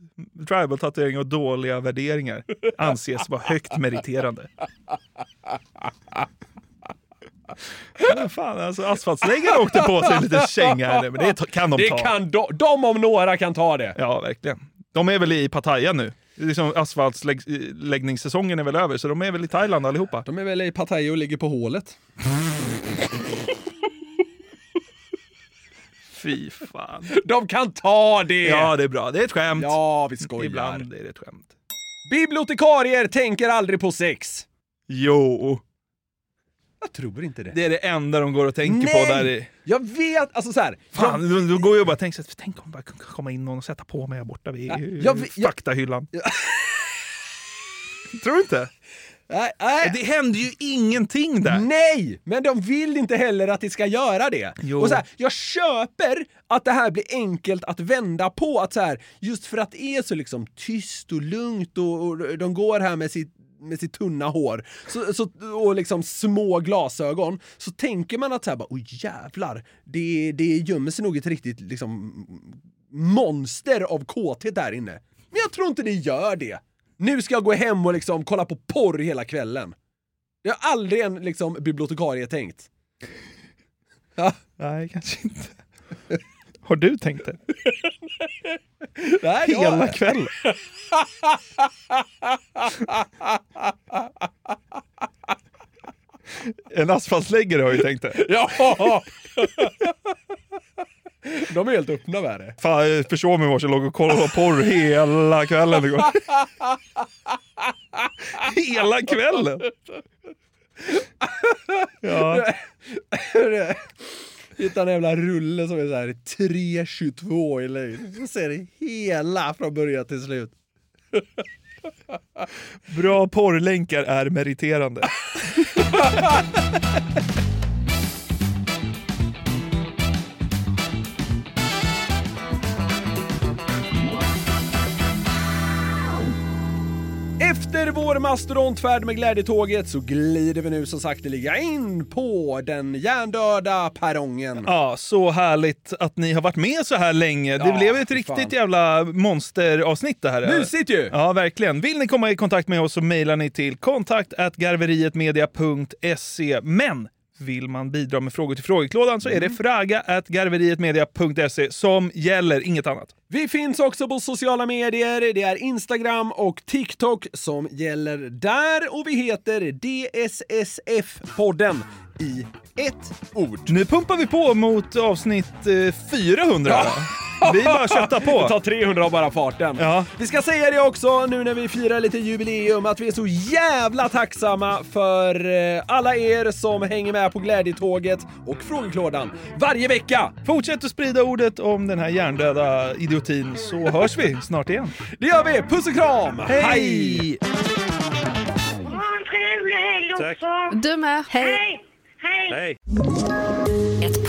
Speaker 4: tribal-tatuering och dåliga värderingar anses vara högt meriterande. Ja, Fan, alltså asfaltsläggare åkte på sig lite känga här nu, men det kan de
Speaker 5: det
Speaker 4: ta.
Speaker 5: Kan de, de om några kan ta det.
Speaker 4: Ja, verkligen. De är väl i Pattaya nu. Det är Liksom asfaltsläggningssäsongen är väl över, så de är väl i Thailand allihopa.
Speaker 5: De är väl i Pattaya och ligger på hålet.
Speaker 4: Fy fan.
Speaker 5: De kan ta det!
Speaker 4: Ja, det är bra. Det är ett skämt.
Speaker 5: Ja, vi skojar.
Speaker 4: Ibland är det ett skämt.
Speaker 5: Bibliotekarier tänker aldrig på sex.
Speaker 4: Jo,
Speaker 5: Jag tror inte det.
Speaker 4: det är det enda de går och tänker
Speaker 5: Nej!
Speaker 4: på där i...
Speaker 5: Jag vet, alltså så här.
Speaker 4: Fan, då, då går jag och bara och tänker så här, tänk om bara kunde komma in någon och sätta på mig här borta vid
Speaker 5: Ja, jag
Speaker 4: jag,
Speaker 5: vet- jag-
Speaker 4: faktahyllan. Tror du inte?
Speaker 5: Nej, nej.
Speaker 4: Det händer ju ingenting där.
Speaker 5: Nej! Men de vill inte heller att det ska göra det.
Speaker 4: Jo.
Speaker 5: Och så här, jag köper att det här blir enkelt att vända på. Att så här, just för att det är så liksom tyst och lugnt och, och de går här med sitt med sitt tunna hår så, så, och liksom små glasögon så tänker man att så här bara, oj jävlar, det, det gömmer sig nog ett riktigt liksom monster av kåthet där inne. Men jag tror inte det gör det. Nu ska jag gå hem och liksom kolla på porr hela kvällen. Det har aldrig en liksom, bibliotekarie tänkt. Ja.
Speaker 4: Nej, kanske inte. Har du tänkt det?
Speaker 5: Nej, det har
Speaker 4: Hela
Speaker 5: jag.
Speaker 4: kvällen? En asfaltsläggare har ju tänkt det.
Speaker 5: Ja! De är helt öppna med det.
Speaker 4: Fan, jag försov mig i morse, låg och kollade på porr hela kvällen igår. Hela kvällen? Ja.
Speaker 5: Hitta en jävla rulle som är så här 3,22 i längd. Så ser det hela från början till slut.
Speaker 4: Bra porrlänkar är meriterande.
Speaker 5: Efter vår mastodontfärd med glädjetåget så glider vi nu som sagt ligga in på den hjärndöda perrongen.
Speaker 4: Ja, så härligt att ni har varit med så här länge. Det
Speaker 5: Ja,
Speaker 4: blev ett
Speaker 5: fy
Speaker 4: riktigt
Speaker 5: fan.
Speaker 4: jävla monsteravsnitt det här.
Speaker 5: Mysigt ju!
Speaker 4: Ja, verkligen. Vill ni komma i kontakt med oss så mejlar ni till kontaktgarverietmedia.se. Men Vill man bidra med frågor till frågeklådan så är det fraga.garverietmedia.se som gäller, inget annat.
Speaker 5: Vi finns också på sociala medier. Det är Instagram och TikTok som gäller där och vi heter DSSF-podden i ett ord.
Speaker 4: Nu pumpar vi på mot avsnitt eh, 400. Vi bara köttar på.
Speaker 5: Ta 300 av bara farten.
Speaker 4: Ja.
Speaker 5: Vi ska säga det också nu när vi firar lite jubileum att vi är så jävla tacksamma för eh, alla er som hänger med på glädjetåget och frågeklådan varje vecka.
Speaker 4: Fortsätt att sprida ordet om den här hjärndöda idiotin så hörs vi snart igen.
Speaker 5: Det gör vi! Puss och kram!
Speaker 4: Hej!
Speaker 11: Ha en trevlig helg också!
Speaker 9: Du med.
Speaker 11: Hej! Hej!
Speaker 15: Ett